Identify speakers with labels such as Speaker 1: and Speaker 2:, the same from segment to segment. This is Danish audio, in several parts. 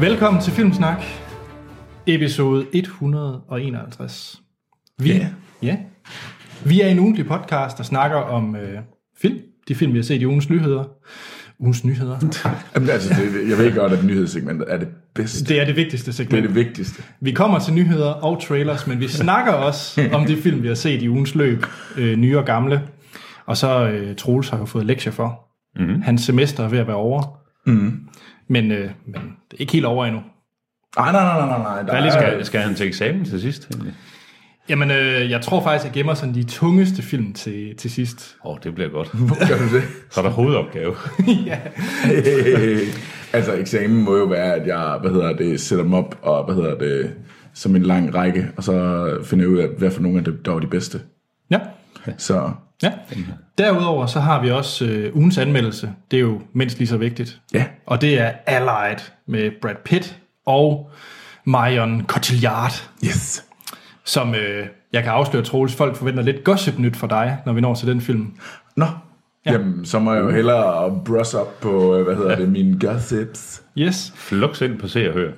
Speaker 1: Velkommen til Filmsnak, episode 151. Vi,
Speaker 2: Ja.
Speaker 1: ja. Vi er en ugentlig podcast, der snakker om øh, film. De film, vi har set i ugens nyheder. Ugens nyheder.
Speaker 2: Jamen, altså, det, det- jeg ved godt, at nyhedssegmentet er det bedste. Det,
Speaker 1: Det er det vigtigste
Speaker 2: det er
Speaker 1: segment.
Speaker 2: det vigtigste.
Speaker 1: Vi kommer til nyheder og trailers, men vi snakker også om de film, vi har set i ugens løb, øh, nye og gamle. Og så øh, Troels har jo fået lektier for.
Speaker 2: Mhm.
Speaker 1: Mm-hmm. Hans semester er ved at være over. Mm-hmm. Men, øh, men det er ikke helt over endnu.
Speaker 2: Ej, nej, nej, nej, nej, nej. Der
Speaker 3: Hvad lige skal, skal han til eksamen til sidst? egentlig?
Speaker 1: Jamen, øh, jeg tror faktisk, jeg gemmer sådan de tungeste film til, til sidst.
Speaker 3: Åh, oh, det bliver godt.
Speaker 2: Gør du det?
Speaker 3: Så er der hovedopgave.
Speaker 1: ja.
Speaker 2: altså, eksamen må jo være, at jeg, hvad hedder det, sætter dem op, og hvad hedder det, som en lang række, og så finder jeg ud af, hvad for nogle af dem, der var de bedste.
Speaker 1: ja.
Speaker 2: Så,
Speaker 1: Ja. Derudover så har vi også øh, ugens anmeldelse. Det er jo mindst lige så vigtigt.
Speaker 2: ja.
Speaker 1: Og det er Allied med Brad Pitt og Marion Cotillard,
Speaker 2: Yes.
Speaker 1: som øh, jeg kan afsløre, Troels, folk forventer lidt gossip-nyt fra dig, når vi når til den film.
Speaker 2: Nå. Ja. Jamen, så må jeg jo hellere brush op på, øh, hvad hedder det, mine gossips.
Speaker 1: Yes.
Speaker 3: Flux ind på se og hør.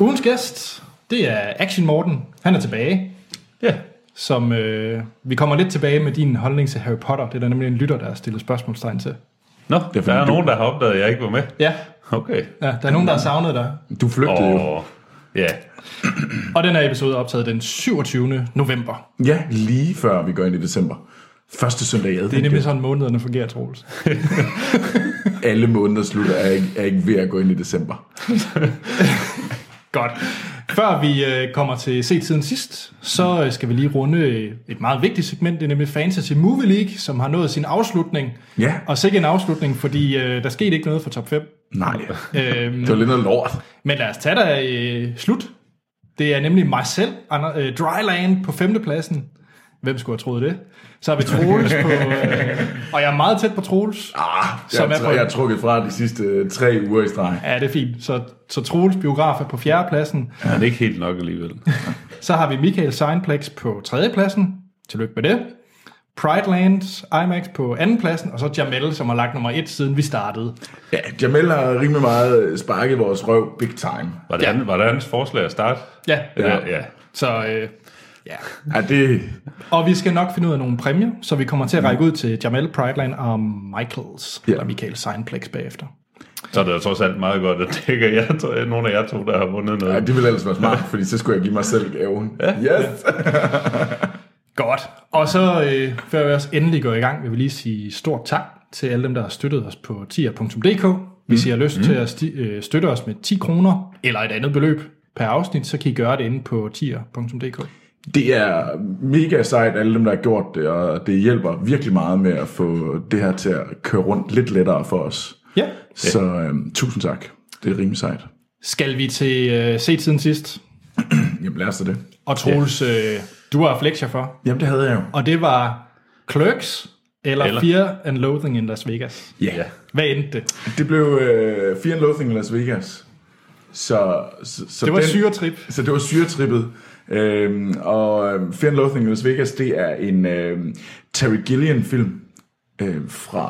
Speaker 1: Ugens gæst, det er Action Morten. Han er tilbage.
Speaker 3: Ja.
Speaker 1: Som, øh, vi kommer lidt tilbage med din holdning til Harry Potter. Det er der nemlig en lytter, der har stillet spørgsmålstegn til.
Speaker 3: Nå,
Speaker 2: er
Speaker 3: det
Speaker 2: fordi
Speaker 3: der er
Speaker 2: du-
Speaker 3: nogen, der har opdaget, at jeg ikke var med.
Speaker 1: Ja,
Speaker 3: Okay.
Speaker 1: Ja, der er nogen, der har savnet dig.
Speaker 2: Du flygtede oh. jo.
Speaker 3: Og ja,
Speaker 1: Og den her episode er optaget den 27. november.
Speaker 2: Ja, lige før vi går ind i december. Første søndag i
Speaker 1: Det er
Speaker 2: advent.
Speaker 1: nemlig sådan, månederne fungerer, Troels.
Speaker 2: Alle måneder slutter er ikke, er ikke ved at gå ind i december.
Speaker 1: Godt. Før vi øh, kommer til se tiden sidst, så øh, skal vi lige runde øh, et meget vigtigt segment, det er nemlig Fantasy Movie League, som har nået sin afslutning.
Speaker 2: Ja.
Speaker 1: Og sikke en afslutning, fordi øh, der skete ikke noget for top 5.
Speaker 2: Nej,
Speaker 1: Øhm,
Speaker 2: det var lidt noget lort.
Speaker 1: men lad os tage dig øh, slut. Det er nemlig mig selv, Ander, øh, Dryland på femtepladsen. Hvem skulle have troet det? Så har vi Troels på... Øh, og jeg er meget tæt på Troels.
Speaker 2: Ah,
Speaker 1: Som
Speaker 2: jeg,
Speaker 1: er på-
Speaker 2: jeg har trukket fra de sidste øh, tre uger i streg.
Speaker 1: Ja, det er fint. Så, så Troels biograf er på fjerdepladsen.
Speaker 3: men ikke helt nok alligevel.
Speaker 1: Så har vi Michael Seinplex på tredjepladsen. Tillykke med det. Prideland IMAX på andenpladsen, og så Jamel, som har lagt nummer et, siden vi startede.
Speaker 2: Ja, Jamel har rimelig meget øh, sparket vores røv big time.
Speaker 3: Var det, ja. var det hans forslag at starte?
Speaker 1: Ja,
Speaker 3: Eller- ja.
Speaker 1: så... Øh, ja.
Speaker 2: Ja, det,
Speaker 1: Og vi skal nok finde ud af nogle præmier, så vi kommer til at række ud til Jamel, Prideland og Michaels,
Speaker 2: Ja.
Speaker 1: eller Michael Seinplex bagefter.
Speaker 3: Så er det jo trods alt meget godt, at det ikke er jer to, nogen af jer to, der har vundet
Speaker 2: ja,
Speaker 3: noget.
Speaker 2: det ville ellers være smart, fordi så skulle jeg give mig selv gaven. Yes!
Speaker 1: Godt. Og så, øh, før vi også endelig går i gang, vil vi lige sige stort tak til alle dem, der har støttet os på tier.dk. Hvis I har lyst mm. til at sti- øh, støtte os med 10 kroner eller et andet beløb per afsnit, så kan I gøre det inde på tier.dk.
Speaker 2: Det er mega sejt, alle dem, der har gjort det, og det hjælper virkelig meget med at få det her til at køre rundt lidt lettere for os.
Speaker 1: Ja.
Speaker 2: Så øhm, tusind tak. Det er rimelig sejt.
Speaker 1: Skal vi til øh, se tiden sidst?
Speaker 2: Jamen lad os da det.
Speaker 1: Og Troels, øh, du har haft lektier for,
Speaker 2: Jamen det havde jeg jo.
Speaker 1: og det var Clerks eller, eller
Speaker 3: Eller-
Speaker 1: Fear and Loathing in Las Vegas.
Speaker 2: Ja. Yeah.
Speaker 1: Hvad endte det?
Speaker 2: Det blev øh, Fear and Loathing i Las Vegas. Så, så, så
Speaker 1: Det var
Speaker 2: den-
Speaker 1: et syretrip.
Speaker 2: Så det var syretrippet. Øhm, og øhm, Fear and Loathing in Las Vegas, det er en øhm, Terry Gillian-film øhm, fra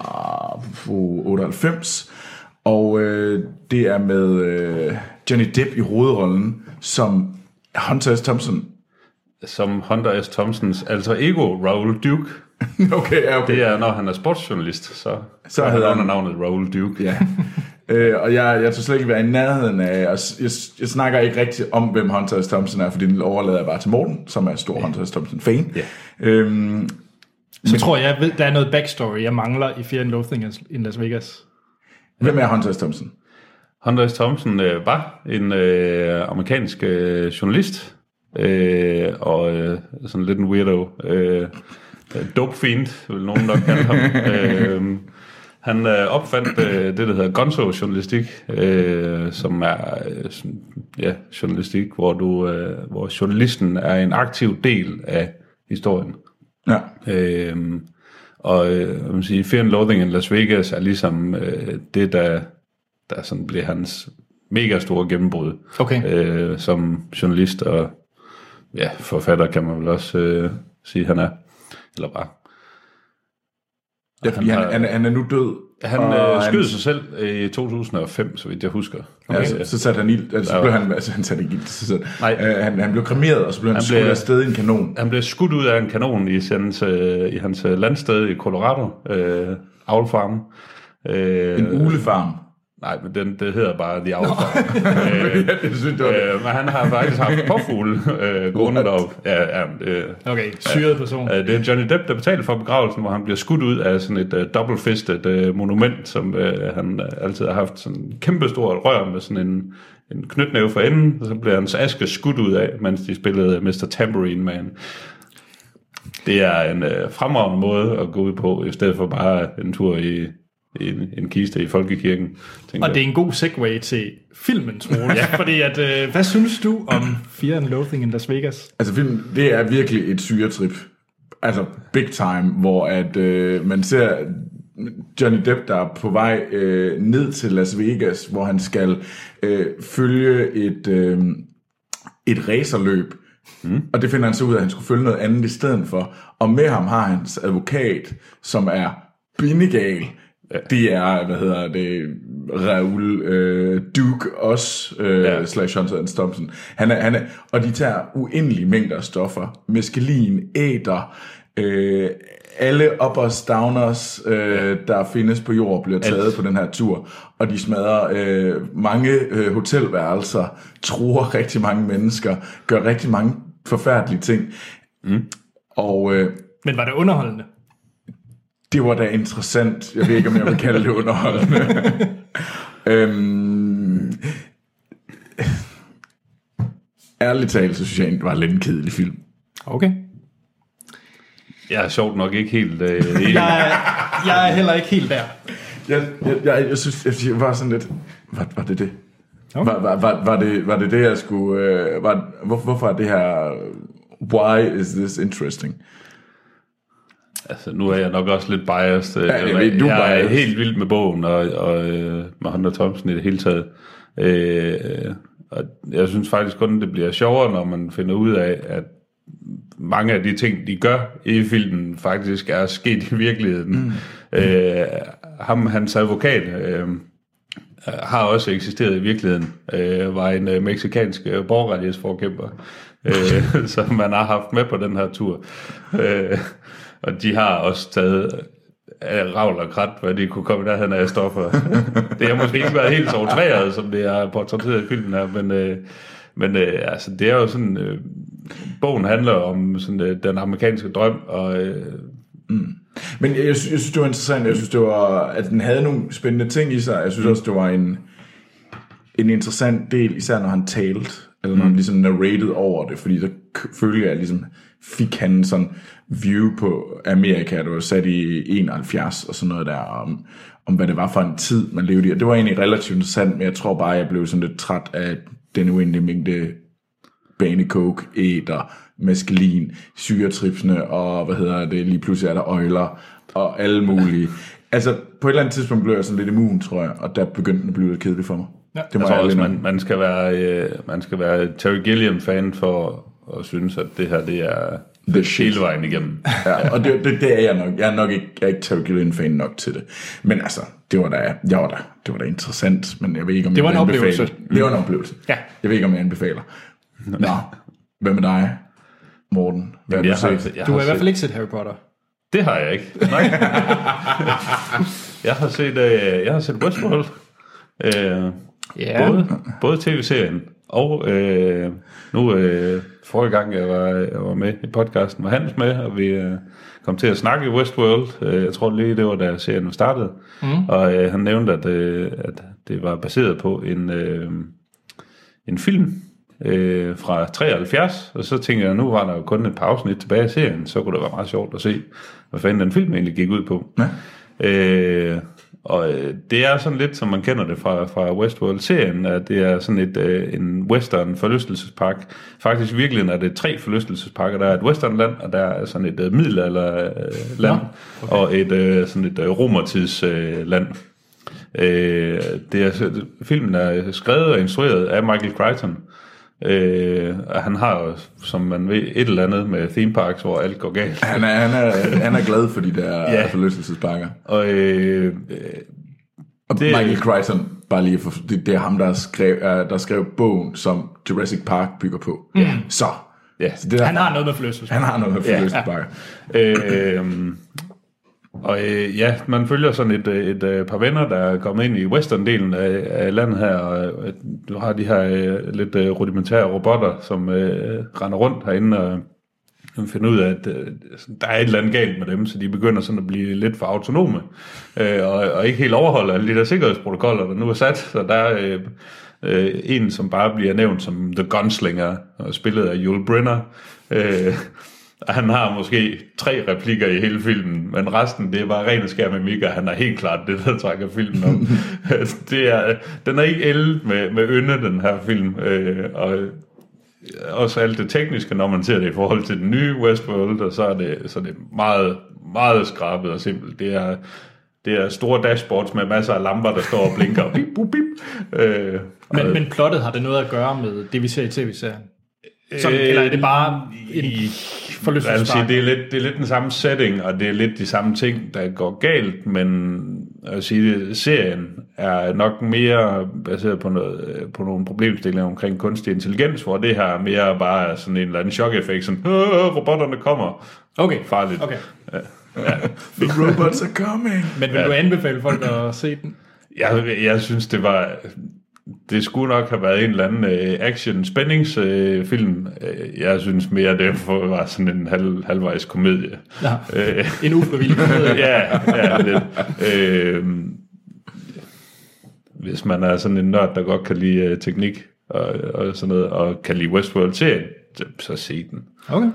Speaker 2: fra 98. Og øh, det er med øh, Johnny Depp i hovedrollen, som Hunter S. Thompson.
Speaker 3: Som Hunter S. Thompsons alter ego, Raoul Duke.
Speaker 2: okay, ja, okay.
Speaker 3: Det er, når han er sportsjournalist, så,
Speaker 2: Så
Speaker 3: så han
Speaker 2: hedder han-
Speaker 3: under navnet Raoul Duke.
Speaker 2: Ja. øh, og jeg, jeg tog slet ikke være i nærheden af, og s- jeg, jeg snakker ikke rigtig om, hvem Hunter S. Thompson er, fordi den overlader jeg bare til Morten, som er stor Hunter S. Thompson-fan.
Speaker 3: Ja.
Speaker 2: Øhm,
Speaker 1: Så tror jeg, jeg ved, der er noget backstory, jeg mangler i Fear and Loathing in Las Vegas.
Speaker 2: hvem er Hunter S. Thompson?
Speaker 3: Hunter S. Thompson øh, var en øh, amerikansk øh, journalist, øh, og øh, sådan lidt en weirdo. Øh, dope fiend, vil nogen nok kalde ham. øh, han øh, opfandt øh, det, der hedder gonzo-journalistik, øh, som er øh, sådan, ja, journalistik, hvor, du, øh, hvor journalisten er en aktiv del af historien.
Speaker 2: Ja.
Speaker 3: Øh, og øh, hvad man siger, Fear and Loathing in Las Vegas er ligesom øh, det, der, der sådan blev hans mega store gennembrud
Speaker 1: Okay.
Speaker 3: øh, som journalist og ja, forfatter, kan man vel også øh, sige, han er. Eller bare.
Speaker 2: Ja, fordi han,
Speaker 3: han
Speaker 2: han,
Speaker 3: har-
Speaker 2: han, han er nu død.
Speaker 3: Han
Speaker 2: og
Speaker 3: øh, skød sig selv øh, i 2005, så vidt jeg husker.
Speaker 2: Ja,
Speaker 3: Øh,
Speaker 2: så, så satte han ild, altså, så
Speaker 3: Ja.
Speaker 2: blev han, altså, han satte ikke ild, så satte,
Speaker 3: Nej.
Speaker 2: øh, han, han blev kremeret, og så blev han, han
Speaker 3: Han
Speaker 2: skudt
Speaker 3: blev-
Speaker 2: afsted i en kanon.
Speaker 3: Han blev skudt ud af en kanon i hans, øh, i hans øh, landsted i Colorado, øh, Owl Farm. Øh,
Speaker 2: En ulefarm.
Speaker 3: Nej, men den, det hedder bare The Owl Farm. øh,
Speaker 2: Ja, det synes jeg, det var-
Speaker 3: øh, men han har faktisk haft påfugle øh, gående derop. Ja, ja, øh,
Speaker 1: Okay, syret person.
Speaker 3: Øh, Det er Johnny Depp, der betaler for begravelsen, hvor han bliver skudt ud af sådan et uh, dobbeltfistet uh, monument, som uh, han øh, altid har haft sådan en kæmpestor rør med sådan en, en knytnæve for enden, og så bliver hans aske skudt ud af, mens de spillede Mr. Tambourine Man. Det er en uh, fremragende måde at gå ud på, i stedet for bare en tur i, i en, en kiste i folkekirken. tænker
Speaker 1: Og det er en god segue til filmen, Troels. ja. Fordi at, øh, hvad synes du om Fear and Loathing in Las Vegas?
Speaker 2: Altså filmen, det er virkelig et syretrip. Altså big time, hvor at øh, man ser Johnny Depp, der er på vej øh, ned til Las Vegas, hvor han skal øh, følge et, øh, et racerløb. Mm. Og det finder han så ud af, at han skulle følge noget andet i stedet for. Og med ham har hans advokat, som er bindegal. Det er, hvad hedder det, Raoul øh, Duke også, øh, ja.
Speaker 3: Ja.
Speaker 2: slash Johnson Thompson. Han er, han er, og de tager uendelige mængder af stoffer. Meskalin, æder, øh, alle uppers, downers, øh, der findes på jord, bliver taget på den her tur. Og de smadrer øh, mange øh, hotelværelser, truer rigtig mange mennesker, gør rigtig mange forfærdelige ting. Mm. Og øh,
Speaker 1: Men var det underholdende?
Speaker 2: det var da interessant. Jeg ved ikke, om jeg vil kalde det underholdende. øhm, ærligt talt, så synes jeg egentlig, det var lidt en kedelig film.
Speaker 1: Okay.
Speaker 3: Jeg er sjovt nok ikke helt øh, enig.
Speaker 1: Jeg, er- jeg er heller ikke helt der.
Speaker 2: Jeg, jeg, jeg, jeg synes, jeg, jeg var sådan lidt... Var, var det det?
Speaker 1: Okay.
Speaker 2: Var, var, var, var, det, var det det, jeg skulle... Øh, var, hvor, hvorfor er det her... øh, Why is this interesting?
Speaker 3: Altså, nu er jeg nok også lidt biased. Ja,
Speaker 2: jeg ved, du er
Speaker 3: jeg er
Speaker 2: biased.
Speaker 3: helt vild med bogen og, og øh, med Hunter Thompson i det hele taget. Øh, og jeg synes faktisk kun, det bliver sjovere, når man finder ud af, at mange af de ting, de gør i filmen, faktisk er sket i virkeligheden. Mm. Øh, ham, hans advokat, øh, har også eksisteret i virkeligheden, øh, var en øh, meksikansk øh, borgerrettighedsforkæmper, øh, som man har haft med på den her tur. Øh, og de har også taget øh, ravl og krat, hvad de kunne komme i nærheden af stoffer. det har måske ikke været helt så outreret, som det er portrætteret i filmen her, men, øh, men øh, altså, det er jo sådan... Øh, bogen handler om sådan, øh, den amerikanske drøm, og øh,
Speaker 2: Men jeg, jeg, sy- jeg synes, det var interessant. Jeg synes, det var, at den havde nogle spændende ting i sig. Jeg synes også, det var en, en interessant del, især når han talte, eller når han ligesom narrated over det, fordi der k- følte jeg ligesom, fik han sådan view på Amerika, det var sat i 71 og sådan noget der, om, om hvad det var for en tid, man levede i. Og det var egentlig relativt interessant, men jeg tror bare, jeg blev sådan lidt træt af den uendelige mængde banecoke, æder, meskelin, syretripsene, og hvad hedder det, lige pludselig er der øjler, og alle mulige. Altså, på et eller andet tidspunkt blev jeg sådan lidt immun, tror jeg, og der begyndte den at blive lidt kedelig for mig. Ja, det
Speaker 3: Jeg
Speaker 2: må
Speaker 3: tror
Speaker 2: jeg
Speaker 3: også,
Speaker 2: ærligt
Speaker 3: man,
Speaker 2: nok.
Speaker 3: man, skal være, øh, man skal være Terry Gilliam-fan for at synes, at det her det er
Speaker 2: The shit.
Speaker 3: hele vejen igennem.
Speaker 2: Ja, og det, det, det, er jeg nok. Jeg er nok ikke, jeg er ikke Terry Gillian-fan nok til det. Men altså, det var da, jeg var da, det var da interessant, men jeg ved ikke, om
Speaker 1: Det var
Speaker 2: jeg
Speaker 1: en
Speaker 2: vil anbefale-
Speaker 1: oplevelse.
Speaker 2: Det var en oplevelse.
Speaker 1: Ja.
Speaker 2: Jeg ved ikke, om jeg anbefaler. Nå, hvad med dig, Morten? Hvad
Speaker 3: Jeg
Speaker 2: har du
Speaker 3: har,
Speaker 2: set?
Speaker 3: jeg
Speaker 1: Du har i hvert
Speaker 3: set,
Speaker 1: fald ikke set Harry Potter.
Speaker 3: Det har jeg ikke. Nej. jeg har set, øh, jeg har set Westworld. Øh,
Speaker 1: Ja.
Speaker 3: både, både tv-serien og øh, nu øh, forrige gang, jeg var, jeg var med i podcasten, var Hans med, og vi øh, kom til at snakke i Westworld. Øh, jeg tror lige, det var da serien startede. Mm. Og øh, han nævnte, at, øh, at det var baseret på en, øh, en film øh, fra 73, og så tænkte jeg, nu var der jo kun et par afsnit tilbage i serien, så kunne det være meget sjovt at se, hvad fanden den film egentlig gik ud på. Ja. Øh, og øh, det er sådan lidt, som man kender det fra, fra Westworld-serien, at det er sådan et, øh, en western forlystelsespark. Faktisk virkelig er det tre forlystelsesparker. Der er et westernland, og der er sådan et øh, middelalderland, øh, land, okay. og et øh, sådan et øh, romertidsland. Øh, land. Øh, det er, filmen er skrevet og instrueret af Michael Crichton, Øh, og han har jo, som man ved, et eller andet med theme parks, hvor alt går galt.
Speaker 2: Han er, han, er, han er glad for de der
Speaker 3: Ja.
Speaker 2: yeah. forlystelsesparker.
Speaker 3: Og øh, øh,
Speaker 2: Og det,
Speaker 3: Det-
Speaker 2: Michael Crichton, bare lige for, det, det er ham, der skrev, uh, der skrev bogen, som Jurassic Park bygger på. Mm. Så,
Speaker 3: Ja.
Speaker 2: så det der,
Speaker 1: Han har noget med forlystelse.
Speaker 2: han har noget med
Speaker 3: Ja.
Speaker 2: forlystelsesparker.
Speaker 3: øh, og øh, ja, man følger sådan et, øh, et, øh, par venner, der er kommet ind i western-delen af, af landet her, og øh, du har de her øh, lidt øh, rudimentære robotter, som øh, render rundt herinde og øh, finder ud af, at øh, sådan, der er et eller andet galt med dem, så de begynder sådan at blive lidt for autonome, øh, og, og ikke helt overholder alle de der sikkerhedsprotokoller, der nu er sat, så der er øh, øh, en, som bare bliver nævnt som The Gunslinger, og spillet af Yul Brynner, øh, og han har måske tre replikker i hele filmen, men resten det er bare ren og skær mimik, og han er helt klart det, der trækker filmen om. det er, den er ikke el med, med ynde, den her film, øh, og også alt det tekniske, når man ser det i forhold til den nye Westworld, og så er det, så er det meget, meget skrabet og simpelt. Det er, det er store dashboards med masser af lamper, der står og blinker. og bip, bip, bip. Øh,
Speaker 1: Men, men plottet har det noget at gøre med det, vi ser i tv-serien? Sådan, øh, eller er det bare en
Speaker 3: Jeg vil sige,
Speaker 1: forlystelsespark?
Speaker 3: det, er lidt, det er lidt den samme setting, og det er lidt de samme ting, der går galt, men jeg vil sige, serien er nok mere baseret på, noget, øh, på nogle problemstillinger omkring kunstig intelligens, hvor det her mere bare er sådan en eller anden chok-effekt, sådan, "Øh, robotterne kommer.
Speaker 1: Okay,
Speaker 3: Farligt.
Speaker 1: okay.
Speaker 2: The robots are coming.
Speaker 1: Men vil ja. du anbefale folk at se den?
Speaker 3: Jeg, jeg synes, det var... Det skulle nok have været en eller anden øh, action-spændingsfilm. Øh, film. Øh, jeg synes mere, det var sådan en halv, halvvejs komedie.
Speaker 1: Ja.
Speaker 3: Øh,
Speaker 1: En ufrivillig komedie.
Speaker 3: ja, ja, lidt. Øh, hvis man er sådan en nørd, der godt kan lide øh, teknik og, og sådan noget, og kan lide Westworld-serien, så, så se den.
Speaker 1: Okay,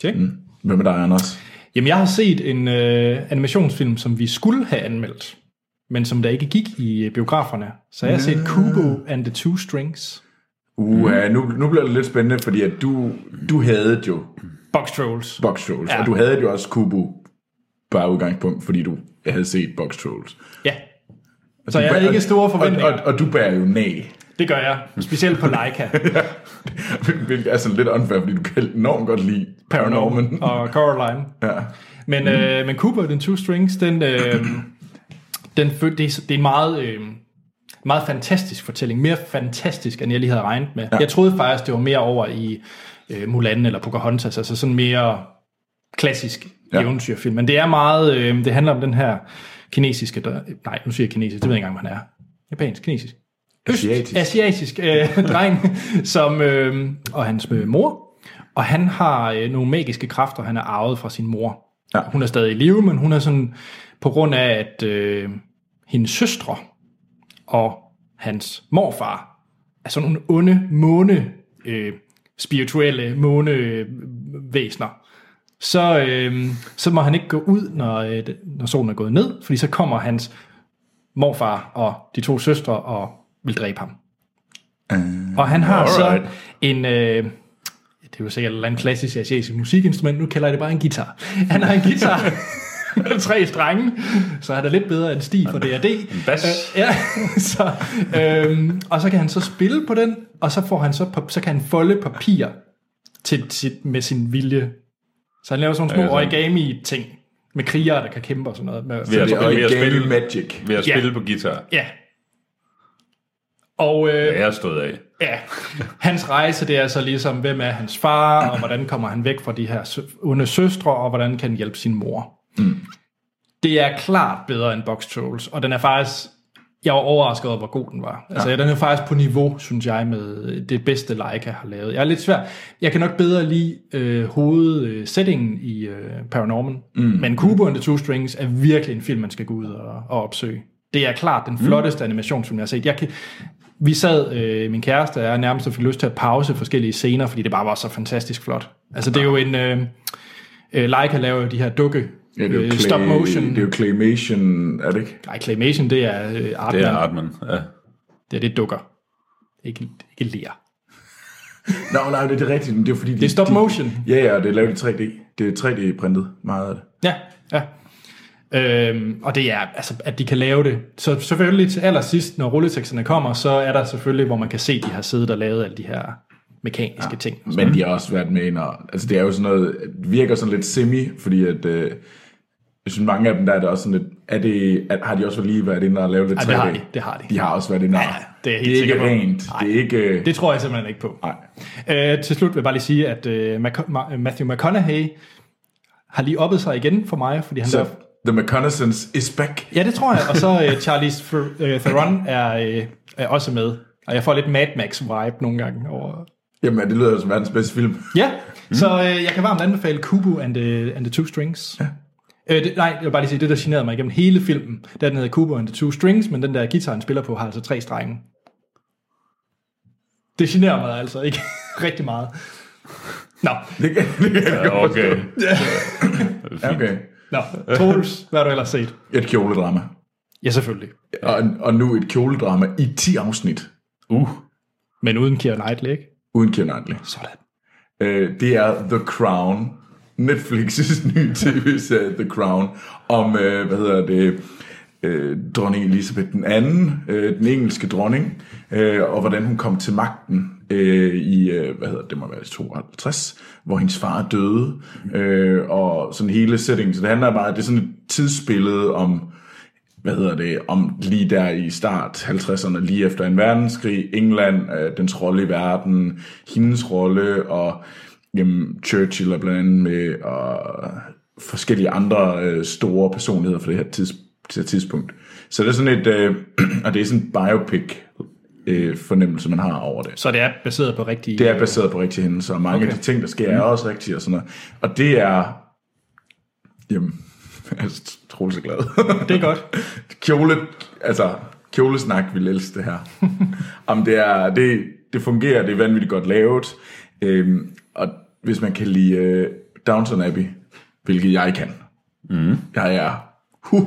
Speaker 1: tjek. Mm.
Speaker 2: Hvem er dig, Anders?
Speaker 1: Jamen, jeg har set en øh, animationsfilm, som vi skulle have anmeldt, men som der ikke gik i øh, biograferne. Så jeg har set Kubo and the Two Strings.
Speaker 2: Uh,
Speaker 1: Mm.
Speaker 2: nu, nu bliver det lidt spændende, fordi at du, du havde jo
Speaker 1: Box Trolls.
Speaker 2: Box Trolls,
Speaker 1: Ja.
Speaker 2: ja. og du havde jo også Kubo bare udgangspunkt, fordi du havde set Box Trolls.
Speaker 1: Ja. Så
Speaker 2: Du
Speaker 1: jeg
Speaker 2: bærer-
Speaker 1: havde ikke store forventninger.
Speaker 2: Og, og, og du bærer jo næ.
Speaker 1: Det gør jeg. Specielt på Leica.
Speaker 2: Hvilket er sådan lidt unfair, fordi du kan enormt godt lide Paranorman.
Speaker 1: og Coraline. Ja. Men, øh, men Cooper, den Two Strings, den, øh, den, fø- det, er, det er en meget, øh, meget fantastisk fortælling. Mere fantastisk, end jeg lige havde regnet med. Ja. Jeg troede faktisk, det var mere over i øh, Mulan eller Pocahontas, altså sådan mere klassisk ja.
Speaker 2: Ja.
Speaker 1: eventyrfilm. Men det er meget, øh, det handler om den her kinesiske, der, nej, nu siger jeg kinesisk, det ved jeg ikke engang, hvad han er. Japansk, kinesisk. Øst,
Speaker 2: Asiatisk.
Speaker 1: asiatisk øh, dreng, som, øh, og hans øh, mor. Og han har øh, nogle magiske kræfter, han har arvet fra sin mor. Ja.
Speaker 2: Ja.
Speaker 1: Hun er stadig i live, men hun er sådan, på grund af, at øh, hendes søstre og hans morfar er sådan nogle onde måne, øh, spirituelle månevæsner. Så, øh, så må han ikke gå ud, når, øh, når solen er gået ned, fordi så kommer hans morfar og de to søstre og vil dræbe ham. Uh, og han har
Speaker 3: alright.
Speaker 1: så en, øh, det er jo sikkert et eller andet klassisk asiatisk musikinstrument, nu kalder jeg det bare en guitar. Han har en guitar med tre strenge, så han er lidt bedre end Stig fra D&D. En
Speaker 3: bas.
Speaker 1: Øh, ja, så, øhm, og så kan han så spille på den, og så, får han så, pap- så kan han folde papir til, til, med sin vilje. Så han laver sådan nogle små
Speaker 3: Ja, sådan.
Speaker 1: origami-ting med krigere, der kan kæmpe og sådan noget. Med,
Speaker 3: Ved at,
Speaker 2: Det er
Speaker 3: ved at
Speaker 2: origami
Speaker 3: spille,
Speaker 2: magic.
Speaker 3: ved at
Speaker 1: Ja.
Speaker 3: spille på guitar.
Speaker 1: Ja. Og øh,
Speaker 3: Jeg er stået af.
Speaker 1: Ja, hans rejse det er så ligesom, hvem er hans far, og hvordan kommer han væk fra de her sø- onde søstre, og hvordan kan han hjælpe sin mor. Mm. Det er klart bedre end Box Trolls, og den er faktisk, jeg var overrasket over, hvor god den var. Altså, ja. den er faktisk på niveau, synes jeg, med det bedste Leica har lavet. Jeg er lidt svær. Jeg kan nok bedre lide øh, hovedsettingen i øh, Paranorman, mm. men Kubo and the Two Strings er virkelig en film, man skal gå ud og, og opsøge. Det er klart den flotteste mm. animationsfilm, jeg har set. Jeg kan, vi sad, øh, min kæreste og jeg, nærmest og fik lyst til at pause forskellige scener, fordi det bare var så fantastisk flot. Altså, det er jo en... Øh, øh, Leica laver jo de her dukke
Speaker 2: Ja, det er jo
Speaker 1: øh,
Speaker 2: clay,
Speaker 1: stop motion.
Speaker 2: Det er jo claymation, er det ikke?
Speaker 1: Nej, claymation, det er øh, Artman.
Speaker 3: Det er Artman. Ja.
Speaker 1: det, er det dukker. Ikke, ikke lir.
Speaker 2: Nå, nej, det er rigtigt, men det er jo fordi...
Speaker 1: Det er stop motion.
Speaker 2: Ja, ja, og det er lavet i 3D. Det er 3D-printet, meget af det.
Speaker 1: Ja, ja. Øhm, og det er, altså, at de kan lave det. Så selvfølgelig til allersidst, når rulleteksterne kommer, så er der selvfølgelig, hvor man kan se, at de har siddet og lavet alle de her mekaniske ja. ting.
Speaker 2: Men de har også været med ind og, altså det er jo sådan noget, det virker sådan lidt semi, fordi at, øh, jeg synes mange af dem, der er det også sådan lidt, er det, er, har de også lige været inde og lavet lidt
Speaker 1: Ja,
Speaker 2: 3D?
Speaker 1: det har de, det har de.
Speaker 2: De har også været inde og,
Speaker 1: Ja, ja, det er jeg helt
Speaker 2: det er
Speaker 1: sikker
Speaker 2: ikke
Speaker 1: på.
Speaker 2: rent,
Speaker 1: Nej.
Speaker 2: det er ikke, øh,
Speaker 1: Det tror jeg simpelthen ikke på.
Speaker 2: nej.
Speaker 1: Øh, til slut vil jeg bare lige sige, at øh, Mac- Ma- Matthew McConaughey har lige oppet sig igen for mig, fordi han
Speaker 2: Så
Speaker 1: så.
Speaker 2: The McConnaissance is back.
Speaker 1: Ja, det tror jeg. Og så øh, Charlize Ther- øh, Theron er, øh, er også med. Og jeg får lidt Mad Max-vibe nogle gange over...
Speaker 2: Jamen, det lyder jo som verdens bedste film.
Speaker 1: Ja, mm. så øh, jeg kan varmt anbefale Kubo and the, and the Two Strings. Ja. Øh, det, nej, jeg vil bare lige sige, det der generede mig igennem hele filmen, der den hedder Kubo and the Two Strings, men den der guitar, han spiller på, har altså tre strenge. Det generer mig altså ikke rigtig meget. Nå,
Speaker 2: Det kan, det kan jeg godt
Speaker 3: Okay.
Speaker 2: forstå. Okay.
Speaker 1: nå. Troels, hvad har du ellers set?
Speaker 2: Et kjoledrama.
Speaker 1: Ja, selvfølgelig.
Speaker 2: Og, og nu et kjoledrama i 10 afsnit,
Speaker 3: Uh,
Speaker 1: Men uden Keira Knightley, ikke?
Speaker 2: uden Keira Knightley.
Speaker 1: Sådan.
Speaker 2: Øh, det er The Crown. Netflix's nye tv-serie The Crown om, øh, hvad hedder det, øh, dronning Elisabeth den anden, øh, den engelske dronning, øh, og hvordan hun kom til magten øh, i, øh, hvad hedder det, må være i 52, hvor hendes far døde, øh, og sådan hele settingen. Så det handler meget, det er sådan et tidsbillede om, hvad hedder det, om lige der i start 50'erne, lige efter en verdenskrig, England, øh, dens rolle i verden, hendes rolle, og jamen, Churchill er blandt andet med, og forskellige andre øh, store personligheder fra det her, tids, det her tidspunkt. Så det er sådan et, øh, og det er sådan en biopic øh, fornemmelse, man har over det.
Speaker 1: Så det er baseret på rigtige...
Speaker 2: Det er baseret på rigtige hændelser, og mange okay. af de ting, der sker, er
Speaker 1: Mhm.
Speaker 2: også rigtige og sådan noget. Og det er... Jamen, jeg er troligt så glad.
Speaker 1: det er godt.
Speaker 2: Kjole, altså, kjolesnak vil elske det her. Jamen, det, er, det, det fungerer, det er vanvittigt godt lavet. Øhm, og hvis man kan lide øh, Downton Abbey, hvilket jeg kan. Mm. Jeg er... Huh,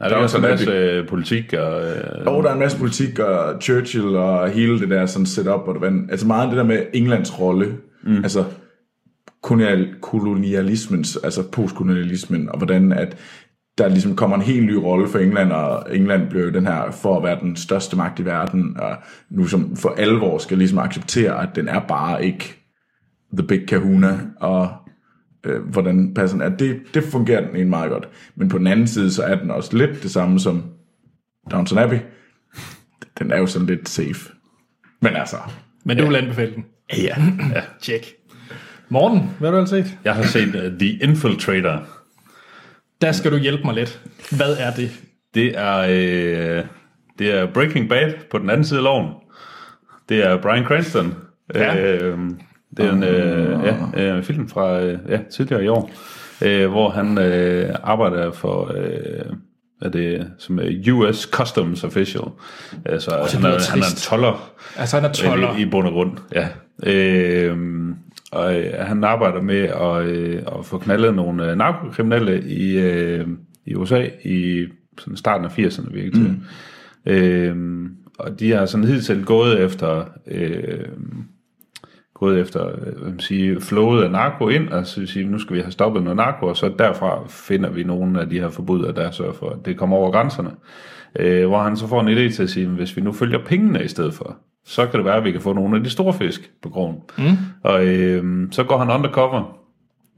Speaker 3: er der også en
Speaker 2: sådan
Speaker 3: masse øh, politik og... Øh,
Speaker 2: Og der er en masse politik, og Churchill og hele det der sådan setup, og det, var- altså meget af det der med Englands rolle, mm. altså kolonial, kolonialismens, altså postkolonialismen, og hvordan at der ligesom kommer en helt ny rolle for England, og England blev jo den her for at være den største magt i verden, og nu som for alvor skal ligesom acceptere, at den er bare ikke the big kahuna, og øh, hvordan passer den er. Det, det fungerer den egentlig meget godt. Men på den anden side, så er den også lidt det samme som Downton Abbey, den er jo sådan lidt safe. Men altså,
Speaker 1: Men du vil anbefale den.
Speaker 3: ja. ja.
Speaker 1: Tjek. Morten, hvad har du altså set?
Speaker 3: Jeg har set uh, The Infiltrator.
Speaker 1: Der skal du hjælpe mig lidt. Hvad er det?
Speaker 3: Det er, øh, det er Breaking Bad på den anden side af loven. Det er Brian Cranston.
Speaker 1: Ja.
Speaker 3: Øh, det er en øh, ja, øh, film fra øh, ja, tidligere i år, øh, hvor han øh, arbejder for... Øh, er det som øh, US Customs Official. Altså, han, er,
Speaker 1: lyder
Speaker 3: han er en
Speaker 1: trist.
Speaker 3: toller.
Speaker 1: Altså, han er toller.
Speaker 3: Øh, I, I bund og grund, ja. Øhm, og øh, han arbejder med at, øh, at få knaldet nogle øh, narkokriminelle i, øh, i USA i sådan starten af 80'erne, virkelig. til. Øhm, og de har sådan hidtil gået efter... Øh, gået efter øh, hvad man siger, flowet af narko ind, og så sige, nu skal vi have stoppet noget narko, og så derfra finder vi nogle af de her forbrydere, der sørger for, at det kommer over grænserne. Øh, hvor han så får en idé til at sige, hvis vi nu følger pengene i stedet for, så kan det være, at vi kan få nogle af de store fisk på krogen. Mm. Og øh, så går han undercover,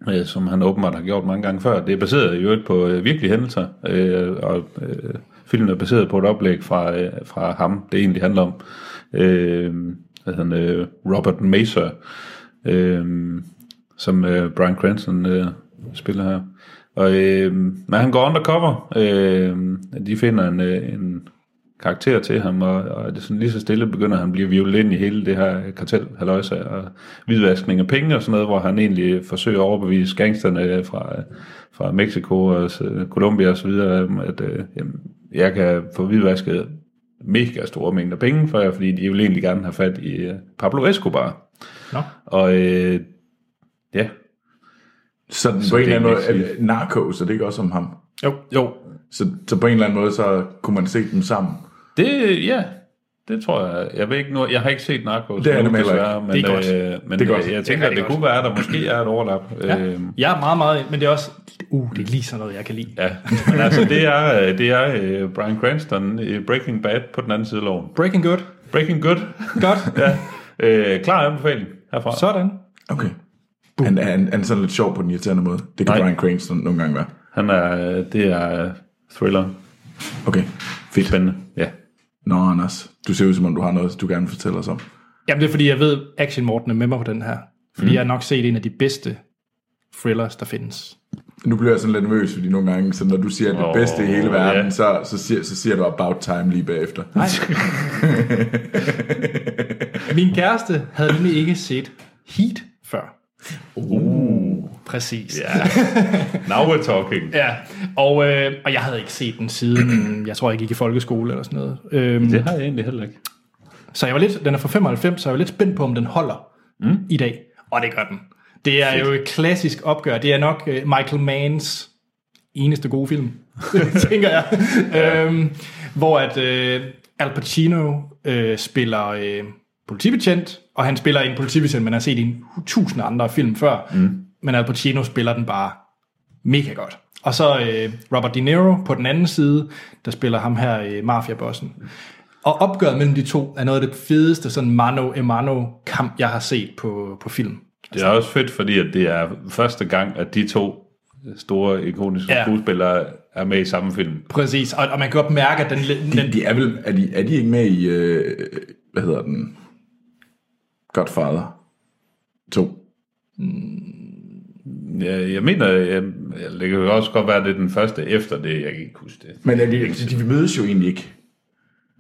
Speaker 3: øh, som han åbenbart har gjort mange gange før. Det er baseret i øvrigt på øh, virkelige hændelser, øh, og øh, filmen er baseret på et oplæg fra, øh, fra ham, det egentlig handler om. Øh, hvad hedder han, øh, Robert Mazer, øh, som øh, Brian Cranston øh, spiller her. Og, øh, men han går undercover. Øh, de finder en, øh, en karakter til ham, og, og det er sådan lige så stille begynder han at blive violet ind i hele det her kartel, halløjsa, og hvidvaskning af penge og sådan noget, hvor han egentlig forsøger at overbevise gangsterne øh, fra, fra Mexico og øh, Colombia og så videre, om, at øh, jamen, jeg kan få hvidvasket mega store mængder penge for jer, fordi de vil egentlig gerne have fat i øh, Pablo Escobar.
Speaker 1: Nå.
Speaker 3: Og øh, ja,
Speaker 2: så, så på
Speaker 3: det
Speaker 2: en eller anden
Speaker 3: er
Speaker 2: måde,
Speaker 3: ikke
Speaker 2: er narko, så det er ikke også om ham.
Speaker 1: Jo.
Speaker 3: jo,
Speaker 2: Så, så på en eller anden måde, så kunne man se dem sammen.
Speaker 3: Det, ja, det tror jeg. Jeg ved ikke nu, jeg har ikke set Narcos.
Speaker 2: Det er
Speaker 3: endnu,
Speaker 2: nemlig heller
Speaker 3: desværre, men,
Speaker 1: Det er
Speaker 3: Øh, men
Speaker 2: Det er godt.
Speaker 3: Øh, jeg tænker,
Speaker 1: Det er
Speaker 3: at det
Speaker 1: godt.
Speaker 3: kunne være, at der måske er et overlap. Ja. Øhm,
Speaker 1: Jeg er meget, meget... Men det er også... Uh, det er lige sådan noget, jeg kan lide.
Speaker 3: ja. Men altså, det er, øh, det er øh, Brian Cranston i Breaking Bad på den anden side af loven.
Speaker 1: Breaking Good.
Speaker 3: Breaking Good.
Speaker 1: Godt.
Speaker 3: Ja. Øh, klar anbefaling herfra.
Speaker 1: Sådan.
Speaker 2: Okay. Han, er- han, han er sådan lidt sjov på den irriterende måde. Det kan
Speaker 3: Nej.
Speaker 2: Brian Cranston nogle gange være.
Speaker 3: Han er, øh, det er øh, thriller.
Speaker 2: Okay.
Speaker 3: Fedt. Spændende. Ja.
Speaker 2: Nå, Anders, du ser ud som om, du har noget, du gerne vil fortælle os om.
Speaker 1: Jamen, det er fordi, jeg ved, Action Morten er med mig på den her. Fordi mm. jeg har nok set en af de bedste thrillers, der findes.
Speaker 2: Nu bliver jeg sådan lidt nervøs, fordi nogle gange, så når du siger det
Speaker 3: Åh,
Speaker 2: bedste i hele verden,
Speaker 3: ja.
Speaker 2: så, så, siger, så siger du about time lige bagefter.
Speaker 1: Nej. Min kæreste havde nemlig ikke set Heat før. Uh. Præcis. Ja.
Speaker 3: Now we're talking.
Speaker 1: ja. Og, øh, og jeg havde ikke set den siden, jeg tror, jeg gik i folkeskole eller sådan noget. Øhm,
Speaker 3: Det har jeg egentlig heller ikke.
Speaker 1: Så jeg var lidt, den er fra 95, så jeg var lidt spændt på, om den holder mm. i dag. Og det gør den. Det er Fedt. jo et klassisk opgør. Det er nok øh, Michael Manns eneste gode film, tænker jeg. øhm, hvor at øh, Al Pacino øh, spiller øh, politibetjent, og han spiller en politibetjent, man har set i en tusind andre film før. Mm. Men Al Pacino spiller den bare mega godt. Og så øh, Robert De Niro på den anden side, der spiller ham her, øh, mafiabossen. Og opgøret mellem de to er noget af det fedeste sådan mano-a-mano-kamp, jeg har set på, på film.
Speaker 3: Det er også fedt, fordi at det er første gang, at de to store ikoniske
Speaker 1: Ja.
Speaker 3: ja. skuespillere er med i samme film.
Speaker 1: Præcis, og, og man kan godt mærke, at den... den
Speaker 2: De, de er, vel, er, de, er de ikke med i, øh, hvad hedder den, Godfather 2?
Speaker 3: Jeg, jeg mener, jeg, jeg, det kan jo også godt være, at det er den første efter det. Jeg kan ikke huske det.
Speaker 2: Men er de, altså, de, de mødes jo egentlig ikke.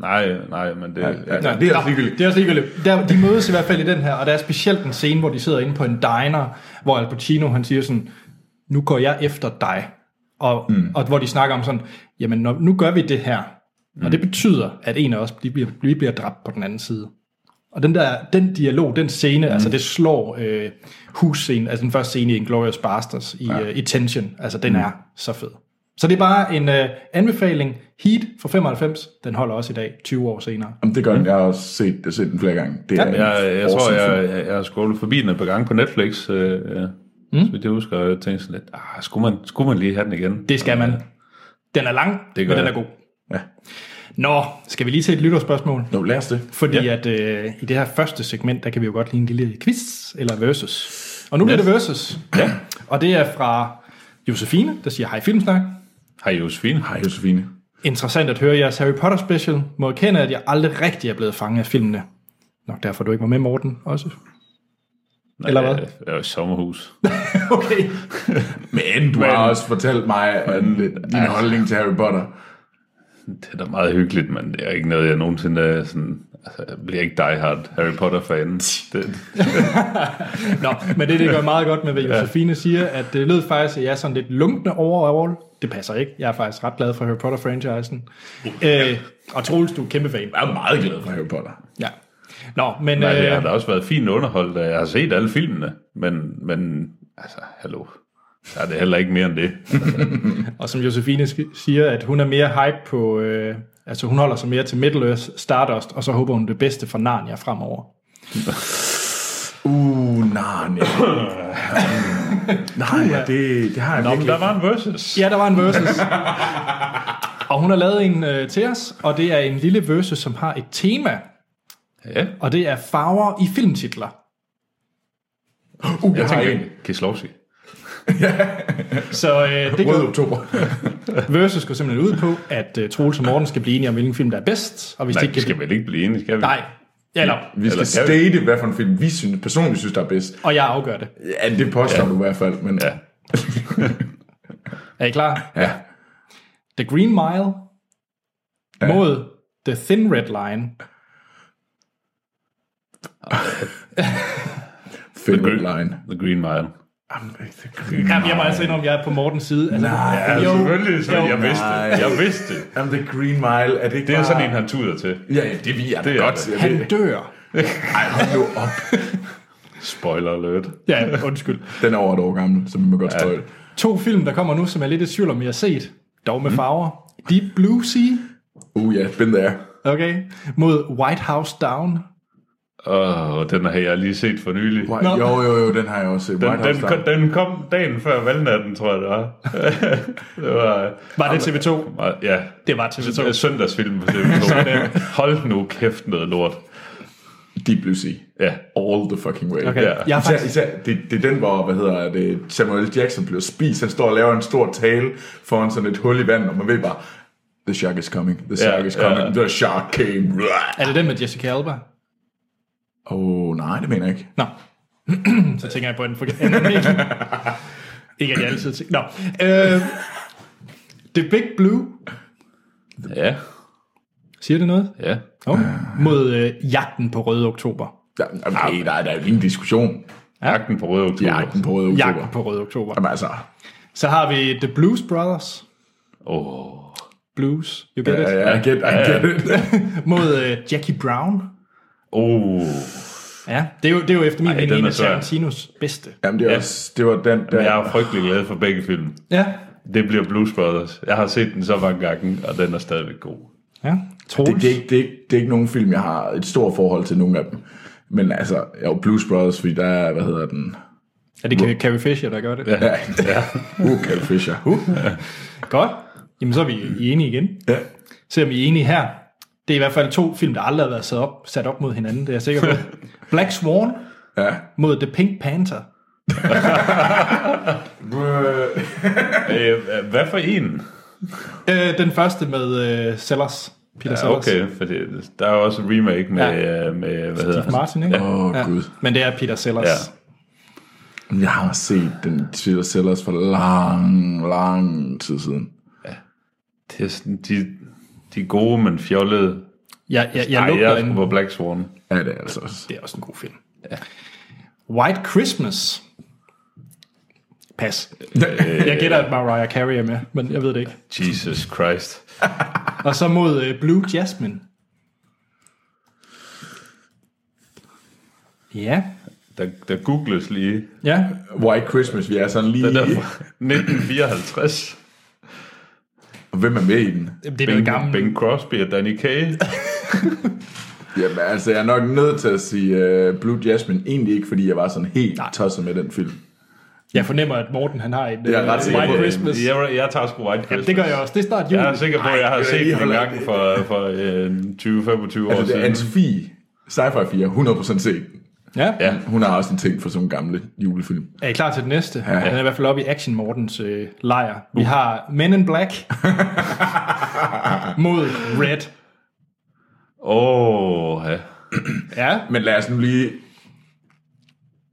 Speaker 3: Nej, nej, men det...
Speaker 2: Ja,
Speaker 3: Ja,
Speaker 2: ja. det er også ligegyldigt.
Speaker 1: Altså, Det er også ligegyldigt. Der, de mødes i hvert fald i den her, og der er specielt en scene, hvor de sidder inde på en diner, hvor Al Pacino han siger sådan, nu går jeg efter dig. Og, mm. og hvor de snakker om sådan, jamen når, nu gør vi det her. Mm. Og det betyder, at en af os de bliver, de bliver dræbt på den anden side. Og den der, den dialog, den scene, mm. altså det slår øh, husscenen, altså den første scene i Inglourious Basterds i, ja. øh, i Tension, altså den mm. er så fed. Så det er bare en øh, anbefaling. Heat fra 95, den holder også i dag, 20 år senere.
Speaker 2: Jamen, det gør den. Jeg har også set, jeg har set den flere gange. Det er en
Speaker 3: jeg, jeg tror,
Speaker 2: awesome
Speaker 3: jeg, jeg, jeg har scrollet forbi den et par gange på Netflix, øh, øh, mm. så vidt jeg husker, og jeg tænkte sådan lidt, ah, skulle man, skulle man lige have den igen?
Speaker 1: Det skal man. Den er lang, det
Speaker 3: Det
Speaker 1: men
Speaker 3: gør
Speaker 1: den er
Speaker 3: jeg.
Speaker 1: god.
Speaker 2: Ja.
Speaker 1: Nå, skal vi lige til et lytterspørgsmål?
Speaker 2: film. Nå, lad os det.
Speaker 1: Fordi ja. at øh, i det her første segment, der kan vi jo godt lige en lille quiz eller versus. Og nu bliver det versus. Ja. Og det er fra Josefine, der siger, hej Filmsnak.
Speaker 3: Hej Josefine. Hej.
Speaker 2: Hej, Josefine.
Speaker 1: Interessant at høre jeres Harry Potter special. Må erkende, at jeg aldrig rigtig er blevet fanget af filmene. Nok derfor, du ikke var med, Morten, også. Eller hvad?
Speaker 3: Jeg, jeg Øh, er jo i sommerhus.
Speaker 1: Okay.
Speaker 2: Men Altså. du
Speaker 3: Men-
Speaker 2: har også fortalt mig at din holdning til Harry Potter.
Speaker 3: Det er da meget hyggeligt, men det er ikke noget, jeg nogensinde er sådan... Altså, jeg bliver ikke die hard Harry Potter-fan. Det,
Speaker 1: Nå, men det, det gør meget godt med, hvad Josefine siger, at det lød faktisk, at jeg er sådan lidt lunkende overall. Det passer ikke. Jeg er faktisk ret glad for Harry Potter-franchisen. Øh, og Troels, du er kæmpe fan.
Speaker 2: Jeg er meget glad for Harry Potter.
Speaker 1: Ja. Nå, men...
Speaker 3: Nej, det har
Speaker 1: Øh,
Speaker 3: da også været fint underholdt. og Jeg har set alle filmene, men, men altså, hallo. Så er det heller ikke mere end det.
Speaker 1: og som Josefine sk- siger, at hun er mere hype på... Øh, altså, hun holder sig mere til Middle Earth Stardust, og så håber hun det bedste for Narnia fremover.
Speaker 2: Uh, nej, nej. nej, ja, det, det har jeg
Speaker 3: Nå, men
Speaker 2: virkelig.
Speaker 3: der var en versus.
Speaker 1: Ja, der var en versus. og hun har lavet en øh, til os, og det er en lille versus, som har et tema,
Speaker 3: Ja,
Speaker 1: og det er farver i filmtitler.
Speaker 2: Uh, jeg,
Speaker 3: jeg
Speaker 2: har
Speaker 3: tænker,
Speaker 2: en.
Speaker 3: Kislovski.
Speaker 1: Så øh, det
Speaker 2: Rød oktober.
Speaker 1: Versus går simpelthen ud på, at uh, Troels og Morten skal blive enige om, hvilken film, der er bedst. Og hvis
Speaker 3: Nej,
Speaker 1: det ikke
Speaker 3: vi
Speaker 1: kan...
Speaker 3: skal vel ikke blive enige, skal vi?
Speaker 1: Nej. Ja, Eller,
Speaker 2: Vi skal
Speaker 3: Eller kan
Speaker 2: state, hvad for en film vi synes, personligt synes, der er bedst.
Speaker 1: og jeg afgør det.
Speaker 2: Ja, det påstår ja. du i hvert fald, men ja.
Speaker 3: Ja.
Speaker 1: Er I klar?
Speaker 2: ja.
Speaker 1: The Green Mile ja. mod The Thin Red Line.
Speaker 2: Film line.
Speaker 3: The Green Mile.
Speaker 1: Jamen, jeg må altså indrømme, at jeg er på Mortens side. Altså,
Speaker 2: Nej,
Speaker 3: Ja, selvfølgelig. Så
Speaker 1: jo.
Speaker 3: jeg vidste det.
Speaker 2: Nej.
Speaker 3: Jeg vidste det.
Speaker 2: Jamen, The Green Mile, er det ikke
Speaker 3: Det er
Speaker 2: bare...
Speaker 3: sådan en, han tuder til.
Speaker 2: Ja, ja, det vi er
Speaker 3: Det
Speaker 2: det
Speaker 3: er
Speaker 2: godt.
Speaker 3: det.
Speaker 2: Jeg ved
Speaker 1: han
Speaker 2: det.
Speaker 1: dør.
Speaker 2: Ej, hold nu op.
Speaker 3: Spoiler alert.
Speaker 1: Ja, undskyld.
Speaker 2: Den er over et år gammel, så vi må godt støjle.
Speaker 1: To film, der kommer nu, som jeg er lidt i tvivl om, jeg har set. Dog med farver. Deep Blue Sea,
Speaker 2: Uh, ja, been there.
Speaker 1: okay, mod White House Down.
Speaker 3: Åh, oh, den har jeg lige set for nylig.
Speaker 2: White,
Speaker 1: Nå.
Speaker 2: jo, jo, jo, den har jeg også set.
Speaker 3: Den,
Speaker 2: White
Speaker 3: den,
Speaker 2: House
Speaker 3: kom, den kom dagen før valgnatten, tror jeg det var. det var
Speaker 1: Var det TV2?
Speaker 3: meget, ja,
Speaker 1: Det var
Speaker 3: Det er
Speaker 1: TV2.
Speaker 3: søndagsfilm på TV2. Hold nu kæft noget lort.
Speaker 2: Deep Blue Sea.
Speaker 3: Ja.
Speaker 2: All the fucking way.
Speaker 1: Okay.
Speaker 3: Ja.
Speaker 1: Jeg
Speaker 2: Ja,
Speaker 1: er
Speaker 2: især,
Speaker 1: faktisk,
Speaker 2: især, det, det er den, hvor hvad hedder det, Samuel Jackson bliver spist. Han står og laver en stor tale foran sådan et hul i vandet, og man ved bare, the shark is coming, the shark is
Speaker 3: ja.
Speaker 2: coming, the shark came.
Speaker 1: er det den med Jessica Alba?
Speaker 2: Åh, oh, nej, det mener jeg ikke.
Speaker 1: Nå. så tænker jeg på en forkert anden vinkel. Ikke at jeg altid tænker. Nå. Øh, The Big Blue.
Speaker 3: Ja,
Speaker 1: Siger det noget?
Speaker 3: ja.
Speaker 1: Okay. Mod øh, jagten på Røde Oktober.
Speaker 2: Der, okay, der, er- der er jo ingen diskussion.
Speaker 3: Jagten på røde oktober.
Speaker 2: Jeg er ikke på røde oktober.
Speaker 1: Jagten på Røde Oktober.
Speaker 2: Jamen altså,
Speaker 1: Så har vi The Blues Brothers.
Speaker 3: Åh,
Speaker 1: Blues, you get it?
Speaker 2: ja, ja, I get, I get it.
Speaker 1: Mod øh, Jackie Brown.
Speaker 3: oh.
Speaker 1: Ja, det er jo, det er jo efter min
Speaker 3: Ej,
Speaker 1: mening
Speaker 3: den
Speaker 1: en
Speaker 3: er
Speaker 1: af
Speaker 3: svær.
Speaker 1: Tarantinos bedste.
Speaker 2: Jamen det, er
Speaker 3: Ja.
Speaker 2: også, det var den der...
Speaker 3: jeg er frygtelig glad for begge film.
Speaker 1: Ja.
Speaker 3: Det bliver Blues Brothers. Jeg har set den så mange gange, og den er stadigvæk god.
Speaker 1: Ja. Troels.
Speaker 2: Det, det, er ikke, det, er ikke, det er ikke nogen film, jeg har et stort forhold til nogen af dem. Men altså, jeg er jo Blues Brothers, fordi der er, hvad hedder den?
Speaker 1: Er det Ca- Carrie Fisher, der gør det? Ja.
Speaker 2: Ja, ja. uh, Carrie Fisher. Uh.
Speaker 1: Godt. Jamen, så er vi enige igen.
Speaker 2: Ja.
Speaker 1: Se om I er enige her. Det er i hvert fald to film, der aldrig har været sat op, sat op mod hinanden, det er jeg sikker på. Black Swan
Speaker 2: ja.
Speaker 1: mod The Pink Panther.
Speaker 3: Øh, hvad for en?
Speaker 1: Øh, den første med øh, Sellers. Peter
Speaker 3: Ja,
Speaker 1: Sellers.
Speaker 3: okay, for det, der er jo også en remake med,
Speaker 1: Ja.
Speaker 3: ja. med hvad hedder han?
Speaker 1: Martin, ikke?
Speaker 2: Åh, oh, ja. gud.
Speaker 1: Men det er Peter Sellers.
Speaker 3: Ja.
Speaker 2: Jeg har set den Twitter Sellers for lang, lang tid siden.
Speaker 3: Det er sådan, de, de er gode, men fjollede.
Speaker 1: Jeg, jeg, jeg,
Speaker 3: Jeg Ej,
Speaker 1: lugter
Speaker 3: jeg er sgu
Speaker 1: en...
Speaker 3: på Black Swan.
Speaker 2: Ja, det er altså også.
Speaker 1: Det er også en god film. Ja. White Christmas. Pas.
Speaker 3: Øh.
Speaker 1: Jeg gætter, at Mariah Carey er med, men jeg ved det ikke.
Speaker 3: Jesus Christ.
Speaker 1: Og så mod øh, Blue Jasmine. Ja.
Speaker 3: Der, der googles lige.
Speaker 1: Ja.
Speaker 2: White Christmas, vi er sådan lige...
Speaker 3: Den er fra 1954.
Speaker 2: Og Hvem er med i den?
Speaker 1: Jamen, Det er noget
Speaker 3: Bing,
Speaker 1: gammelt.
Speaker 3: Bing Crosby og Danny Kaye.
Speaker 2: Jamen, altså, jeg er nok nødt til at sige uh, Blue Jasmine. Egentlig ikke, fordi jeg var sådan helt
Speaker 1: Nej.
Speaker 2: tosset med den film.
Speaker 1: Jeg fornemmer, at Morten han har en
Speaker 2: Det er jeg
Speaker 1: øh,
Speaker 2: ret sikker
Speaker 1: White
Speaker 2: på.
Speaker 1: Christmas.
Speaker 3: Jeg, jeg, jeg tager sgu White Christmas.
Speaker 1: Jamen, det gør jeg også. Det er snart jul.
Speaker 3: Jeg er sikker på, at jeg har
Speaker 2: det er
Speaker 3: set
Speaker 2: lige
Speaker 3: den en
Speaker 2: hollandt.
Speaker 3: gang for, for øh, 20-25 år
Speaker 2: Altså, det er
Speaker 3: siden.
Speaker 2: Anne-Sophie, sci-fi 4, 100% set. den.
Speaker 1: Ja. ja.
Speaker 3: Ja.
Speaker 2: Hun har også en ting for sådan en gamle julefilm.
Speaker 1: Er I klar til den næste? Ja. Den er i hvert fald oppe i Action Mortens øh, lejr. Vi har Men in Black mod Red.
Speaker 3: Åh, oh, ja.
Speaker 1: Ja.
Speaker 2: Men lad os nu lige...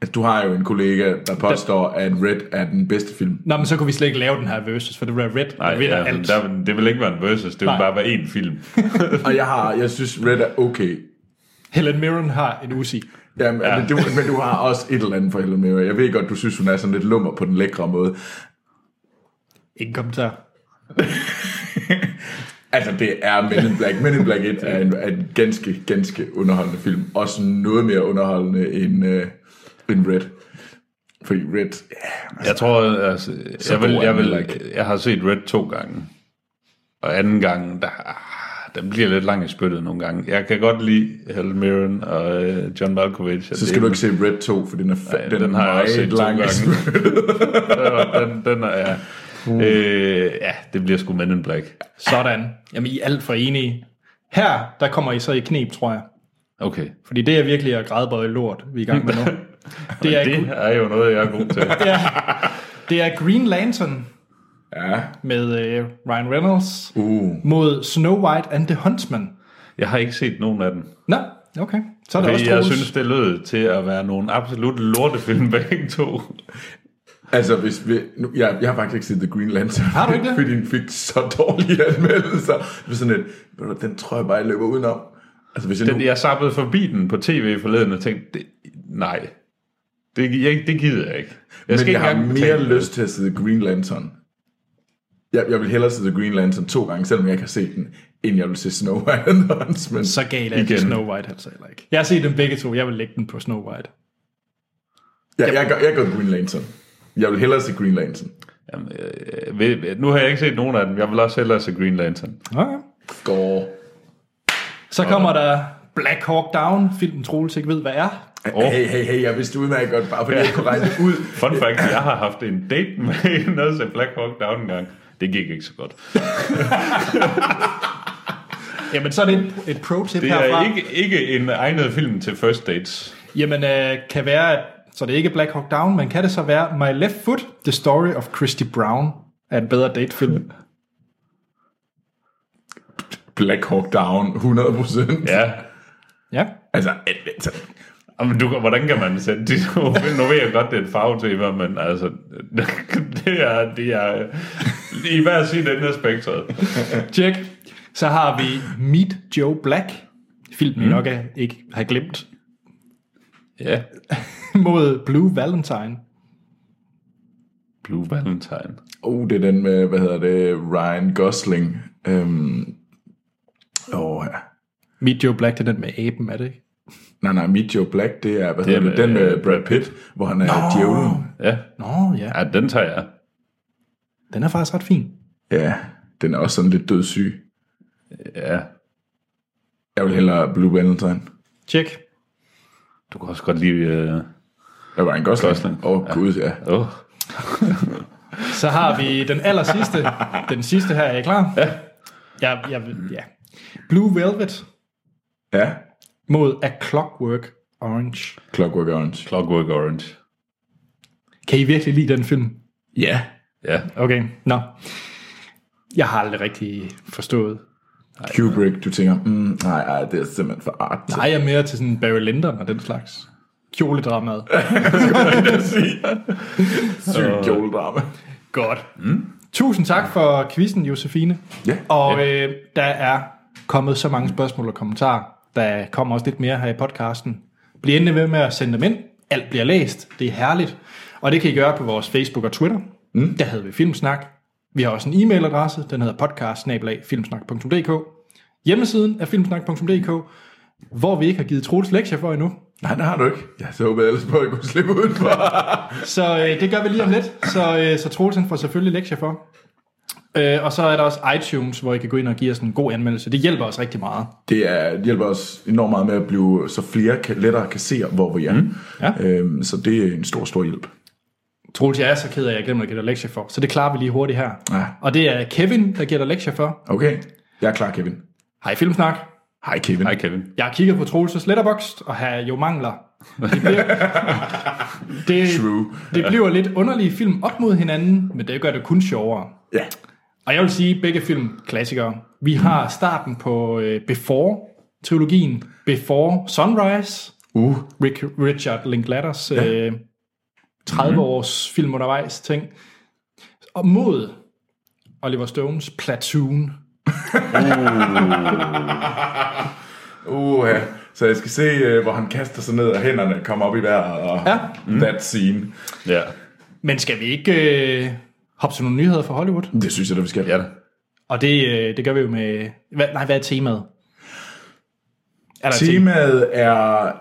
Speaker 2: Altså, du har jo en kollega, der påstår, at Red er den bedste film.
Speaker 1: Nå, men så kunne vi slet ikke lave den her versus, for det var Red,
Speaker 3: Nej,
Speaker 1: der vinder
Speaker 3: ja,
Speaker 1: alt.
Speaker 3: Der, det vil ikke være en versus, det vil
Speaker 1: Nej.
Speaker 3: bare være én film.
Speaker 2: Og jeg har, jeg synes, Red er okay.
Speaker 1: Helen Mirren har en usi.
Speaker 2: Jamen, ja. men, du, men du har også et eller andet for Helen Mirren. Jeg ved godt, du synes, hun er sådan lidt lummer på den lækre måde.
Speaker 1: Ingen kommentar.
Speaker 2: Altså, det er Men in Black. Men in Black 1 er en, er en ganske, ganske underholdende film. Også noget mere underholdende end, øh, end Red. Fordi Red... Ja,
Speaker 3: Jeg tror, altså, jeg, vil,
Speaker 2: god er
Speaker 3: jeg,
Speaker 2: den
Speaker 3: vil,
Speaker 2: heller ikke.
Speaker 3: jeg har set Red to gange. Og anden gang, der, ah, den bliver lidt lang i spyttet nogle gange. Jeg kan godt lide Helen Mirren og øh, John Malkovich. og
Speaker 2: så skal
Speaker 3: det-
Speaker 2: du ikke se Red 2, for den er, fa-
Speaker 3: den, den har jeg også set to
Speaker 2: lang.
Speaker 3: gange. den, den er, ja.
Speaker 2: Uh.
Speaker 3: Øh, ja, det bliver sgu Men in Black.
Speaker 1: Sådan. Jamen, I er alt for enige. Her, der kommer I så i knep, tror jeg.
Speaker 3: Okay.
Speaker 1: Fordi det er virkelig at grædbøje lort, vi er i gang med nu. Det er,
Speaker 3: Det er jo noget, jeg er god til.
Speaker 1: det er Green Lantern
Speaker 2: Ja.
Speaker 1: med øh, Ryan Reynolds
Speaker 2: Uh.
Speaker 1: mod Snow White and the Huntsman.
Speaker 3: Jeg har ikke set nogen af dem.
Speaker 1: Nå, okay. Så er det også
Speaker 3: Fordi jeg
Speaker 1: Troels.
Speaker 3: synes, det lød til at være nogle absolut lortefilm begge to.
Speaker 2: Altså, hvis vi, nu, jeg, jeg har faktisk ikke set The Green Lantern.
Speaker 1: Har du ikke det?
Speaker 2: Fordi den fik så dårlige anmeldelser. Det var sådan et, ved du, hvad, den tror jeg bare, jeg løber udenom. Altså, hvis jeg
Speaker 3: Den,
Speaker 2: nu,
Speaker 3: jeg zappede forbi den på tv forleden og tænkte, det, nej, det, jeg, det gider jeg ikke. Jeg
Speaker 2: men jeg har
Speaker 3: engang
Speaker 2: mere
Speaker 3: betale-
Speaker 2: lyst til at se The Green Lantern. Jeg, jeg vil hellere se The Green Lantern to gange, selvom jeg ikke har set den, end jeg vil se Snow White and the Huntsman.
Speaker 1: Så gal er det
Speaker 3: Igen.
Speaker 1: Snow White altså heller ikke. Jeg har set dem begge to. Jeg vil lægge den på Snow White.
Speaker 2: Ja, jeg, gør, jeg gør Green Lantern. Jeg vil hellere se Green Lantern.
Speaker 3: Jamen, øh, ved- nu har jeg ikke set nogen af dem. Jeg vil også hellere se Green Lantern.
Speaker 1: Okay.
Speaker 2: Går.
Speaker 1: Så kommer der Black Hawk Down, filmen Troels ikke ved, hvad er.
Speaker 3: Åh.
Speaker 2: Hey, hey, hey, jeg vidste udmærket godt, bare fordi jeg kunne regne det ud.
Speaker 3: Fun fact, jeg har haft en date med en, der så Black Hawk Down en gang. Det gik ikke så godt.
Speaker 1: Jamen, så er det et, et pro-tip
Speaker 3: Det
Speaker 1: herfra.
Speaker 3: er ikke, ikke en egnet film til first dates.
Speaker 1: Jamen, øh, kan være, at, så det er ikke Black Hawk Down, men kan det så være My Left Foot, The Story of Christy Brown, er en bedre datefilm?
Speaker 2: Black Hawk Down, 100%. Ja.
Speaker 3: Ja.
Speaker 1: Ja.
Speaker 2: Altså, al- altså,
Speaker 3: Jamen, du, hvordan kan man sætte de to film? Nu ved jeg godt, det er et farvetema, men altså, det er, det er i hver sin ende af spektret.
Speaker 1: Check. Så har vi Meet Joe Black, filmen mm. nok er, ikke har glemt,
Speaker 3: Ja.
Speaker 1: mod Blue Valentine.
Speaker 3: Blue Valentine.
Speaker 2: oh, det er den med, hvad hedder det, Ryan Gosling. Øhm, åh, ja.
Speaker 1: Meet Joe Black, det er den med aben, er det ikke?
Speaker 2: Nej, nej, Meet Joe Black, det er, hvad det hedder det,
Speaker 3: med-
Speaker 2: den med øh, Brad Pitt, hvor han er djævlen.
Speaker 3: Ja.
Speaker 1: Nå, ja.
Speaker 3: ja, den tager jeg.
Speaker 1: Den er faktisk ret fin.
Speaker 2: Ja, den er også sådan lidt dødssyg.
Speaker 3: Ja.
Speaker 2: Jeg vil hellere Blue Valentine.
Speaker 1: Check.
Speaker 3: Du kan også godt lide... Øh...
Speaker 2: Der var en Gosling.
Speaker 3: Gosling.
Speaker 2: Åh, oh, ja. gud, ja.
Speaker 3: Oh.
Speaker 1: Så har vi den aller sidste. Den sidste her, er I klar? Ja. Jeg, jeg, ja. Blue Velvet
Speaker 2: Ja,
Speaker 1: mod A Clockwork Orange.
Speaker 2: Clockwork Orange.
Speaker 3: Clockwork Orange.
Speaker 1: Kan I virkelig lide den film?
Speaker 2: Ja.
Speaker 3: Ja.
Speaker 1: Okay, nå. Jeg har aldrig rigtig forstået.
Speaker 2: Kubrick, du tænker, mm, nej, nej, det er simpelthen for art.
Speaker 1: Nej, jeg er mere til sådan Barry Lyndon og den slags kjoledramaet.
Speaker 2: Sygt kjoledrama.
Speaker 1: Godt. Mm. Tusind tak for quizzen, Josefine.
Speaker 2: Ja.
Speaker 1: Og øh, der er kommet så mange spørgsmål og kommentarer. Der kommer også lidt mere her i podcasten. Bliv endelig ved med at sende dem ind. Alt bliver læst. Det er herligt. Og det kan I gøre på vores Facebook og Twitter. Mm. Der hedder vi Filmsnak. Vi har også en e-mailadresse. Den hedder podcast-filmsnak.dk Hjemmesiden er filmsnak.dk hvor vi ikke har givet Troels lektier for endnu.
Speaker 2: Nej, det har du ikke. Jeg så håbede ellers på, at jeg kunne slippe udenfor.
Speaker 1: Så øh, det gør vi lige om lidt, så, øh, så Troels han får selvfølgelig lektier for. Øh, og så er der også iTunes, hvor I kan gå ind og give os en god anmeldelse. Det hjælper os rigtig meget.
Speaker 2: Det er, det hjælper os enormt meget med at blive, så flere kan, lettere kan se, hvor vi er. Mm.
Speaker 1: Ja.
Speaker 2: Øhm, så det er en stor, stor hjælp.
Speaker 1: Troels, jeg er så ked af, at jeg glemmer at give dig lektier for. Så det klarer vi lige hurtigt her.
Speaker 2: Ja.
Speaker 1: Og det er Kevin, der giver dig lektier for.
Speaker 2: Okay, jeg er klar, Kevin.
Speaker 1: Hej Filmsnak.
Speaker 2: Hej, Kevin.
Speaker 3: Hej Kevin.
Speaker 1: Jeg har kigget på Troels' letterbox, og her er jo mangler. Det bliver, det,
Speaker 2: True.
Speaker 1: det bliver lidt underlige film op mod hinanden, men det gør det kun sjovere.
Speaker 2: Ja.
Speaker 1: Og jeg vil sige, begge film klassikere. Vi har starten på øh, Before-trilogien. Before Sunrise.
Speaker 2: Uh,
Speaker 1: Rick, Richard Linklaters øh,
Speaker 2: Mhm.
Speaker 1: 30-års film undervejs ting. Og mod Oliver Stones Platoon.
Speaker 2: uh, ja. Så jeg skal se, øh, hvor han kaster sig ned, og hænderne kommer op i vejret, og
Speaker 1: Ja.
Speaker 2: mm. that scene.
Speaker 3: Ja.
Speaker 1: Men skal vi ikke øh, hoppe til nogle nyheder fra Hollywood?
Speaker 2: Det synes jeg, da vi skal.
Speaker 3: Ja da.
Speaker 1: Og det, øh, det gør vi jo med... Hvad, nej, hvad er temaet? Er der et tema?
Speaker 2: Temaet er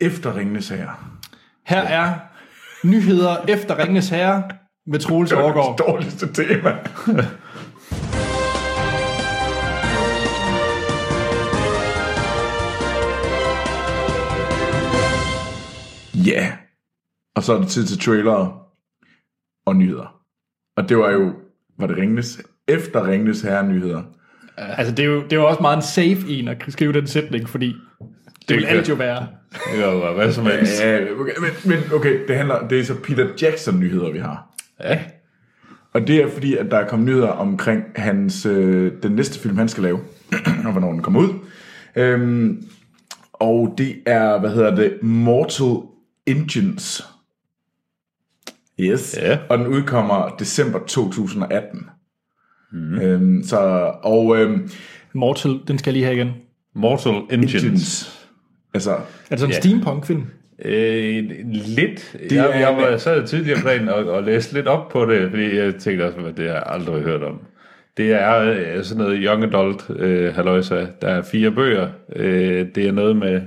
Speaker 2: efterringende sager.
Speaker 1: Her er nyheder efter Ringenes Herre med Troels Overgaard.
Speaker 2: Det dårligste tema. Ja. yeah. Og så er det tid til trailere og nyheder. Og det var jo, var det Ringnes, efter Ringnes herre nyheder.
Speaker 1: Altså, det er, jo, det er jo også meget en safe en at skrive den sætning, fordi det, det vil
Speaker 3: kan-
Speaker 1: alt jo være.
Speaker 3: Det kan jo være hvad som helst.
Speaker 2: Ja, okay, men, men okay, det handler, det er så Peter Jackson nyheder, vi har.
Speaker 3: Ja.
Speaker 2: Og det er fordi, at der er kommet nyheder omkring hans, øh, den næste film, han skal lave, og hvornår den kommer ud. Øhm, og det er, hvad hedder det, Mortal Engines. Yes.
Speaker 3: Ja.
Speaker 2: Og den udkommer december 2018. Mm. Øhm, så, og øhm,
Speaker 1: Mortal, den skal jeg lige have igen.
Speaker 3: Mortal Engines.
Speaker 2: Engines. Altså,
Speaker 1: Er det sådan en yeah. steampunk-film?
Speaker 3: Øh, lidt. Det jeg,
Speaker 2: er-
Speaker 3: jeg var, sad tidligere på dagen og, og læste lidt op på det, fordi jeg tænkte også, at det har jeg aldrig hørt om. Det er øh, sådan noget young adult øh, halløjsa. Der er fire bøger. Øh, det er noget med,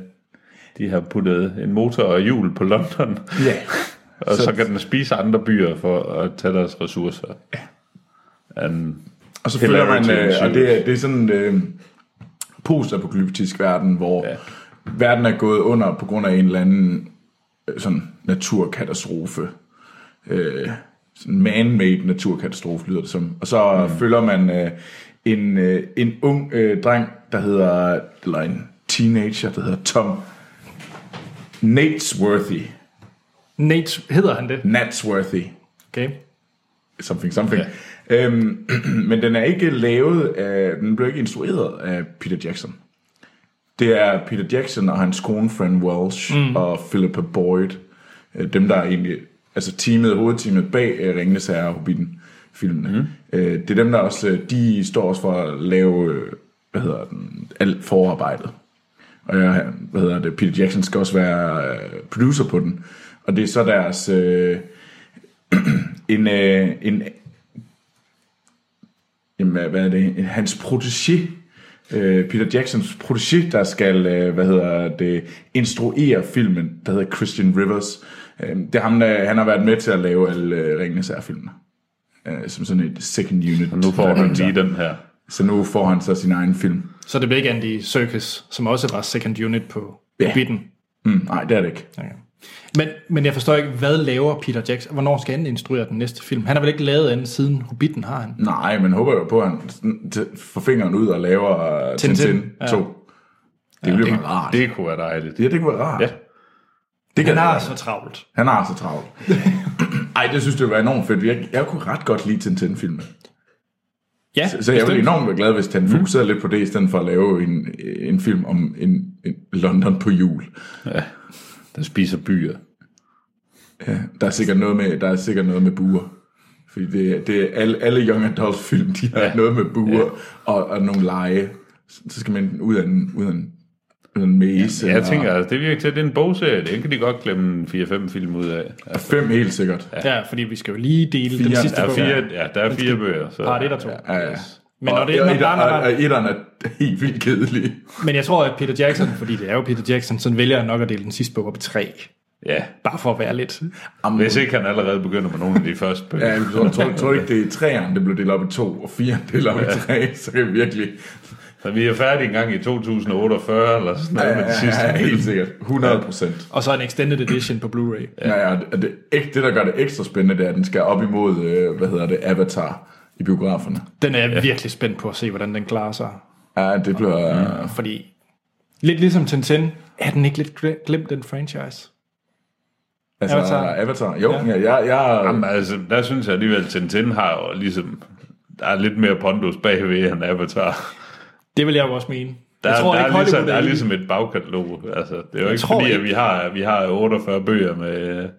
Speaker 3: de har puttet en motor og hjul på London,
Speaker 2: ja.
Speaker 3: og så, så kan den spise andre byer for at tage deres ressourcer. Ja. Um,
Speaker 2: Og så følger man,
Speaker 3: Hilarity
Speaker 2: øh, og
Speaker 3: ensues.
Speaker 2: det, er- det er sådan en øh, postapokalyptisk verden, hvor ja. verden er gået under på grund af en eller anden øh, sådan naturkatastrofe. Øh, sådan man-made naturkatastrofe, lyder det som. Og så mm. følger man øh, en, øh, en ung øh, dreng, der hedder, eller en teenager, der hedder Tom Natesworthy.
Speaker 1: Nate, hedder han det?
Speaker 2: Natsworthy.
Speaker 1: Okay.
Speaker 2: Something, something. Ja. Øhm, men den er ikke lavet af, den blev ikke instrueret af Peter Jackson. Det er Peter Jackson og hans kone Fran Welsh mm. og Philippa Boyd. øh, Dem, der er egentlig, altså teamet, hovedteamet bag øh, Ringenes Herre og Hobbiten filmene. Mm. Øh, det er dem, der også, øh, de står også for at lave, øh, hvad hedder den, alt forarbejdet. Og jeg, hvad hedder det, Peter Jackson skal også være øh, producer på den. Og det er så deres, øh, en, øh, en, en, hvad hvad er det, en, hans protégé, øh, Peter Jacksons protégé, der skal, øh, hvad hedder det, instruere filmen, der hedder Christian Rivers. Øh, det er ham, der, han har været med til at lave alle øh, Ringenes Herre-filmene. Øh, som sådan et second unit.
Speaker 3: Og nu får
Speaker 2: han
Speaker 3: han lige den her.
Speaker 2: Så nu får han så sin egen film.
Speaker 1: Så det blev ikke Andy Circus, som også var second unit på
Speaker 2: Ja.
Speaker 1: yeah. bitten.
Speaker 2: Mm, nej, det er det ikke.
Speaker 1: Okay. Men, men jeg forstår ikke, hvad laver Peter Jackson? Hvornår skal han instruere den næste film? Han har vel ikke lavet andet siden Hobbiten, har han?
Speaker 2: Nej, men håber jo på, at han sådan t- får fingeren ud og laver øh,
Speaker 1: Tintin.
Speaker 2: Tintin 2. Det ja, bliver det, rart. Det,
Speaker 3: Det kunne være dejligt.
Speaker 2: ja, det kunne være rart.
Speaker 3: Ja.
Speaker 2: Det kan
Speaker 1: Han har altså-
Speaker 2: han,
Speaker 1: så travlt.
Speaker 2: han har så travlt. Ej, det synes jeg var enormt fedt. Jeg, jeg kunne ret godt lide Tintin-filmen.
Speaker 1: Ja,
Speaker 2: Så jeg ville enormt være glad, hvis han fokuserede lidt på det, i stedet for at lave en, en film om en, en London på jul.
Speaker 3: Den spiser byer.
Speaker 2: Der er sikkert noget med, der er sikkert noget med buer. Fordi det, det er alle, alle young adult film, de har ja. noget med buer ja. og, og nogle lege. Så så skal man enten ud af en, ud af en, ud af en mese.
Speaker 3: Jeg
Speaker 2: eller-
Speaker 3: tænker, altså, det virker til, at det er en bogserie. Den kan de godt glemme 4-5 film ud af.
Speaker 2: Ja, Fem helt sikkert. Ja.
Speaker 1: Ja, fordi vi skal jo lige dele den
Speaker 2: Fire.
Speaker 1: sidste
Speaker 3: Der er
Speaker 1: bog.
Speaker 3: fire, ja, der er fire bøger. Så.
Speaker 1: Part 1 og 2.
Speaker 2: Ja, ja.
Speaker 1: Men, når
Speaker 2: og,
Speaker 1: det,
Speaker 2: og,
Speaker 1: når, nej,
Speaker 2: etter,
Speaker 1: nej,
Speaker 2: og, og
Speaker 1: nej.
Speaker 2: etteren er helt vildt kedelig.
Speaker 1: men jeg tror, at Peter Jackson, fordi det er jo Peter Jackson, så vælger jeg nok at dele den sidste bog op i tre.
Speaker 3: Ja.
Speaker 1: Bare for at være lidt.
Speaker 3: Hvis ikke han allerede begynder med nogle af de første bøger.
Speaker 2: Ja, jeg tror, tror, tror ikke, det er træerne, det blev delt op i to, og fire delt op i tre, så det er virkelig...
Speaker 3: Så vi er færdige en gang i 2048 eller sådan noget ja, med det sidste.
Speaker 2: Ja, helt sikkert. 100 procent.
Speaker 1: Og så en extended edition på Blu-ray.
Speaker 2: Ja. Ja, ja, og det, ikke, det, der gør det ekstra spændende, det er, at den skal op imod, øh, hvad hedder det, Avatar i biograferne.
Speaker 1: Den er jeg virkelig spændt på at se, hvordan den klarer sig.
Speaker 2: Ja, det bliver...
Speaker 3: Mm.
Speaker 2: Øh,
Speaker 1: Fordi lidt ligesom Tintin, er den ikke lidt gle- glemt, den franchise?
Speaker 2: altså,
Speaker 1: Avatar.
Speaker 2: Avatar. Avatar. Jo, ja. jeg, jeg,
Speaker 3: Jamen, altså, der synes jeg alligevel, at Tintin har jo ligesom... Der er lidt mere pondus bagved end Avatar.
Speaker 1: Det vil jeg jo også mene.
Speaker 3: Der,
Speaker 1: jeg tror
Speaker 3: der,
Speaker 1: ikke,
Speaker 3: er ligesom,
Speaker 1: Hollywood
Speaker 3: der er
Speaker 1: i-
Speaker 3: ligesom et bagkatalog. Altså, det er jo ikke
Speaker 1: tror
Speaker 3: fordi,
Speaker 1: ikke.
Speaker 3: at vi har, vi har 48 bøger med,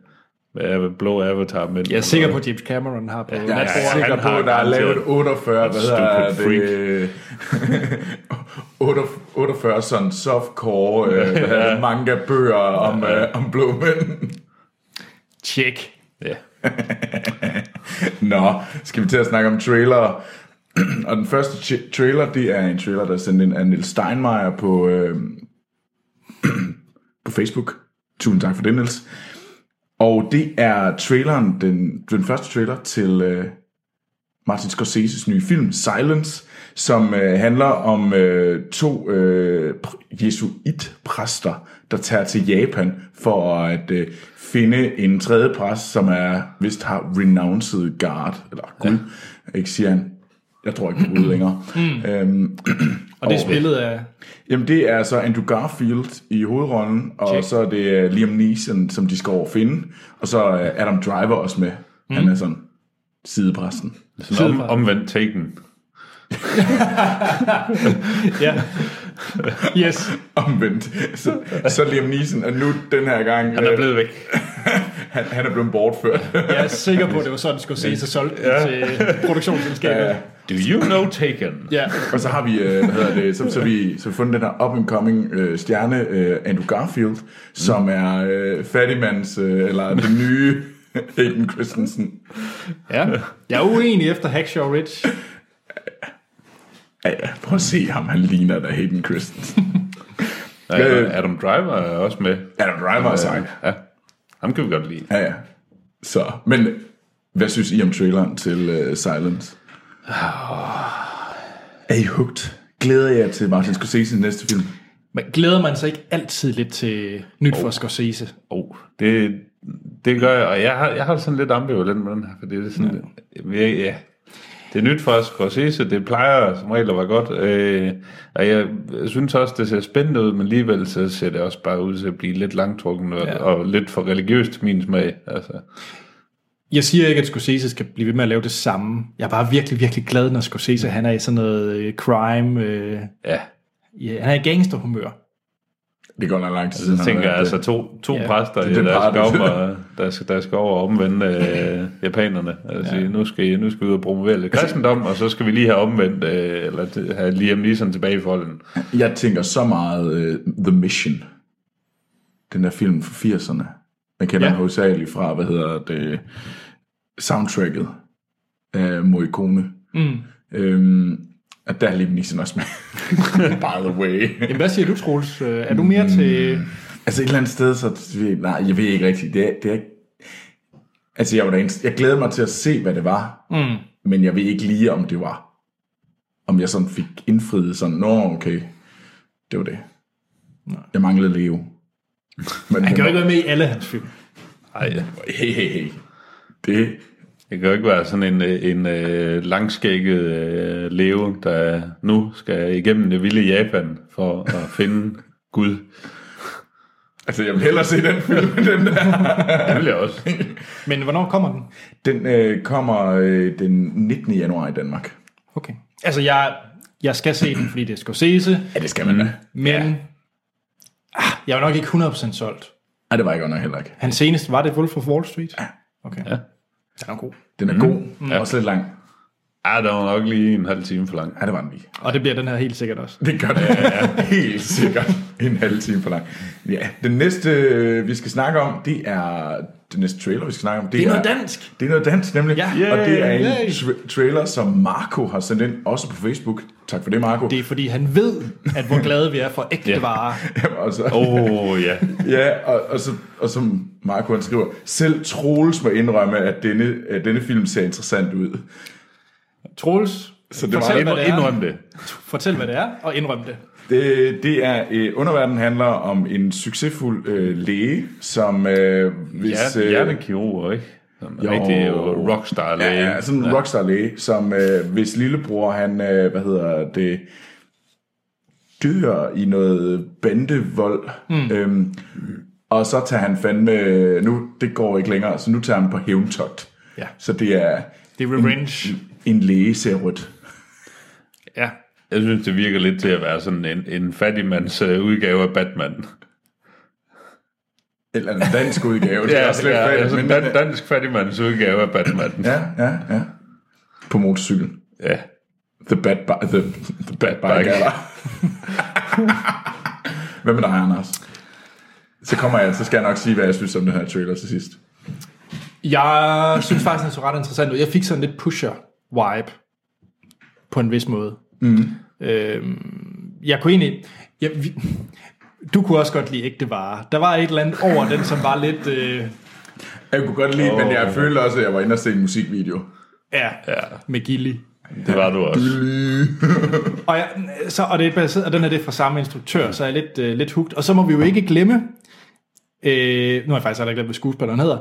Speaker 3: med av- blå Avatar. Men,
Speaker 1: Jeg er sikker på, at James Cameron har på ja,
Speaker 2: jeg er
Speaker 3: ja,
Speaker 2: sikker
Speaker 3: han
Speaker 2: på,
Speaker 3: har
Speaker 2: at der er
Speaker 3: garanteret
Speaker 2: lavet 48, hvad hedder
Speaker 3: stupid
Speaker 2: det, 48 48 sådan softcore øh, hvad hedder det, manga-bøger om, øh, om blå mænd.
Speaker 1: Tjek.
Speaker 3: Ja.
Speaker 2: Nå, skal vi til at snakke om trailer. og den første tra- trailer, det er en trailer, der er sendt ind af Niels Steinmeier på, øh, på Facebook. Tusind tak for det, Niels. Og det er traileren, den, den første trailer til øh, Martin Scorseses nye film, Silence, som øh, handler om øh, to øh, pr- jesuitpræster, der tager til Japan for at øh, finde en tredje præst, som er vist har renounced God, eller Gud, ja. ikke siger han. Jeg tror ikke på Gud længere. Mm. Øhm,
Speaker 1: Og det er spillet af...
Speaker 2: Jamen det er så Andrew Garfield i hovedrollen, og Check. så er det øh, Liam Neeson, som de skal overfinde, og så er øh, Adam Driver også med. Mm. Han er sådan sidepræsten.
Speaker 3: Sådan om, omvendt Taken.
Speaker 1: Ja. Yes.
Speaker 2: Omvendt. Så, så Liam Neeson, og nu den her gang,
Speaker 3: Han er
Speaker 2: øh,
Speaker 3: blevet væk.
Speaker 2: han, han er blevet bortført.
Speaker 1: Jeg er sikker på, at det var sådan, skulle se sig solgt ja. til produktionsselskabet. Ja.
Speaker 3: Do you know Taken?
Speaker 1: ja.
Speaker 2: og så har vi, øh, hvad hedder det, så, så, har vi, så har vi fundet den her up-and-coming øh, stjerne, øh, Andrew Garfield, som er øh, fattigmands, øh, eller den nye Aiden Christensen.
Speaker 1: ja. Jeg er uenig efter Hackshaw Ridge.
Speaker 2: Ja, ja, prøv at se ham, han ligner da Hayden Christensen.
Speaker 3: Ja, Adam Driver er også med.
Speaker 2: Adam Driver er sej.
Speaker 3: Ja. Ham kan vi godt lide.
Speaker 2: Ja, ja. Så, men hvad synes I om traileren til uh, Silence? Er I hooked? Glæder jeg til Martin Scorsese's næste film?
Speaker 1: Men glæder man sig ikke altid lidt til nyt for Scorsese?
Speaker 3: Oh, det, Det gør jeg, og jeg har, jeg har det sådan lidt ambivalent med den her, for det er sådan, ja. Jeg, ja. Det er nyt for os, Scorsese, det plejer som regel at være godt, øh, og jeg synes også, det ser spændende ud, men alligevel så ser det også bare ud til at blive lidt langtrukken og, ja. og lidt for religiøst til min smag. Altså.
Speaker 1: Jeg siger ikke, at Scorsese skal blive ved med at lave det samme. Jeg er bare virkelig, virkelig glad, når Scorsese han er i sådan noget øh, crime... Øh,
Speaker 3: Ja,
Speaker 1: ja, han er i gangsterhumør.
Speaker 2: Det går nok lang tid siden.
Speaker 3: så
Speaker 2: han
Speaker 3: tænker
Speaker 2: har
Speaker 3: jeg
Speaker 2: været
Speaker 3: altså to, to
Speaker 1: Ja.
Speaker 3: ja, præster,
Speaker 2: Det er den
Speaker 3: der,
Speaker 2: part,
Speaker 3: skal
Speaker 2: der-
Speaker 3: om og, der, skal, der skal over og omvende øh, japanerne. Altså, ja. nu, skal, I- nu skal vi ud og promovere lidt kristendom, og så skal vi lige have omvendt, øh, eller t- have Liam Neeson tilbage i folden.
Speaker 2: det. Jeg tænker så meget uh, The Mission. Den der film fra 80'erne. Man kender
Speaker 1: Ja.
Speaker 2: ja. den hovedsageligt fra, hvad hedder det, soundtracket af Morricone. Mm. Øhm, og der er Liam Neeson også med. By the way.
Speaker 1: Jamen, hvad siger du, Troels? Øh, Er du mere til...
Speaker 2: Altså et eller andet sted, så... Nej, jeg ved ikke rigtigt. Det er, det er ikke... Altså jeg, var da en, jeg glæder mig til at se, hvad det var.
Speaker 1: Mm.
Speaker 2: Men jeg ved ikke lige, om det var... Om jeg sådan fik indfriet sådan... Nå, okay. Det var det. Nej. Jeg manglede Leo. Men
Speaker 1: Han kan jo ikke være med i alle hans film.
Speaker 3: Ej, ja.
Speaker 2: Hey, hey, hey. Det...
Speaker 3: Det kan jo ikke være sådan en, øh, en øh, langskægget øh, leve, der nu skal igennem det vilde Japan for at finde Gud.
Speaker 2: Altså, jeg vil hellere se den film end den der.
Speaker 3: Det vil jeg også.
Speaker 1: Men hvornår kommer den?
Speaker 2: Den øh, kommer øh, den 19. januar i Danmark.
Speaker 1: Okay. Altså, jeg, jeg skal se den, fordi det er Scorsese,
Speaker 2: Ja, det skal man da.
Speaker 1: men ah, jeg er nok ikke 100% solgt.
Speaker 2: Ej, det var jeg godt nok heller ikke.
Speaker 1: Hans seneste, var det Wolf of Wall Street? Ja. Okay. Ja. Den er god.
Speaker 2: Den er mm. god. Mm. Også lidt lang.
Speaker 3: Ej, der var nok lige en halv time for langt.
Speaker 2: Ja, det var en vi.
Speaker 1: Og det bliver den her helt sikkert også.
Speaker 2: Det gør det. Ja, helt sikkert. En halv time for lang. Ja, den næste, øh, vi skal snakke om, det er... Den næste trailer, vi skal snakke om, det,
Speaker 1: Det er noget dansk.
Speaker 2: Det er noget dansk, nemlig.
Speaker 1: Ja.
Speaker 2: Og det er en
Speaker 1: Yay.
Speaker 2: tra- trailer, som Marco har sendt ind, også på Facebook. Tak for det, Marco.
Speaker 1: Det er fordi, han ved, at hvor glade vi er for ægte
Speaker 3: Ja.
Speaker 1: varer.
Speaker 2: og så,
Speaker 3: Åh, oh, ja.
Speaker 2: Ja, og, og, så, og som Marco han skriver, selv Troels må indrømme, at denne, at denne film ser interessant ud.
Speaker 1: Troels,
Speaker 2: Så det var
Speaker 1: fortæl, hvad
Speaker 3: Indrøm,
Speaker 1: det er.
Speaker 3: indrøm det.
Speaker 1: fortæl, hvad det er, og indrøm det.
Speaker 2: Det, det er øh, underverden handler om en succesfuld øh, læge, som øh, hvis
Speaker 3: Hjerte, hjertekirurger, ikke? Som jo. Rigtig jo rockstar
Speaker 2: Ja,
Speaker 3: læge.
Speaker 2: ja, sådan en ja. rockstar læge, som øh, hvis lillebror han, øh, hvad hedder det, dør i noget bandevold,
Speaker 3: Hmm.
Speaker 2: mm. øhm, og så tager han fandme, øh, nu det går ikke længere, så nu tager han på hævntogt.
Speaker 1: Ja.
Speaker 2: Så det er
Speaker 1: Det er revenge.
Speaker 2: en læge ser rødt.
Speaker 3: Ja. Jeg synes, det virker lidt til at være sådan en, en fattigmands øh, udgave af Batman.
Speaker 2: Eller en dansk udgave, det er
Speaker 3: Ja,
Speaker 2: også lidt
Speaker 3: ja,
Speaker 2: fedt,
Speaker 3: altså,
Speaker 2: men-
Speaker 3: dan, dansk fattigmands udgave af Batman.
Speaker 2: ja, ja, ja. På motorcyklen.
Speaker 3: ja.
Speaker 2: The Bad, bi- the, the bad Bike.
Speaker 3: Bike.
Speaker 2: Gala. Hvad med dig, Anders? Så kommer jeg, så skal jeg nok sige, hvad jeg synes om den her trailer til sidst.
Speaker 1: Jeg synes faktisk, den så ret interessant ud. Jeg fik sådan lidt pusher-vibe på en vis måde. Mm. Øhm, jeg kunne egentlig... Jeg, vi, du kunne også godt lide ægte varer. Der var et eller andet over den, som var lidt... Øh,
Speaker 2: Jeg kunne godt lide, oh. men jeg følte også, at jeg var inde og se en musikvideo.
Speaker 1: ja, ja, med Gilly.
Speaker 3: Det var du også.
Speaker 1: Og, jeg, så, og, det er baseret, og den her det er fra samme instruktør, så er jeg lidt, øh, lidt hugt. Og så må vi jo ikke glemme... Øh, nu har jeg faktisk aldrig glemt, hvad skuespilleren hedder.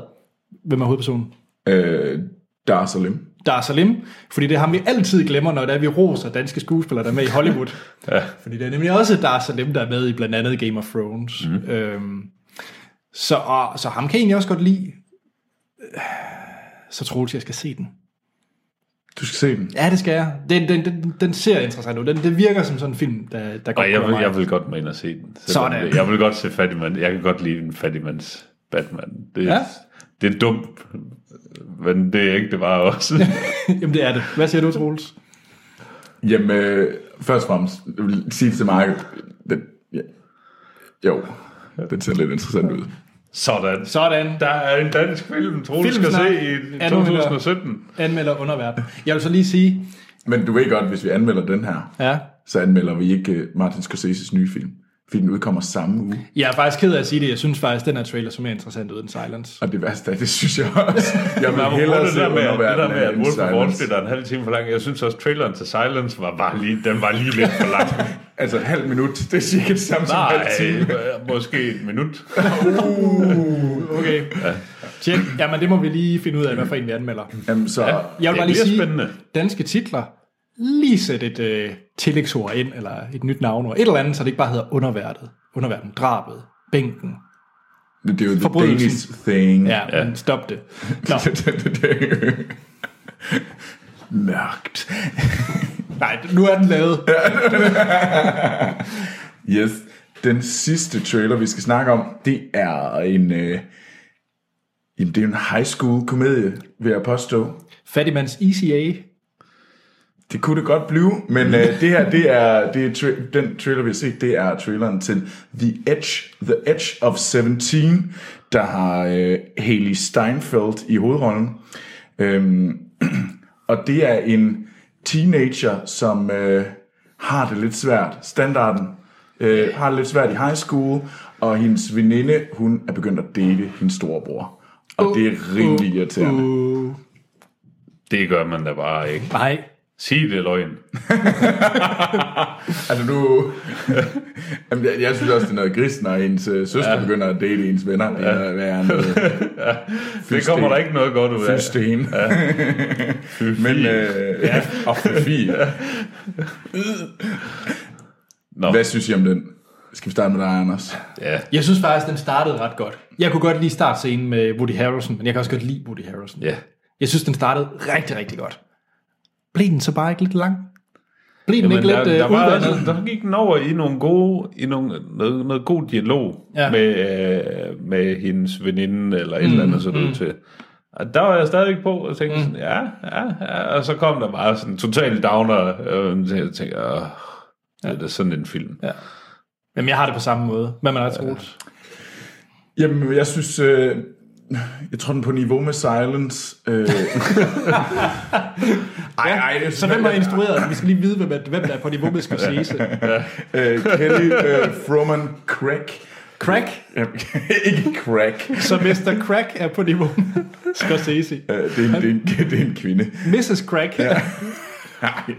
Speaker 1: Hvem er hovedpersonen?
Speaker 2: Øh, der er så lim.
Speaker 1: Dar Salim, fordi det har vi altid glemmer, når det er, vi roser danske skuespillere, der er med i Hollywood. ja. Fordi det er nemlig også Dar Salim, der er med i blandt andet Game of Thrones.
Speaker 3: Mhm.
Speaker 1: Mm. Øhm, så, og, så ham kan jeg egentlig også godt lide. Øh, Så Troels, jeg skal se den.
Speaker 2: Du skal se den.
Speaker 1: Ja, det skal jeg. Den, den, den, den ser interessant ud. Den, det virker som sådan en film, der, der
Speaker 3: Og
Speaker 1: godt
Speaker 3: jeg
Speaker 1: kunne
Speaker 3: vil,
Speaker 1: mig.
Speaker 3: jeg vil godt med ind og se den. Selvom
Speaker 1: Sådan.
Speaker 3: det- Jeg vil godt se fattigmand. Jeg kan godt lide en fattigmands Batman. Det,
Speaker 1: Ja.
Speaker 3: ja. det er dumt, men det er ikke det var også.
Speaker 1: Jamen, det er det. Hvad siger du, Troels?
Speaker 2: Jamen, øh, først og fremmest, jeg vil sige til Mark, den, ja. jo, den ser lidt interessant ud.
Speaker 3: Sådan.
Speaker 1: Sådan.
Speaker 3: Der er en dansk film, Troels skal
Speaker 1: Filmsnak.
Speaker 3: se i
Speaker 1: Er du
Speaker 3: 2017.
Speaker 1: Anmelder underverden. Jeg vil så lige sige...
Speaker 2: Men du ved godt, hvis vi anmelder den her,
Speaker 1: Ja,
Speaker 2: så anmelder vi ikke øh, Martin Scorseses nye film. Fordi den udkommer samme uge.
Speaker 1: jeg er faktisk ked af at sige det. Jeg synes faktisk, den her trailer så mere interessant ud end Silence.
Speaker 2: Og det værste er, det synes jeg også. Jeg
Speaker 3: Men
Speaker 2: vil
Speaker 3: apropos
Speaker 2: hellere
Speaker 3: det
Speaker 2: se
Speaker 3: der med, at- det der med, at
Speaker 2: underverdenen end
Speaker 3: Wolf of Wall Street
Speaker 2: Silence.
Speaker 3: er en halv time for lang, jeg synes også, traileren til Silence var bare lige, den var lige lidt for lang.
Speaker 2: Altså et halvt minut, det er cirka det samme som en halv
Speaker 3: Nej,
Speaker 2: time.
Speaker 3: øh, måske et minut.
Speaker 1: Okay. Ja. Tjek. Jamen, det må vi lige finde ud af, hvad for en vi anmelder.
Speaker 2: Jamen, så, ja.
Speaker 1: Jeg vil
Speaker 3: Det
Speaker 1: bare lige
Speaker 3: bliver
Speaker 1: sige,
Speaker 3: spændende.
Speaker 1: danske titler, lige sæt et øh, tillægsord ind, eller et nyt navnord, et eller andet, så det ikke bare hedder underværdet, underverden, drabet, bænken.
Speaker 2: det er jo the
Speaker 1: Forbrydelsen.
Speaker 2: Danish thing.
Speaker 1: Ja, ja. men stop det. Nå,
Speaker 2: Mørkt.
Speaker 1: nej, nu er den lavet.
Speaker 2: Yes. Den sidste trailer, vi skal snakke om, det er en... Øh, jamen, det er en high school komedie, vil jeg påstå.
Speaker 1: Fattigmands E ECA.
Speaker 2: Det kunne det godt blive, men øh, det her, det er, det er tra- den trailer, vi har set, det er traileren til The Edge, The Edge of 17, der har øh, Haley Steinfeld i hovedrollen. Øhm, og det er en teenager, som øh, har det lidt svært, standarden, øh, har det lidt svært i high school, og hendes veninde, hun er begyndt at date hendes storebror. Og det er rimelig irriterende.
Speaker 1: Uh,
Speaker 3: Det gør man da bare ikke.
Speaker 1: nej,
Speaker 3: Sig det er løgn.
Speaker 2: Altså nu... Jamen, jeg, jeg synes også, det er noget gris, når ens øh, søster ja. begynder at date ens venner. Det er noget værre end øh, noget
Speaker 3: Det kommer der ikke noget godt ud af.
Speaker 2: fyldsten. Ja. Men, øh, ja, og fyfi.
Speaker 3: Nå,
Speaker 2: Hvad synes I om den? Skal vi starte med dig, Anders?
Speaker 3: ja.
Speaker 1: Jeg synes faktisk, den startede ret godt. Jeg kunne godt lide startscenen med Woody Harrelson, men jeg kan også godt lide Woody Harrelson.
Speaker 3: ja.
Speaker 1: Jeg synes, den startede rigtig, rigtig godt. Blev den så bare ikke lidt lang? Blev den
Speaker 3: Men
Speaker 1: ikke
Speaker 3: der,
Speaker 1: lidt
Speaker 3: der,
Speaker 1: øh,
Speaker 3: var,
Speaker 1: udvandet?
Speaker 3: der, der gik den over i nogle gode, i nogle, noget, noget god dialog
Speaker 1: Ja.
Speaker 3: ja. med, øh, med hendes veninde eller et mm, eller andet, så det ud til. Og der var jeg stadigvæk på og tænkte mm. sådan, ja, ja, ja, og så kom der bare sådan en total downer, øh, så jeg tænkte, åh, ja. det er sådan en film.
Speaker 1: Ja. Jamen, jeg har det på samme måde. Hvad man har troet.
Speaker 2: Jamen, jeg synes... Øh, jeg tror, den er på niveau med Silence. Øh. ej, ej, det er
Speaker 1: Så hvem har instrueret den? Vi skal lige vide, hvem, hvem der er på niveau med Scorsese.
Speaker 2: øh, Kelly øh, Froman Crack.
Speaker 1: Crack?
Speaker 2: Jamen, ikke Crack.
Speaker 1: Så Mr. Crack er på niveau med Scorsese.
Speaker 2: Øh, det, er en, det, er en, det er en kvinde.
Speaker 1: Mrs. Crack. Ja.
Speaker 2: Nej.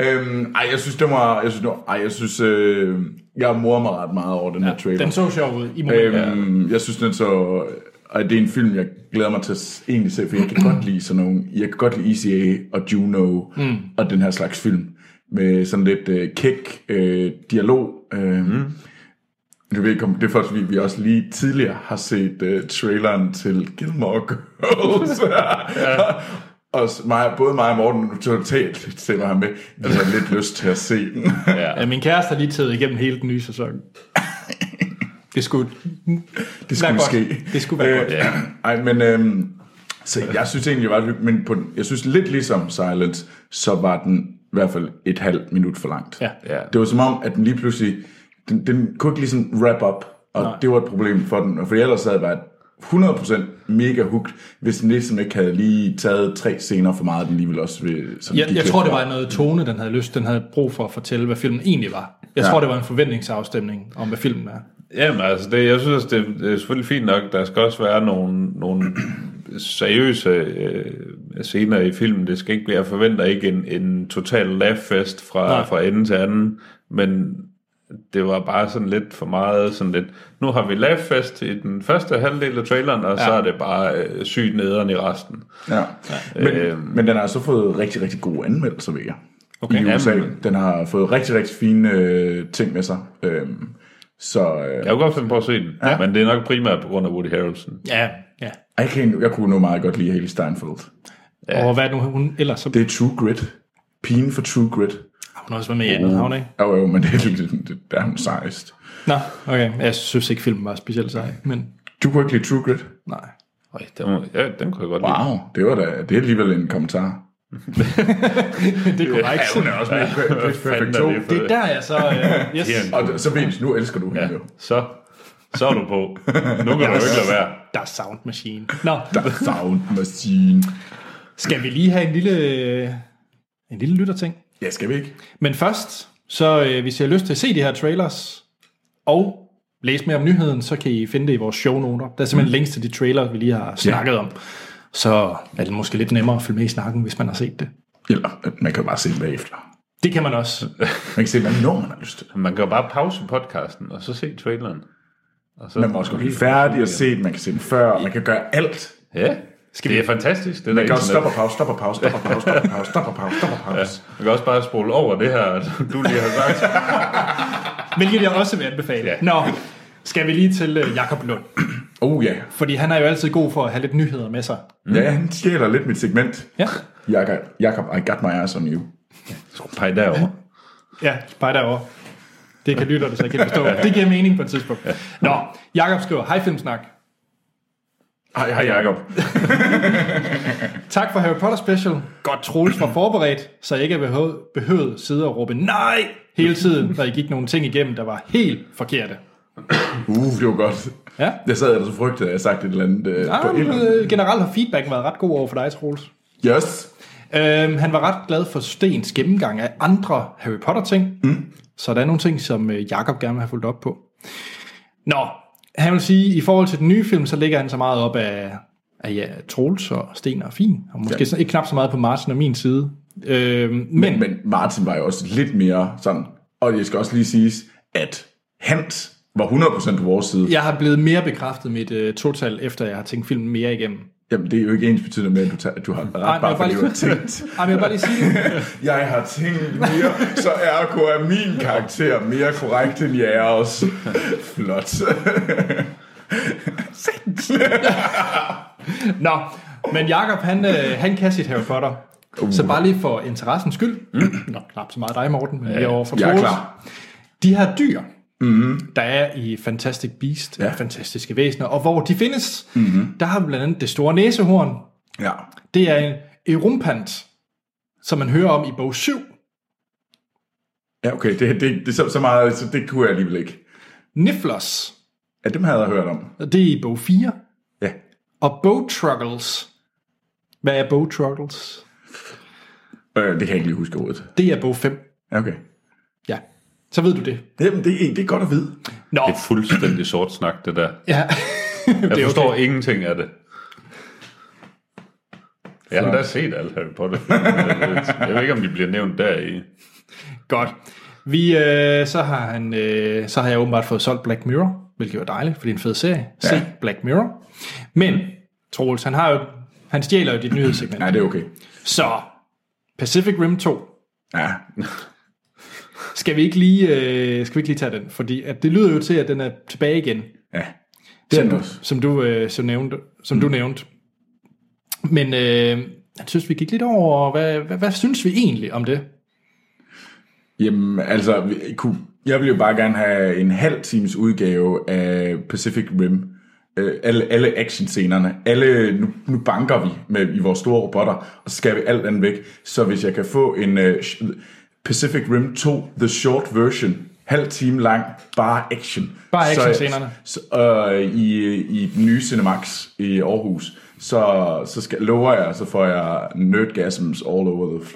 Speaker 2: øhm, ej, jeg synes, det var... Jeg synes, det var ej, jeg synes... Øh, jeg morer mig ret meget over den ja, her trailer.
Speaker 1: Den så sjov ud i momentet.
Speaker 2: øhm, Jeg synes, den så... Og det er en film, jeg glæder mig til at s- egentlig se, for jeg kan godt lide sådan nogle... Jeg kan godt lide ECA og Juno mm. og den her slags film. Med sådan lidt øh, kæk øh, dialog. Øh, mm. Jeg ved ikke, om det er faktisk, fordi vi også lige tidligere har set uh, traileren til Gilmore Girls. og s- mig, både mig og Morten totalt sætter ham med. Jeg har lidt lyst til at se den.
Speaker 1: Ja. Min kæreste har lige taget igennem hele den nye sæson. Det skulle,
Speaker 2: det skulle
Speaker 1: være
Speaker 2: ske.
Speaker 1: godt. Det skulle være godt.
Speaker 2: Øh, Ej, men... Øhm, så jeg synes egentlig, det var hyggeligt, men på, den- jeg synes lidt ligesom Silence, så var den i hvert fald et halvt minut for langt.
Speaker 1: Ja.
Speaker 3: Ja.
Speaker 2: Det var som om, at den lige pludselig, den, den kunne ikke ligesom wrap up, og Nej. det var et problem for den, for ellers havde jeg været 100% mega hooked, hvis den ligesom ikke havde lige taget tre scener for meget, den lige ville også vil, som
Speaker 1: Jeg,
Speaker 2: gik
Speaker 1: jeg
Speaker 2: lidt
Speaker 1: tror, det
Speaker 2: fra.
Speaker 1: var noget tone, den havde lyst, den havde brug for at fortælle, hvad filmen egentlig var. Jeg
Speaker 2: Ja.
Speaker 1: ja. tror, det var en forventningsafstemning om, hvad filmen er.
Speaker 3: Jamen altså, det, jeg synes, det, det er selvfølgelig fint nok. Der skal også være nogle, nogle seriøse øh, scener i filmen. Det skal ikke blive, jeg forventer ikke en, en total laughfest fra,
Speaker 1: Nej.
Speaker 3: fra ende til anden, men det var bare sådan lidt for meget sådan lidt, nu har vi laughfest i den første halvdel af traileren, og ja. så er det bare øh, sygt nederen i resten. Øh,
Speaker 2: Ja. Men, men den har så fået rigtig, rigtig gode anmeldelser ved jer. Okay. I
Speaker 3: Ja,
Speaker 2: USA.
Speaker 3: men-
Speaker 2: Den har fået rigtig, rigtig fine øh, ting med sig. Øhm, så øh,
Speaker 3: Jeg kunne godt finde på at se den, ja. men det er nok primært på grund af Woody Harrelson.
Speaker 1: Ja, ja.
Speaker 2: jeg, kan, egentlig- jeg kunne nu meget godt lide Haley Steinfeld.
Speaker 1: Og hvad er det nu hun ellers? Så
Speaker 2: Det er True Grit. Pigen for True Grit.
Speaker 1: har hun også været med i andet, har hun ikke?
Speaker 2: Jo, jo, men det er, lidt- det, der er hun sejst.
Speaker 1: Nå, okay. Jeg synes ikke, filmen var specielt sej, men
Speaker 2: Du kunne ikke lide True Grit?
Speaker 1: nej.
Speaker 3: Øj, den, må- ja, den kunne jeg godt lide.
Speaker 2: Wow, det var da, det er alligevel en kommentar.
Speaker 1: Det er korrekt.
Speaker 3: er også med
Speaker 2: Pitch Perfect 2.
Speaker 1: Det er der, jeg så... Uh, yes.
Speaker 3: Her.
Speaker 2: Og så ved nu elsker du hende
Speaker 3: Ja,
Speaker 2: jo.
Speaker 3: så, så er du på. Nu kan du ikke lade være.
Speaker 1: Der er Sound Machine. Nå,
Speaker 2: The Sound Machine.
Speaker 1: skal vi lige have en lille, øh, en lille lytterting?
Speaker 2: Ja, skal vi ikke?
Speaker 1: Men først, så øh, hvis I har lyst til at se de her trailers, og læse mere om nyheden, så kan I finde det i vores shownoter. Der er simpelthen links til de trailers, vi lige har snakket om. Så er det måske lidt nemmere at følge med i snakken, hvis man har set det.
Speaker 2: Eller øh, man kan jo bare se den bagefter.
Speaker 1: Det kan man også.
Speaker 2: Man kan se den, når man har lyst til det.
Speaker 3: Man kan jo bare pause podcasten, og så se traileren. Og så,
Speaker 2: Man må også godt blive færdig og se den, man kan se den før, man kan gøre alt.
Speaker 3: Ja, Skal det er fantastisk. Det
Speaker 2: Man
Speaker 3: der
Speaker 2: kan også
Speaker 3: internet.
Speaker 2: stoppe og pause, stoppe og pause, stoppe og pause, stoppe og pause, stoppe og pause, stoppe og pause.
Speaker 3: Man kan også bare spole over det her, du lige har sagt.
Speaker 1: Hvilket jeg også vil anbefale.
Speaker 3: Ja.
Speaker 1: Nå, skal vi lige til øh, Jakob Lund.
Speaker 2: Oh ja.
Speaker 1: Fordi han er jo altid god for at have lidt nyheder med sig.
Speaker 2: Ja, han stjæler lidt mit segment.
Speaker 1: Ja,
Speaker 2: Jakob, Jakob, I got my ass on you.
Speaker 3: Pej derovre.
Speaker 1: ja bare derovre. Det kan lytterne så ikke helt forstå. Det giver mening på et tidspunkt. Nå, Jakob skriver, hej Filmsnak.
Speaker 2: Hej, hej Jakob.
Speaker 1: Tak for Harry Potter special. Godt Troels var forberedt, så jeg ikke behøvede, behøvede sidde og råbe nej hele tiden, når I gik nogle ting igennem, der var helt forkerte.
Speaker 2: Uh, det var godt.
Speaker 1: Ja.
Speaker 2: Jeg sad og så frygtede, at jeg sagt et eller andet øh,
Speaker 1: Ah,
Speaker 2: på et eller andet.
Speaker 1: øh, generelt har feedbacken været ret god over for dig, Troels.
Speaker 2: Yes.
Speaker 1: Øhm, han var ret glad for Stens gennemgang af andre Harry Potter-ting. Mm. Så der er nogle ting, som øh, Jakob gerne vil have fulgt op på. Nå, han vil sige, at i forhold til den nye film, så ligger han så meget op af, af ja, Troels og Sten og Fin. Og måske
Speaker 2: Ja.
Speaker 1: ja. ikke knap så meget på Martin og min side. Øhm, men, men,
Speaker 2: Men Martin var jo også lidt mere sådan, og jeg skal også lige sige, at Hans var 100% på vores side.
Speaker 1: jeg har blevet mere bekræftet mit øh, total, efter jeg har tænkt filmen mere igennem.
Speaker 2: Jamen, det er jo ikke ens betydende med, at du, tager, at du har ret,
Speaker 1: men
Speaker 2: bare
Speaker 1: jeg
Speaker 2: fordi
Speaker 1: vil
Speaker 2: du har
Speaker 1: bare lige-
Speaker 2: tænkt.
Speaker 1: Ej, men jeg vil bare lige sige,
Speaker 2: Jeg har tænkt mere, så ergo er min karakter mere korrekt end jeres. Flot.
Speaker 1: Nå, men Jakob han, øh, han kan sit Harry Potter. Uh. Så bare lige for interessens skyld. Nå, knap så meget dig, Morten, men ja, vi er over for
Speaker 2: Mm. jeg er
Speaker 1: Troels.
Speaker 2: klar.
Speaker 1: De her dyr, mm-hmm. der er i Fantastic Beast,
Speaker 2: Ja.
Speaker 1: ja. fantastiske væsener, og hvor de findes, mm-hmm. der har vi blandt andet det store næsehorn.
Speaker 2: Ja.
Speaker 1: Det er en erumpant, som man hører om i bog 7.
Speaker 2: Ja, okay, det, det, det er så, så meget, så det kunne jeg alligevel ikke.
Speaker 1: Nifflers,
Speaker 2: Ja, dem havde jeg hørt om.
Speaker 1: det er i bog 4.
Speaker 2: Ja.
Speaker 1: Og bogtruggles. Hvad er bogtruggles?
Speaker 2: Øh, det kan jeg ikke lige huske ordet.
Speaker 1: Det er bog 5.
Speaker 2: Ja, Okay.
Speaker 1: Ja, så ved du det.
Speaker 2: Jamen, det, er- det er godt at vide.
Speaker 1: Nå,
Speaker 3: Det er fuldstændig sort snak, det der.
Speaker 1: ja.
Speaker 3: Jeg
Speaker 1: det er
Speaker 3: forstår okay. ingenting af det. Jeg har da set alt Harry Potter. Jeg ved- jeg ved ikke, om de bliver nævnt deri.
Speaker 1: Godt. Vi, øh, så, har han, øh, så har jeg åbenbart fået solgt Black Mirror, hvilket var dejligt, for det er en fed serie. Ja. Se Black Mirror. Men, Troels, han, har jo, han stjæler jo dit nyhedssegment.
Speaker 2: Nej, det er okay.
Speaker 1: Så, Pacific Rim 2.
Speaker 2: Ja.
Speaker 1: Skal vi, ikke lige, øh, skal vi ikke lige tage den? Fordi at det lyder jo til, at den er tilbage igen,
Speaker 2: Ja. Det er den også.
Speaker 1: som du, øh, så nævnte, som mm. du nævnte. Men øh, jeg synes, vi gik lidt over, hvad, hvad, hvad synes vi egentlig om det?
Speaker 2: Jamen, altså, vi- kunne, jeg ville jo bare gerne have en halv times udgave af Pacific Rim. Øh, alle, alle actionscenerne. Alle, nu, nu banker vi med, i vores store robotter, og så skal vi alt andet væk. Så hvis jeg kan få en øh, sh- Pacific Rim 2, the short version, halv time lang, bare action.
Speaker 1: Bare
Speaker 2: Så-
Speaker 1: actionscenerne.
Speaker 2: Så, øh, i, i den nye Cinemax i Aarhus, så, så skal, lover jeg, så får jeg nerdgasms all over the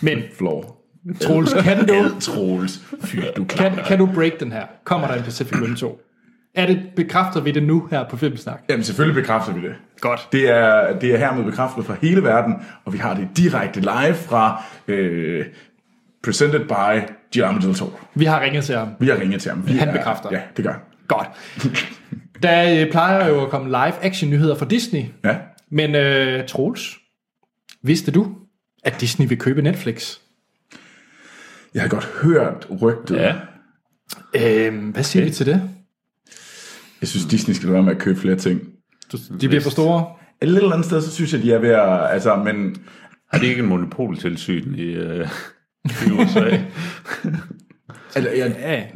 Speaker 1: Men,
Speaker 2: floor.
Speaker 1: Troels, kan du,
Speaker 2: Ad Troels. Fyr, du kan.
Speaker 1: Kan, kan du break den her? Kommer der en Pacific Rim 2? Er det, bekræfter vi det nu her på Filmsnak?
Speaker 2: Jamen selvfølgelig bekræfter vi det.
Speaker 1: Godt.
Speaker 2: Det er, det er hermed bekræftet fra hele verden, og vi har det direkte live fra øh, Presented by Guillermo del Toro.
Speaker 1: Vi har ringet til ham.
Speaker 2: Vi har ringet til ham. Vi
Speaker 1: Han
Speaker 2: er,
Speaker 1: bekræfter.
Speaker 2: Ja, det gør han.
Speaker 1: Godt. Der øh, plejer jo at komme live action nyheder fra Disney.
Speaker 2: Ja.
Speaker 1: Men øh, Troels, vidste du, at Disney vil købe Netflix?
Speaker 2: Jeg har godt hørt rygtet.
Speaker 3: Ja.
Speaker 1: Øhm, hvad siger okay. vi til det?
Speaker 2: Jeg synes, Disney skal være med at købe flere ting.
Speaker 1: De bliver for store.
Speaker 2: Et eller andet sted, så synes jeg, de er ved at... Altså, men
Speaker 3: Har de ikke en monopoltilsyn i, øh, i USA?
Speaker 2: altså, jeg,
Speaker 1: Ja.
Speaker 2: jeg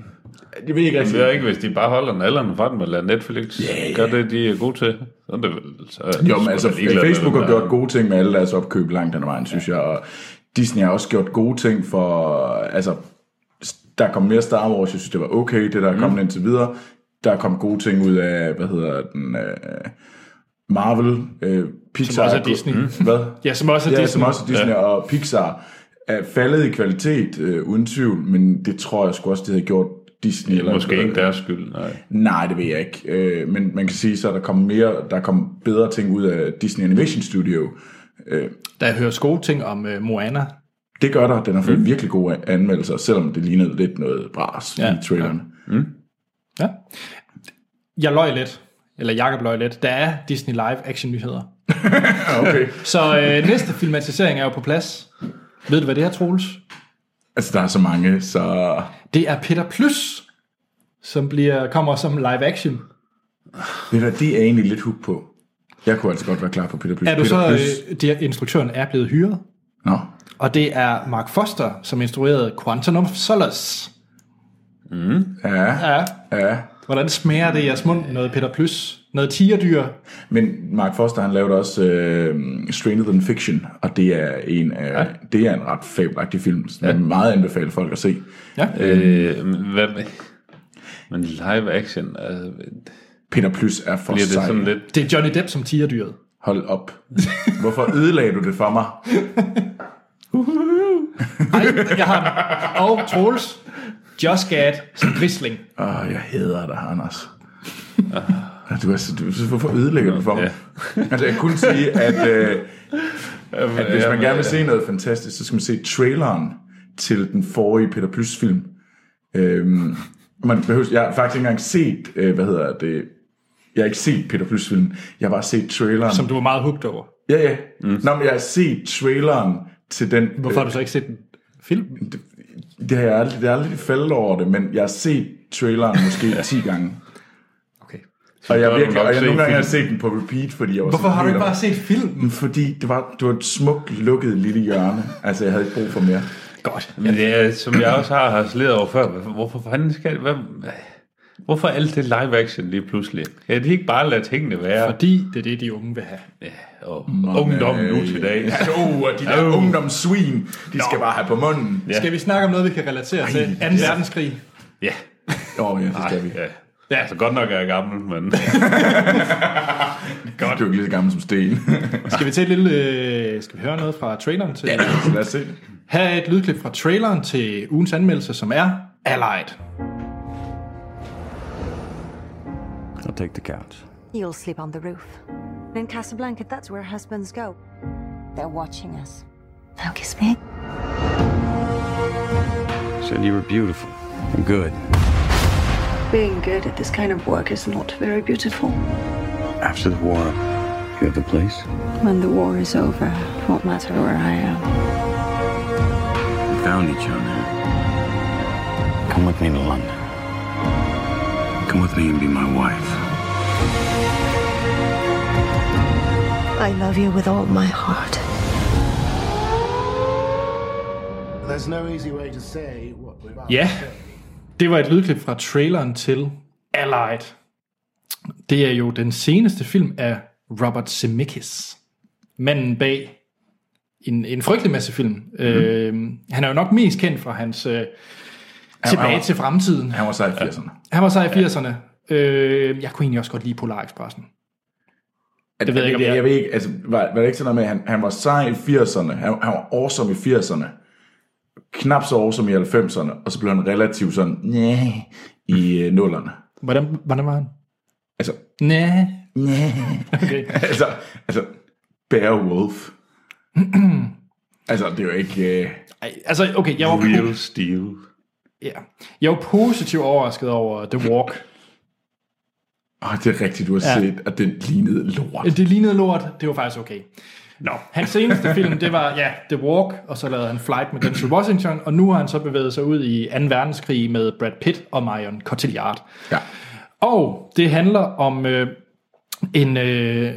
Speaker 2: ved ikke
Speaker 3: Jeg
Speaker 2: rigtig...
Speaker 3: ved ikke, hvis de bare holder nalderen fra dem og lader Netflix
Speaker 2: ja.
Speaker 3: yeah. gøre det, de er gode til. Så er det vel, så er
Speaker 2: Jo, men altså,
Speaker 3: sgu da ligeglad med
Speaker 2: Facebook
Speaker 3: dem
Speaker 2: har
Speaker 3: der.
Speaker 2: gjort gode ting med alle deres opkøb langt den vejen, synes jeg, og Disney har også gjort gode ting for, altså, der kom mere Star Wars, jeg synes, det var okay, det
Speaker 3: Mm.
Speaker 2: der er kommet indtil videre. Der kom gode ting ud af, hvad hedder den, øh, Marvel, øh, Pixar.
Speaker 1: også er Disney.
Speaker 2: Mm. Hvad?
Speaker 1: ja, som også er
Speaker 2: Ja,
Speaker 1: Disney.
Speaker 2: som også er Disney ja. og Pixar er faldet i kvalitet, øh, uden tvivl, men det tror jeg sgu også, det havde gjort Disney. eller-
Speaker 3: Måske ikke deres skyld, nej.
Speaker 2: Nej, det ved jeg ikke. Øh, men man kan sige, så er der kom mere, der kom bedre ting ud af Disney Animation Studio.
Speaker 1: Der høres gode ting om øh, Moana.
Speaker 2: Det gør der. Den har fået mm. virkelig gode anmeldelser, selvom det lignede lidt noget bras ja, i traileren. Ja.
Speaker 1: Ja. jeg løj lidt, eller Jakob løj lidt, der er Disney Live action nyheder.
Speaker 2: Ja, okay.
Speaker 1: Så øh, næste filmatisering er jo på plads. Ved du, hvad det er, Troels?
Speaker 2: Altså, der er så mange, så...
Speaker 1: Det er Peter Plus, som bliver, kommer som live action.
Speaker 2: Ved du, hvad, det er jeg egentlig lidt hooked på. Jeg kunne altså godt være klar på Peter Plys.
Speaker 1: Er du
Speaker 2: Peter
Speaker 1: så,
Speaker 2: Plys.
Speaker 1: øh, det er, instruktøren er blevet hyret,
Speaker 2: Nå.
Speaker 1: og det er Mark Foster, som instruerede Quantum of Solace.
Speaker 2: Mm, Ja,
Speaker 1: Ja,
Speaker 2: ja.
Speaker 1: hvordan smager det i jeres mund? Noget Peter Plus, noget tigerdyr,
Speaker 2: Men Mark Foster, han lavede også øh, Stranger Than Fiction, og det er en, af, ja. det er en ret fabelagtig film, som ja. jeg meget anbefaler folk at se.
Speaker 3: Øh, men hvad med... Men live action, altså,
Speaker 2: Peter Plys er for
Speaker 3: bliver det
Speaker 2: sej.
Speaker 3: sådan lidt...
Speaker 1: Det er Johnny Depp som tigerdyret.
Speaker 2: Hold op. Hvorfor ødelagde du det for mig?
Speaker 1: Nej, jeg har Og Troels, Josh Gad som grisling.
Speaker 2: Åh, Ah, jeg hader dig, Anders. Ah, Du er så, du, så- hvorfor ødelægger du det for mig? Altså, jeg kunne sige, at, øh, at hvis man gerne vil se noget fantastisk, så skal man se traileren til den forrige Peter Plys film. Øhm, man behøver, jeg har faktisk ikke engang set, øh, hvad hedder det, jeg har ikke set Peter Plys filmen, jeg har bare set traileren.
Speaker 1: Som du var meget hugt over.
Speaker 2: Ja, ja. Mm. Nå, men jeg har set traileren til den.
Speaker 1: Hvorfor har du så ikke set den? Film?
Speaker 2: Det har jeg aldrig, det er aldrig faldet over det, men jeg har set traileren måske 10 gange.
Speaker 1: Okay.
Speaker 2: Og jeg,
Speaker 3: bør du
Speaker 2: virkelig,
Speaker 3: nok
Speaker 2: og jeg
Speaker 3: se
Speaker 2: nogle gange har
Speaker 3: filmen.
Speaker 2: set den på repeat, fordi jeg var
Speaker 1: Hvorfor
Speaker 2: sådan
Speaker 1: har du
Speaker 2: helt
Speaker 1: ikke bare
Speaker 2: op-
Speaker 1: set filmen?
Speaker 2: Fordi det var, det var et smukt lukket lille hjørne. Altså, jeg havde ikke brug for mere.
Speaker 1: Godt.
Speaker 3: Men det er, som jeg også har harceleret over før, hvorfor- hvorfor fanden skal... Hvad, hvorfor alt det live action lige pludselig? Kan de ikke bare lade tingene være?
Speaker 1: Fordi det er det, de unge vil have.
Speaker 3: Og ungdommen
Speaker 2: øh,
Speaker 3: nu til dag.
Speaker 2: Ja, jo, og de der
Speaker 3: Jo.
Speaker 2: ungdomssvin, de skal bare have på munden. Ja.
Speaker 3: Ja.
Speaker 1: Skal vi snakke om noget, vi kan relatere til? 2.
Speaker 2: ja.
Speaker 1: verdenskrig.
Speaker 3: Ja.
Speaker 2: Oh, ja, det skal vi.
Speaker 3: ja. Ja, altså godt nok er jeg gammel, men...
Speaker 2: Du er jo ikke lige så gammel som Sten.
Speaker 1: Skal vi tage et lille... Øh, skal vi høre noget fra traileren til... Ja.
Speaker 2: så lad os se det.
Speaker 1: Her er et lydklip fra traileren til ugens anmeldelse, som er Allied.
Speaker 4: I'll take the couch.
Speaker 5: You'll sleep on the roof. In Casablanca, that's where husbands go. They're watching us. Now kiss me.
Speaker 4: Said you were beautiful and good.
Speaker 6: Being good at this kind of work is not very beautiful.
Speaker 4: After the war, you have a place.
Speaker 6: When the war is over, it won't matter where I am.
Speaker 4: We found each other. Come with me to London. Come with me and be my wife.
Speaker 6: I love you with all my heart.
Speaker 7: There's no easy way to say what we're about.
Speaker 1: Ja, det var et lydklip fra traileren til Allied. Det er jo den seneste film af Robert Zemeckis. Manden bag en, en frygtelig masse film. Mm. Øh, han er jo nok mest kendt fra hans øh, Tilbage
Speaker 2: han var-
Speaker 1: til fremtiden.
Speaker 2: Han var så i 80'erne.
Speaker 1: Han var så i 80'erne. Øh, jeg kunne egentlig også godt lide Polar-Expressen.
Speaker 2: Det
Speaker 1: ved jeg ikke, om
Speaker 2: jeg,
Speaker 1: jeg-
Speaker 2: jeg ved ikke, altså, var, var det ikke sådan noget med, at han, han var sej i 80'erne, han, han var awesome i 80'erne, knap så awesome i 90'erne, og så blev han relativt sådan, næh, i øh, nullerne.
Speaker 1: Hvordan, hvordan var han?
Speaker 2: Altså,
Speaker 1: Næh.
Speaker 2: altså, altså, Bear Wolf. altså, det er jo ikke... Øh,
Speaker 1: Ej, altså, okay, jeg var,
Speaker 3: Real steel.
Speaker 1: ja. jeg var positivt overrasket over The Walk.
Speaker 2: åh, det er rigtigt, du har
Speaker 1: Ja.
Speaker 2: ja. set, at den lignede lort.
Speaker 1: Det lignede lort, det var faktisk okay.
Speaker 3: Nå.
Speaker 1: Hans seneste film, det var ja, The Walk, og så lavede han Flight med Denzel Washington, og nu har han så bevæget sig ud i 2. verdenskrig med Brad Pitt og Marion Cotillard.
Speaker 2: Ja.
Speaker 1: Og det handler om øh, en, øh,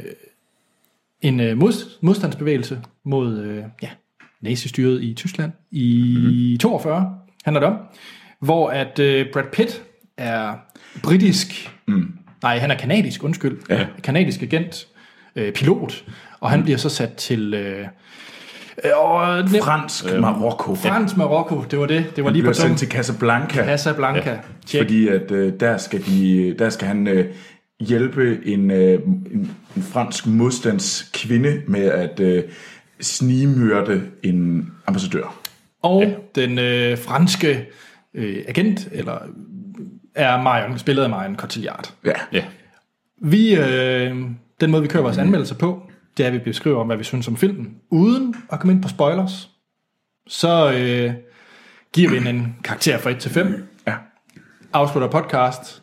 Speaker 1: en øh, mod, modstandsbevægelse mod øh, ja, nazistyret i Tyskland i
Speaker 2: Mhm.
Speaker 1: 42, handler det om, hvor at øh, Brad Pitt er britisk, mm. nej, han er kanadisk, undskyld, ja. kanadisk agent, øh, pilot, og
Speaker 2: Mm.
Speaker 1: han bliver så sat til... Øh, øh, og,
Speaker 2: Fransk Marokko. Han
Speaker 1: Øh, Fransk Marokko, det var det. Det var lige på
Speaker 2: bliver sendt
Speaker 1: tungen.
Speaker 2: til Casablanca.
Speaker 1: Casablanca. Tjek.
Speaker 2: Fordi at øh, der, skal de, der skal han øh, hjælpe en, øh, en, en fransk modstandskvinde med at øh, snigmyrde en ambassadør.
Speaker 1: Og ja. den øh, franske øh, agent, eller øh, er Marion, spillet af Marion Cotillard.
Speaker 2: Ja.
Speaker 3: Ja.
Speaker 1: Vi, øh, den måde, vi kører vores anmeldelser på, det er, at vi beskriver, om, hvad vi synes om filmen, uden at komme ind på spoilers. Så øh, giver vi den en karakter fra 1 til 5,
Speaker 2: ja.
Speaker 1: afslutter podcast,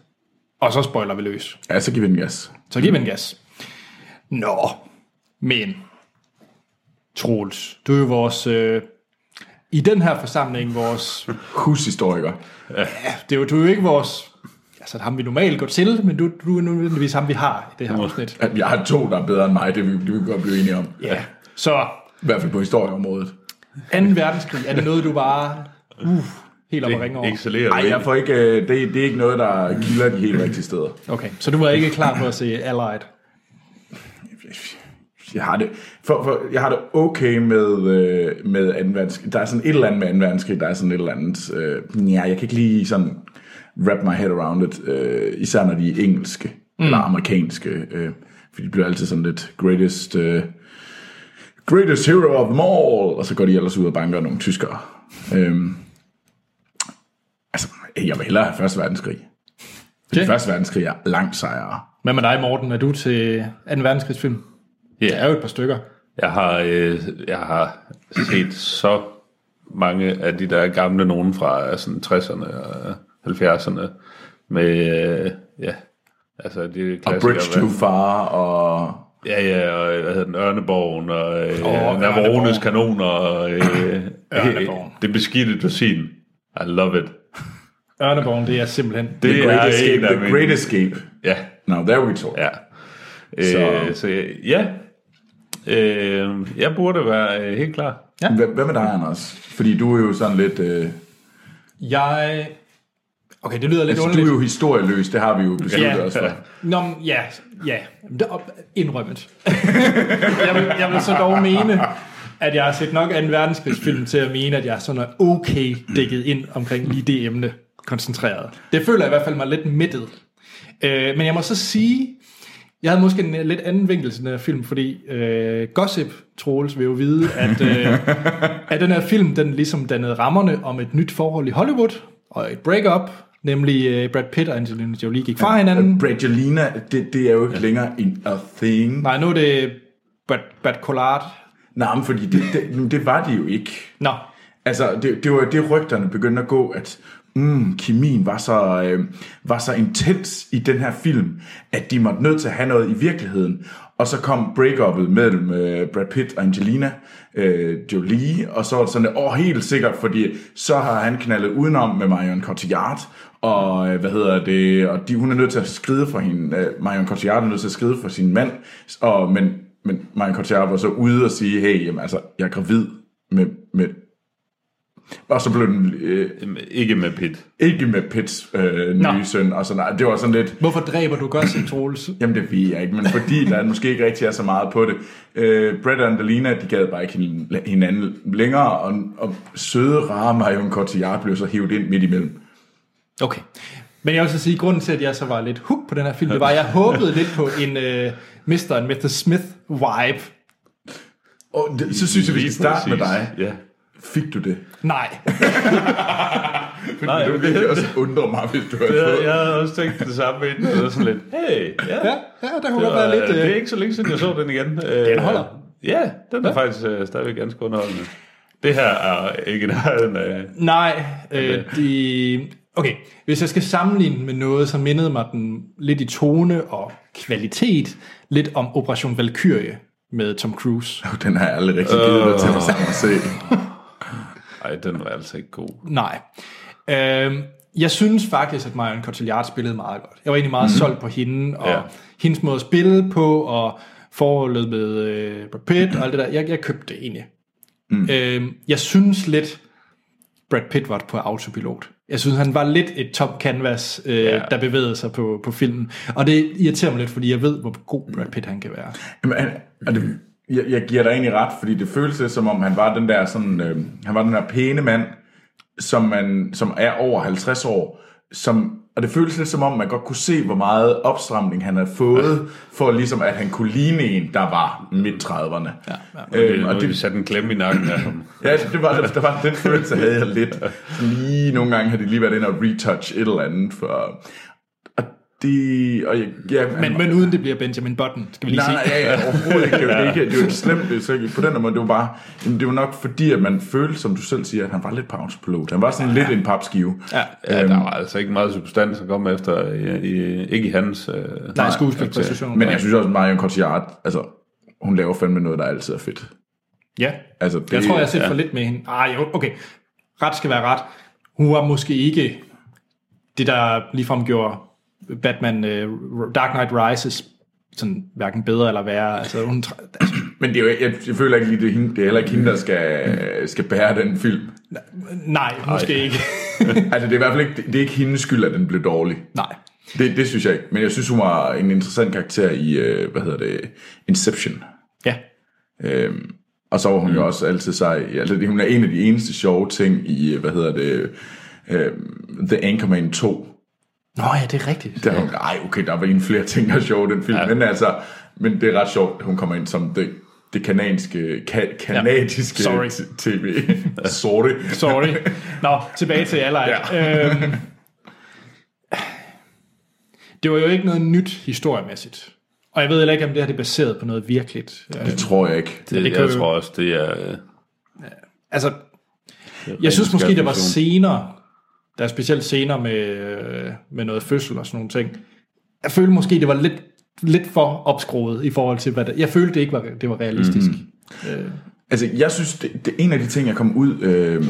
Speaker 1: Og så spoiler vi løs.
Speaker 2: Ja, så giver vi den gas.
Speaker 1: Så giv mig en gas. Nå, men Troels, du er jo vores... Øh, I den her forsamling, vores...
Speaker 2: Hushistoriker.
Speaker 1: Ja, det er jo, du er jo ikke vores... Altså ham vi normalt går til, men du, du er nødvendigvis ham vi har i det her afsnit.
Speaker 2: At Jeg har to, der er bedre end mig, det vil vi godt blive enige om.
Speaker 1: Ja. Så
Speaker 2: I hvert fald på historieområdet.
Speaker 1: 2. verdenskrig, er det noget du bare... Uh, helt op og ringer over?
Speaker 3: Excellerer
Speaker 2: Nej,
Speaker 3: du
Speaker 2: jeg
Speaker 3: ikke.
Speaker 2: får ikke, øh, det, det er ikke noget, der kilder de helt rigtige steder.
Speaker 1: Okay, så du var ikke klar på at se Allied?
Speaker 2: Jeg har det, for, for, jeg har det okay med, øh, med anden verdenskrig. Der er sådan et eller andet med anden verdenskrig, der er sådan et eller andet... Øh, ja, jeg kan ikke lige sådan wrap my head around it, øh, især når de er engelske mm. eller amerikanske, øh, for de bliver altid sådan lidt greatest... Øh, greatest hero of them all, og så går de ellers ud og banker nogle tyskere. Øhm, altså, jeg vil hellere have Første Verdenskrig. Fordi
Speaker 1: Ja.
Speaker 2: Første Verdenskrig er langt sejere.
Speaker 1: Hvad med dig, Morten? Er du til 2. verdenskrigsfilm?
Speaker 3: Ja.
Speaker 1: Der er jo et par stykker.
Speaker 3: Jeg har, øh, jeg har set så mange af de der gamle nogen fra øh, sådan 60'erne og 70'erne med, øh, ja, altså de er
Speaker 2: Og
Speaker 3: klassikere.
Speaker 2: Bridge Too Far, og
Speaker 3: Ja, ja, og øh, hvad hedder den, Ørneborgen og øh,
Speaker 1: Åh,
Speaker 3: oh, Navarones
Speaker 1: Ørneborgen.
Speaker 3: kanoner og øh,
Speaker 1: Ørneborgen.
Speaker 3: det beskidte dusin. I love it.
Speaker 1: Ørneborgen, det er simpelthen...
Speaker 3: Det
Speaker 2: The Great Escape.
Speaker 3: en af
Speaker 2: The
Speaker 3: mine-
Speaker 2: Great Escape.
Speaker 3: Ja,
Speaker 2: Now there we talk.
Speaker 3: Ja.
Speaker 2: Så-
Speaker 3: Øh, så ja, øh, jeg burde være øh, helt klar.
Speaker 2: Hvad hvad med dig, Anders? Fordi du er jo sådan lidt... Øh,
Speaker 1: Jeg... Okay, det lyder lidt
Speaker 2: altså,
Speaker 1: underligt.
Speaker 2: du er jo historieløs, det har vi jo besluttet
Speaker 1: Ja.
Speaker 2: os for.
Speaker 1: Nå, men ja, ja. Det er op- Indrømmet. jeg, vil, jeg vil så dog mene, at jeg har set nok 2. verdenskrigsfilm til at mene, at jeg er sådan er okay dækket ind omkring lige det emne koncentreret. Det føler jeg i hvert fald mig lidt midtet. Øh, men jeg må så sige, jeg havde måske en øh, lidt anden vinkel til den her film, fordi øh, Gossip Troels vil jo vide, at, øh, at den her film, den ligesom dannede rammerne om et nyt forhold i Hollywood, og et breakup, nemlig øh, Brad Pitt og Angelina Jolie gik fra hinanden.
Speaker 2: Bradgelina, det, det er jo ikke ja. længere en a thing.
Speaker 1: Nej, nu er det Brad, Brad Collard.
Speaker 2: Nej, men fordi det, det, men det var det jo ikke.
Speaker 1: Nå,
Speaker 2: Altså, det, det var jo det, rygterne begyndte at gå, at mm, kemien var så, øh, var så intens i den her film, at de måtte nødt til at have noget i virkeligheden. Og så kom break-up'et mellem øh, Brad Pitt og Angelina øh, Jolie, og så var det sådan, åh, helt sikkert, fordi så har han knaldet udenom med Marion Cotillard, og øh, hvad hedder det, og de, hun er nødt til at skride for hende, øh, Marion Cotillard er nødt til at skride for sin mand, og, men, men Marion Cotillard var så ude og sige, hey, jamen, altså, jeg er gravid med, med og så blev den øh,
Speaker 3: Jamen, Ikke med Pitt.
Speaker 2: ikke med Pits øh, nye
Speaker 1: Nå.
Speaker 2: søn og sådan noget. Det var sådan lidt,
Speaker 1: hvorfor dræber du Gossip, Troels?
Speaker 2: jamen det ved jeg ikke, men fordi der måske ikke rigtig er så meget på det. Øh, Brett og Angelina, de gad bare ikke hin- hinanden længere, og, og søde, rare Marion Cotillard blev så hævet ind midt imellem.
Speaker 1: Okay. Men jeg vil så sige, at grunden til, at jeg så var lidt hooked på den her film, det var, at jeg håbede lidt på en øh, Mr. and Mr. Smith-vibe.
Speaker 2: Og det, så synes jeg, vi skal
Speaker 3: Lige
Speaker 2: starte med
Speaker 3: præcis.
Speaker 2: dig.
Speaker 3: Ja.
Speaker 2: Fik du det?
Speaker 1: Nej.
Speaker 3: Nej,
Speaker 2: det
Speaker 3: det,
Speaker 2: ville
Speaker 3: det,
Speaker 2: jeg også undre mig, hvis du havde
Speaker 3: jeg,
Speaker 2: fået.
Speaker 3: jeg havde også tænkt det samme inden, og sådan lidt, hey,
Speaker 1: Ja,
Speaker 3: ja, ja
Speaker 1: ja der kunne
Speaker 3: det,
Speaker 1: godt
Speaker 3: var,
Speaker 1: være lidt...
Speaker 3: det er
Speaker 1: Øh,
Speaker 3: ikke så længe siden, jeg så den igen. Den
Speaker 1: holder.
Speaker 3: Ja, den er faktisk øh, stadigvæk ganske underholdende. Det her er ikke en anden af...
Speaker 1: nej. Øh, de, okay, hvis jeg skal sammenligne den med noget, så mindede mig den lidt i tone og kvalitet, lidt om Operation Valkyrie med Tom Cruise.
Speaker 2: Den har jeg aldrig rigtig givet dig til at
Speaker 3: Øh.
Speaker 2: sammen at se.
Speaker 3: Ej, den var altså ikke god.
Speaker 1: Nej. Øhm, jeg synes faktisk, at Marion Cotillard spillede meget godt. Jeg var egentlig meget mm-hmm. solgt på hende, og ja.
Speaker 3: Ja.
Speaker 1: hendes måde at spille på, og forholdet med øh, Brad Pitt og alt det der. Jeg, jeg købte det egentlig. Mm. Øhm, jeg synes lidt, Brad Pitt var på autopilot. Jeg synes, han var lidt et top canvas, øh, ja. der bevægede sig på, på filmen. Og det irriterer mig lidt, fordi jeg ved, hvor god Brad Pitt han kan være.
Speaker 2: Jamen, han, og det, jeg, jeg giver dig egentlig ret, fordi det føles lidt som om, han var den der, sådan, øh, han var den der pæne mand, som, man, som er over 50 år, som, og det føles lidt som om, man godt kunne se, hvor meget opstramning han havde fået, for ligesom at han kunne ligne en, der var midt 30'erne. Ja, ja.
Speaker 3: Det, og det, vi satte en klemme i nakken af ham.
Speaker 2: Ja, det var, der var den følelse, havde jeg lidt. Sådan Lige nogle gange har de lige været inde og retouch et eller andet. For, og de, og jeg, ja, han-
Speaker 1: Men, men uden det bliver Benjamin Button, skal vi lige
Speaker 2: Nej,
Speaker 1: sige.
Speaker 2: nej, ja, ja, overhovedet ikke. Det var ikke, det var ikke slemt, det er ikke på den her måde. Det var bare, jamen, det var nok fordi, at man følte, som du selv siger, at han var lidt på autopilot. Han var sådan lidt en papskive.
Speaker 1: Ja.
Speaker 3: Ja, der var altså ikke meget substans at komme efter, i, i, ikke i hans... Øh,
Speaker 1: Nej, skuespilpræstation.
Speaker 2: Men jeg synes også, at Marion Cotillard, altså, hun laver fandme noget, der altid er fedt.
Speaker 1: Ja,
Speaker 2: Altså, det,
Speaker 1: jeg tror, jeg har set
Speaker 2: ja.
Speaker 1: for lidt med hende. Ah, jo, okay. Ret skal være ret. Hun var måske ikke det, der ligefrem gjorde Batman uh, Dark Knight Rises sådan hverken bedre eller værre. Altså, hun, tr- altså,
Speaker 2: Men det er jo, jeg, jeg føler ikke lige, det er, hende, det er heller ikke hende, der skal, skal bære den film.
Speaker 1: nej, måske ikke.
Speaker 2: Altså, det er i hvert fald ikke, det er ikke hendes skyld, at den blev dårlig.
Speaker 1: nej.
Speaker 2: Det, det synes jeg ikke. Men jeg synes, hun var en interessant karakter i, øh, hvad hedder det, Inception.
Speaker 1: Ja.
Speaker 2: Øhm, og så var hun mm. jo også altid sej. i- Altså, hun er en af de eneste sjove ting i, øh, hvad hedder det, øhm, The Anchorman 2.
Speaker 1: Nå ja, det er rigtigt.
Speaker 2: Der er hun, ej, okay, der var en flere ting, der er sjove i den film. Ja. Men altså, men det er ret sjovt, at hun kommer ind som det, det kanadiske, ka- kanadiske
Speaker 1: Sorry.
Speaker 2: t- tv. Sorry.
Speaker 1: Sorry. Nå, tilbage til Allied. Ja. Øhm, det var jo ikke noget nyt historiemæssigt. Og jeg ved heller ikke, om det her det er baseret på noget virkeligt. Øh,
Speaker 2: Det tror jeg ikke.
Speaker 3: Det,
Speaker 1: det
Speaker 3: det
Speaker 1: kan
Speaker 3: jeg
Speaker 1: jo-
Speaker 3: tror også, det er... øh,
Speaker 1: altså, jeg synes måske, der var
Speaker 3: spekulation.
Speaker 1: senere, der er specielt senere med, øh, med noget fødsel og sådan nogle ting. Jeg følte måske, det var lidt, lidt for opskruet i forhold til, hvad der, jeg følte det ikke var, det var realistisk.
Speaker 3: Mhm.
Speaker 1: Mm.
Speaker 2: Altså, jeg synes, det, det er en af de ting, jeg kom ud... Øh,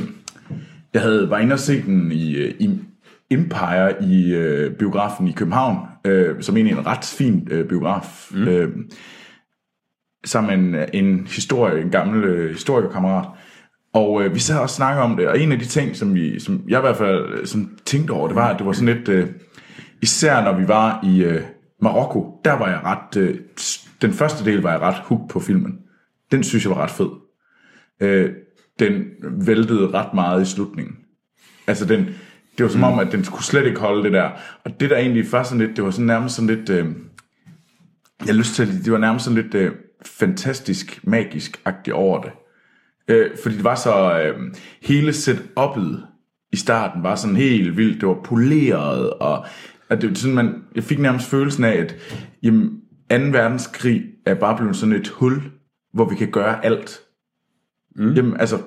Speaker 2: jeg havde, var inde og se den i, øh, i Empire i øh, biografen i København, øh, som egentlig er en ret fin øh, biograf. Mm. Øh, sammen med en, en, historie, en gammel øh, historikerkammerat. Og øh, vi sad og snakkede om det, og en af de ting, som, vi, som jeg i hvert fald øh, sådan, tænkte over, det var, at det var sådan lidt... Øh, især når vi var i øh, Marokko, der var jeg ret... Øh, s- den første del var jeg ret hooked på filmen. Den synes jeg var ret fed. Øh, den væltede ret meget i slutningen. Altså den, det var som om, at den skulle slet ikke holde det der. Og det der egentlig var sådan lidt, det var sådan nærmest sådan lidt, øh, jeg har lyst til, at- det var nærmest sådan lidt øh, fantastisk, magisk-agtigt over det. Øh, fordi det var så, øh, hele setup'et i starten var sådan helt vildt, det var poleret, og at det var sådan, man, jeg fik nærmest følelsen af, at jamen, 2. verdenskrig er bare blevet sådan et hul, hvor vi kan gøre alt.
Speaker 1: Mm-hmm.
Speaker 2: Mm. Jamen, altså,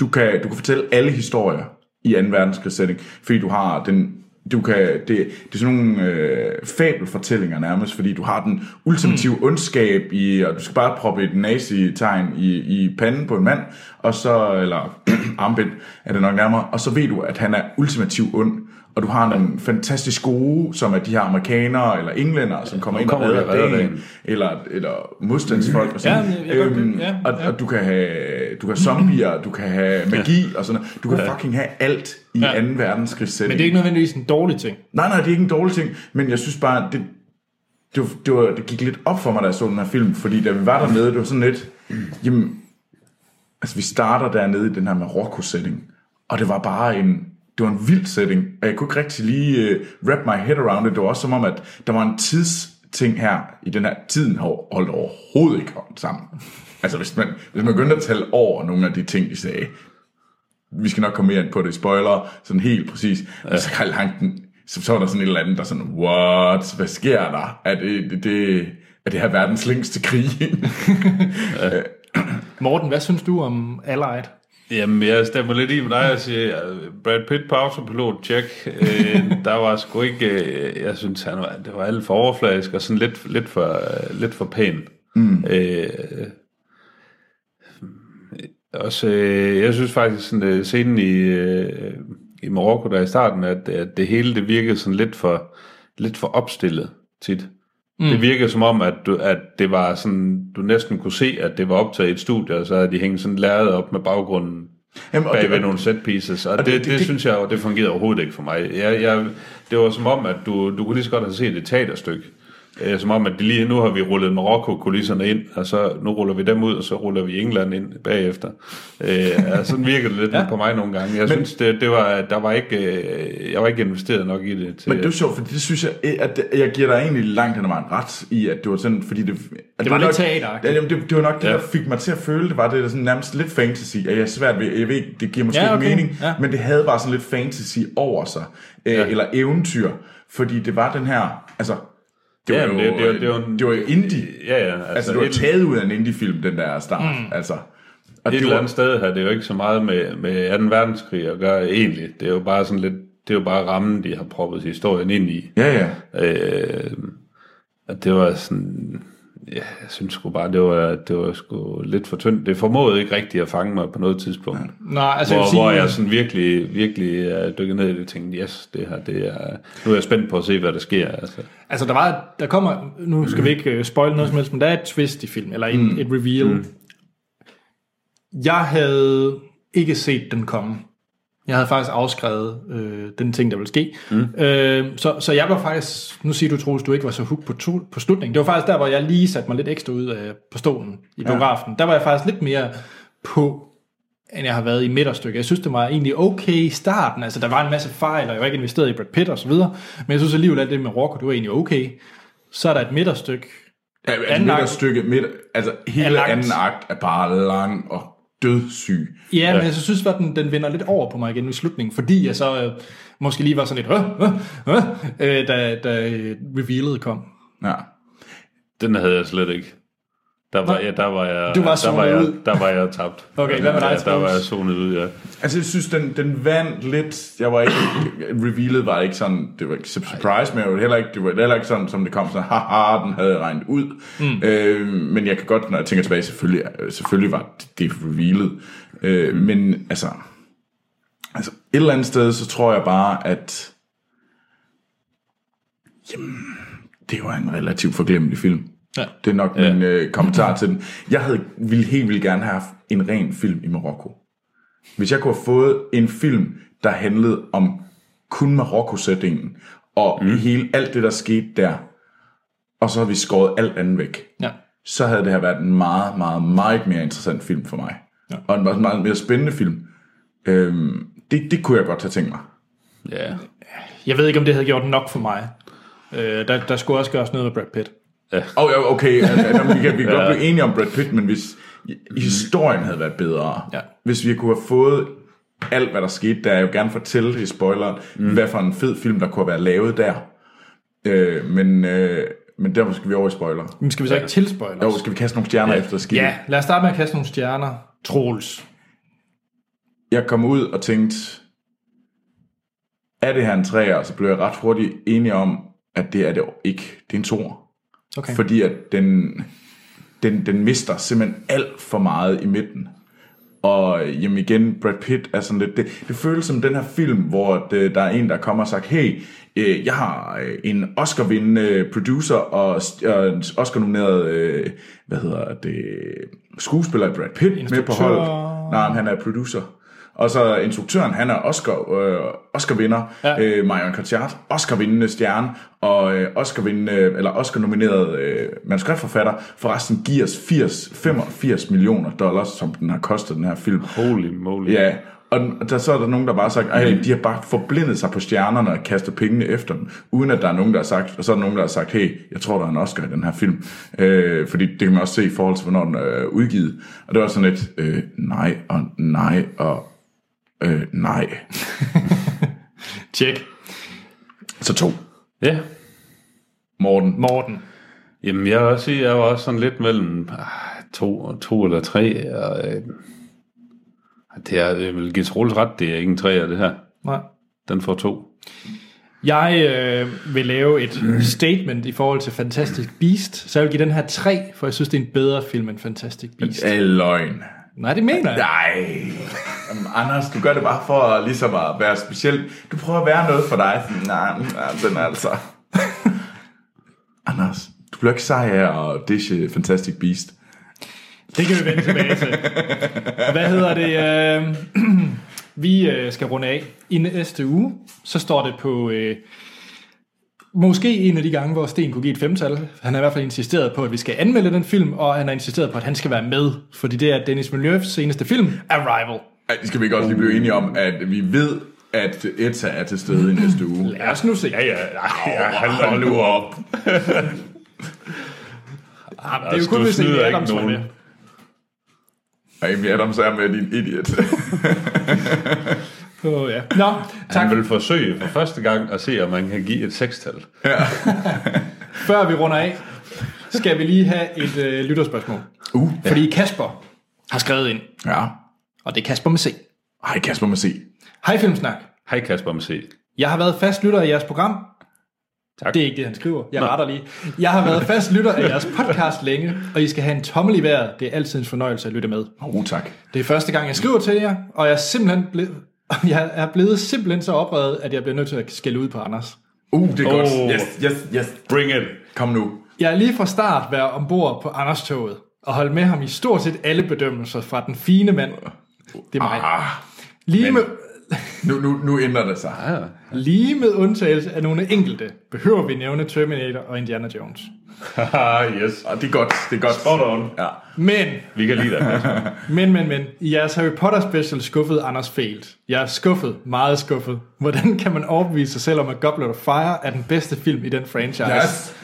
Speaker 2: du kan, du kan fortælle alle historier i 2. verdenskrigsætning, fordi du har den du kan, det, det er sådan nogle øh, fabelfortællinger nærmest, fordi du har den ultimative mm. ondskab i, og du skal bare proppe et nazi-tegn i, i panden på en mand, og så, eller armbind er det nok nærmere, og så ved du, at han er ultimativ ond, og du har nogle fantastisk gode, som er de her amerikanere eller englænder, som kommer ind og
Speaker 3: kommer de og
Speaker 2: redder
Speaker 3: redder
Speaker 2: dagen,
Speaker 3: dagen.
Speaker 2: eller, eller modstandsfolk og sådan.
Speaker 1: Mm-hmm. Ja, men jeg kan godt
Speaker 2: Øhm,
Speaker 1: lide- ja,
Speaker 2: og,
Speaker 1: ja.
Speaker 2: og du kan have, du kan have zombier, du kan have magi og sådan noget. Du kan fucking have alt i
Speaker 1: Ja.
Speaker 2: ja. 2. verdenskrigsætning.
Speaker 1: Men det er ikke nødvendigvis en dårlig ting.
Speaker 2: Nej, nej, det er ikke en dårlig ting, men jeg synes bare, det, det, var, det, var, det gik lidt op for mig, da jeg så den her film, fordi da vi var dernede, det var sådan lidt, jamen, altså vi starter dernede i den her Marokko-setting, og det var bare en, det var en vild setting, og jeg kunne ikke rigtig lige uh, wrap my head around it, det var også som om, at der var en tidsting her, i den her tiden har holdt overhovedet ikke holdt sammen. Altså hvis man, hvis man begyndte at tale over nogle af de ting, de sagde, vi skal nok komme mere ind på det i spoiler, sådan helt præcis. Ja. Så Karl Lang, den, så, så var der sådan et eller andet, der sådan, what, hvad sker der? Er det, det, det, er det her verdens længste krig?
Speaker 1: Morten, hvad synes du om Allied?
Speaker 3: Jamen, jeg stemmer lidt i med dig og siger, øh, Brad Pitt på autopilot, check. Øh, der var sgu ikke, øh, jeg synes, han var, det var alt for overfladisk og sådan lidt, lidt, for, øh, lidt for pæn. Mm. Øh, også, øh, jeg synes faktisk, sådan, øh, scenen i, øh, i Marokko der i starten, at, at det hele det virkede sådan lidt for, lidt for opstillet tit. Mm. Det virkede som om, at, du, at det var sådan, du næsten kunne se, at det var optaget i et studie, og så havde de hængt sådan lærredet op med baggrunden
Speaker 2: Jamen, og
Speaker 3: bag
Speaker 2: det-
Speaker 3: ved nogle set pieces. Og,
Speaker 2: og
Speaker 3: det,
Speaker 2: det-
Speaker 3: det,
Speaker 2: det-
Speaker 3: det,
Speaker 2: det-
Speaker 3: synes jeg jo, det fungerede overhovedet ikke for mig. Jeg, jeg, det var som om, at du, du kunne lige så godt have set et teaterstykke, Øh, som om, at det lige nu har vi rullet Marokko-kulisserne ind, og så nu ruller vi dem ud, og så ruller vi England ind bagefter. Øh, altså, sådan virker det lidt ja. på mig nogle gange. Jeg men, synes, det, det var, der var ikke, øh, jeg var ikke investeret nok i det. Til,
Speaker 2: Men det er jo sjovt, fordi det synes jeg, eh, at det- jeg giver dig egentlig langt hen ad vejen ret i, at det var sådan, fordi det... At det
Speaker 1: var
Speaker 2: nok,
Speaker 1: lidt teateragtigt.
Speaker 2: Ja, jamen, det, det var nok det,
Speaker 3: Ja.
Speaker 2: der fik mig til at føle, det var det der sådan nærmest lidt fantasy. Og jeg er svært ved, jeg ved ikke, det giver måske
Speaker 1: Ja,
Speaker 2: ja,
Speaker 1: okay.
Speaker 2: okay. mening,
Speaker 1: Ja.
Speaker 2: ja. men det havde bare sådan lidt fantasy over sig, øh, ja. eller eventyr, fordi det var den her, altså... Det var
Speaker 3: Ja,
Speaker 2: jo,
Speaker 3: men det- det var- det var en-
Speaker 2: det var jo indie.
Speaker 3: Ja, ja.
Speaker 2: Altså, altså det var
Speaker 3: et-
Speaker 2: taget ud af en indie-film, den der start. Mm. Altså, og
Speaker 3: Et
Speaker 2: det
Speaker 3: eller
Speaker 2: var,
Speaker 3: andet sted har det jo ikke så meget med, med 2. verdenskrig at gøre egentlig. Det er jo bare sådan lidt, det er jo bare rammen, de har proppet historien ind i.
Speaker 2: ja, ja.
Speaker 3: Øh, og det var sådan, ja, jeg synes sgu bare, det var, det var sgu lidt for tyndt. Det formåede ikke rigtigt at fange mig på noget tidspunkt. Ja.
Speaker 1: Nej, altså jeg
Speaker 3: hvor, jeg
Speaker 1: vil sige,
Speaker 3: hvor jeg sådan virkelig, virkelig er dykket ned i det og tænkte, yes, det her, det er, nu er jeg spændt på at se, hvad der sker. Altså.
Speaker 1: altså der, var, der kommer, nu skal vi ikke øh, spoil noget som helst, men der er et twist i filmen, eller en, mm. et reveal. Mm. Jeg havde ikke set den komme. Jeg havde faktisk afskrevet øh, den ting, der ville ske. Mm. Øh, så, så jeg var faktisk, nu siger du, Troels, du ikke var så hooked på, to, på slutningen. Det var faktisk der, hvor jeg lige satte mig lidt ekstra ud af, på stolen i biografen. Der var jeg faktisk lidt mere på, end jeg har været i midterstykket. Jeg synes, det var egentlig okay i starten. Altså, der var en masse fejl, og jeg var ikke investeret i Brad Pitt og så videre. Men jeg synes alligevel, at det med Rocco, det var egentlig okay. Så er der et midterstykke.
Speaker 2: Ja, altså
Speaker 1: Anden
Speaker 2: anden
Speaker 1: akt-
Speaker 2: stykke midt, altså
Speaker 1: Er
Speaker 2: hele
Speaker 1: langt.
Speaker 2: anden akt er bare lang og dødssyg.
Speaker 1: Ja, ja. men jeg synes, at den, den vinder lidt over på mig igen i slutningen, fordi jeg så øh, måske lige var sådan lidt, øh, øh, øh, øh, da, da øh, revealet kom.
Speaker 2: Ja.
Speaker 3: Den havde jeg slet ikke. Der var, ja, der var jeg,
Speaker 1: Du var
Speaker 3: der
Speaker 1: zonet
Speaker 3: var jeg,
Speaker 1: ud.
Speaker 3: der var jeg tabt.
Speaker 1: Okay, hvad med dig,
Speaker 3: Ja, Der var jeg
Speaker 1: Troels?
Speaker 3: zonet ud, ja.
Speaker 2: Altså jeg synes, den, den vandt lidt. Jeg var ikke, revealet var ikke sådan, det var ikke surprise, men jeg var heller ikke, det var heller ikke sådan, som det kom sådan, haha, den havde jeg regnet ud. Mm. Øh, men jeg kan godt, når jeg tænker tilbage, selvfølgelig, øh, selvfølgelig var det, det revealet. Øh, men altså, altså, et eller andet sted, så tror jeg bare, at det var en relativt forglemmelig film.
Speaker 1: Ja.
Speaker 2: Det er nok ja. min øh, kommentar til den. Jeg havde, ville helt vildt gerne have haft en ren film i Marokko. Hvis jeg kunne have fået en film, der handlede om kun Marokko-sætningen, og mm. hele alt det, der skete der, og så har vi skåret alt andet væk,
Speaker 1: Ja.
Speaker 2: så havde det her været en meget, meget, meget mere interessant film for mig. Ja. Og en meget, meget mere spændende film. Øhm, det, det kunne jeg godt have tænkt mig.
Speaker 3: Ja,
Speaker 1: Jeg ved ikke, om det havde gjort nok for mig. Øh, der, der skulle også gøres noget med Brad Pitt.
Speaker 2: Oh, ja, okay, altså, altså, vi kan, vi kan godt blive enige om Brad Pitt, men hvis historien havde været bedre,
Speaker 1: Ja.
Speaker 2: hvis vi kunne have fået alt, hvad der skete der, jeg vil gerne fortælle det i spoileren, mm. hvad for en fed film, der kunne have været lavet der. Øh, men, øh, men der skal vi over i spoiler.
Speaker 1: Men skal vi så ikke tilspøjle
Speaker 2: Jo, skal vi kaste nogle stjerner ja. efter skidt?
Speaker 1: Ja, lad os starte med at kaste nogle stjerner. Troels.
Speaker 2: Jeg kom ud og tænkte, er det her en træer? Og så blev jeg ret hurtigt enig om, at det er det ikke. Det er en toer.
Speaker 1: Okay. For...
Speaker 2: Fordi at den, den, den mister simpelthen alt for meget i midten. Og jamen igen, Brad Pitt er sådan lidt... Det, det føles som den her film, hvor det, der er en, der kommer og sagt, hey, øh, jeg har øh, en Oscar-vindende producer og, st- og en Oscar-nomineret, øh, hvad hedder det, skuespiller Brad Pitt med på
Speaker 1: Instruktør.
Speaker 2: holdet. Nej, men han er producer. Og så instruktøren, han er Oscar, øh, Oscar-vinder.
Speaker 1: Ja.
Speaker 2: Ja. Øh, Marion Cotillard, Oscar-vindende stjerne, og øh, Oscar-vindende, eller Oscar-nomineret øh, manuskriptforfatter, forresten giver os 80, 85 millioner dollars, som den har kostet, den her film.
Speaker 3: holy moly.
Speaker 2: Ja, og den- der, så er der nogen, der bare har sagt, at de har bare forblindet sig på stjernerne og kastet pengene efter dem, uden at der er nogen, der har sagt, og så er der nogen, der har sagt, hey, jeg tror, der er en Oscar i den her film. Øh, fordi det kan man også se i forhold til, hvornår den er øh, udgivet. Og det var sådan lidt, øh, nej og nej og øh, nej.
Speaker 1: Tjek.
Speaker 2: Så to.
Speaker 3: ja.
Speaker 2: Morten.
Speaker 1: Morten.
Speaker 3: Jamen, jeg vil også sige, jeg var også sådan lidt mellem ah, to, og- to eller tre. Og, øh, ah, det er, øh, jeg vil give Troels ret, det er ikke en træer, det her.
Speaker 1: Nej.
Speaker 3: Den får to.
Speaker 1: Jeg øh, vil lave et statement i forhold til Fantastic Beast, så jeg vil give den her 3, for jeg synes, det er en bedre film end Fantastic Beast.
Speaker 2: Er løgn.
Speaker 1: Nej, det mener jeg.
Speaker 2: Nej. Jamen, Anders, du gør det bare for at ligesom at være speciel. Du prøver at være noget for dig. Sådan, Nej, nej, den er altså... Anders, du bliver ikke sej af at dishe Fantastic Beast.
Speaker 1: Det kan vi vende tilbage til. Hvad hedder det? Øh, vi øh, skal runde af. I næste uge, så står det på øh, Måske en af de gange, hvor Sten kunne give et femtal. Han har i hvert fald insisteret på, at vi skal anmelde den film, og han har insisteret på, at han skal være med, fordi det er Dennis Villeneuve's seneste film, Arrival.
Speaker 2: Ej, det skal vi ikke også lige blive enige om, at vi ved, at ETA er til stede i næste uge.
Speaker 1: Lad os nu se.
Speaker 3: Ja, ja, nej, ja, hold nu op.
Speaker 1: Ah, det er
Speaker 3: Altså,
Speaker 1: jo kun, hvis Amy Adams var med.
Speaker 2: Amy Adams er med din idiot.
Speaker 1: Oh, ja. Nå, tak.
Speaker 3: Han vil forsøge for første gang at se, om man kan give et sekstal.
Speaker 1: Før vi runder af, skal vi lige have et øh, lytterspørgsmål.
Speaker 2: uh,
Speaker 1: Fordi Kasper har skrevet ind,
Speaker 2: ja.
Speaker 1: og det er Kasper med C.
Speaker 2: Ej, Kasper må se.
Speaker 1: Hej Filmsnak.
Speaker 3: Hej Kasper MC.
Speaker 1: Jeg har været fast lytter af jeres program.
Speaker 3: Tak.
Speaker 1: Det er ikke det, han skriver. Jeg retter lige. Jeg har været fast lytter af jeres podcast længe, og I skal have en tommel i vejret. Det er altid en fornøjelse at lytte med.
Speaker 2: Oh, tak.
Speaker 1: Det er første gang, jeg skriver til jer, og jeg er simpelthen blevet, jeg er blevet simpelthen så oprevet, at jeg bliver nødt til at skælde ud på Anders.
Speaker 2: Uh, det er oh.
Speaker 3: Åh.
Speaker 2: godt. Yes, yes, yes.
Speaker 3: Bring it.
Speaker 2: Kom nu.
Speaker 1: Jeg har lige fra start været ombord på Anders-toget, og holdt med ham i stort set alle bedømmelser fra den fine mand. Det er mig.
Speaker 2: Ah,
Speaker 1: Lige med,
Speaker 2: nu, nu, nu ændrer det sig.
Speaker 3: Ah.
Speaker 1: lige med undtagelse af nogle enkelte, behøver vi nævne Terminator og Indiana Jones.
Speaker 3: Haha, yes.
Speaker 2: Ah, det er godt, det er godt.
Speaker 3: Spot on.
Speaker 2: Ja.
Speaker 1: Men
Speaker 3: Vi kan lide dig, Kasper.
Speaker 1: Men, men, men. I jeres Harry Potter special skuffede Anders Felt. Jeg er skuffet. Meget skuffet. Hvordan kan man overbevise sig selv om, at Goblet of Fire er den bedste film i den franchise?
Speaker 2: Yes.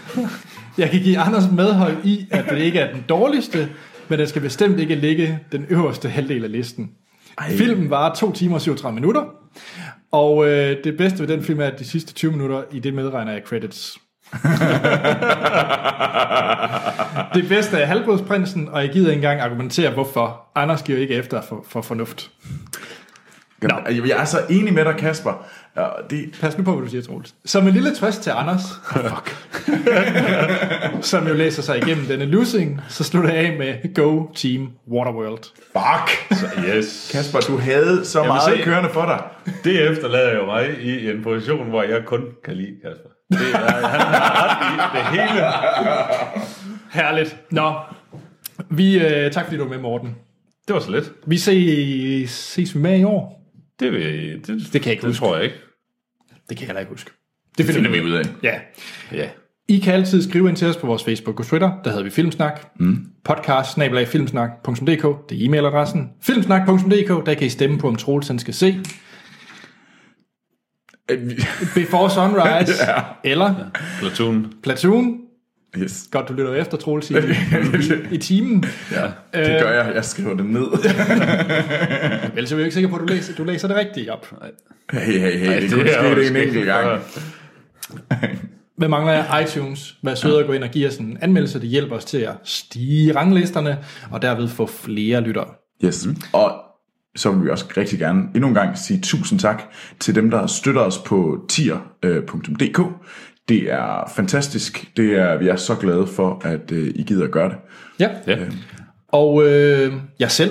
Speaker 1: Jeg kan give Anders medhold i, at det ikke er den dårligste, men den skal bestemt ikke ligge den øverste halvdel af listen. Ej. Filmen varer 2 timer og 37 minutter, og øh, det bedste ved den film er, at de sidste 20 minutter, i det medregner jeg credits. det bedste er Halvblodsprinsen, og jeg gider ikke engang argumentere, hvorfor. Anders giver ikke efter for, for fornuft.
Speaker 2: No. Jeg er så enig med dig, Kasper. Ja, det,
Speaker 1: Pas nu på, hvad du siger, Troels. Som en lille trøst til Anders, fuck. som jo læser sig igennem denne losing, så slutter jeg af med Go Team Waterworld.
Speaker 2: fuck.
Speaker 3: Yes.
Speaker 2: Kasper, du havde så
Speaker 3: vil
Speaker 2: meget
Speaker 3: se-
Speaker 2: kørende for dig.
Speaker 3: Det efterlader jo mig i en position, hvor jeg kun kan lide Kasper. Det er, han har ret i det hele.
Speaker 1: Herligt. Nå, vi, øh, tak fordi du var med, Morten.
Speaker 3: Det var så let.
Speaker 1: Vi ses, ses vi med i år.
Speaker 3: Det, vil,
Speaker 1: Det
Speaker 3: det,
Speaker 1: kan jeg ikke
Speaker 3: det
Speaker 1: huske.
Speaker 3: tror jeg ikke.
Speaker 1: Det kan jeg heller ikke huske. Det finder vi ud
Speaker 2: af.
Speaker 1: Ja.
Speaker 3: Ja.
Speaker 1: I kan altid skrive ind til os på vores Facebook og Twitter. Der hedder vi Filmsnak. Mm. Podcast, snabel-af, filmsnak.dk. Det er e-mailadressen. Filmsnak.dk, der kan I stemme på, om Troels han skal se
Speaker 2: Øh, vi-
Speaker 1: Before Sunrise ja. eller
Speaker 3: Platoon.
Speaker 1: Platoon.
Speaker 2: Yes.
Speaker 1: Godt, du lytter efter, Troels, i, i, i timen.
Speaker 2: Ja, det gør jeg. Jeg skriver det ned.
Speaker 1: Ellers er vi jo ikke sikre på, at du læser, du læser det rigtigt op.
Speaker 2: Hey, hey, hey. det,
Speaker 3: det
Speaker 2: det kunne
Speaker 3: er jo
Speaker 2: ske det en
Speaker 3: sket
Speaker 2: enkelt
Speaker 3: før.
Speaker 2: gang.
Speaker 1: Hvad mangler jeg? iTunes. Vær sød at gå ind og give os en anmeldelse. Det hjælper os til at stige ranglisterne, og derved få flere lyttere.
Speaker 2: Yes. Mm. Og så vil vi også rigtig gerne endnu en gang sige tusind tak til dem, der støtter os på øh, tier.dk. Det er fantastisk. Det er, vi er så glade for, at øh, I gider at gøre det.
Speaker 1: Ja.
Speaker 3: Ja.
Speaker 1: Og øh, jeg selv,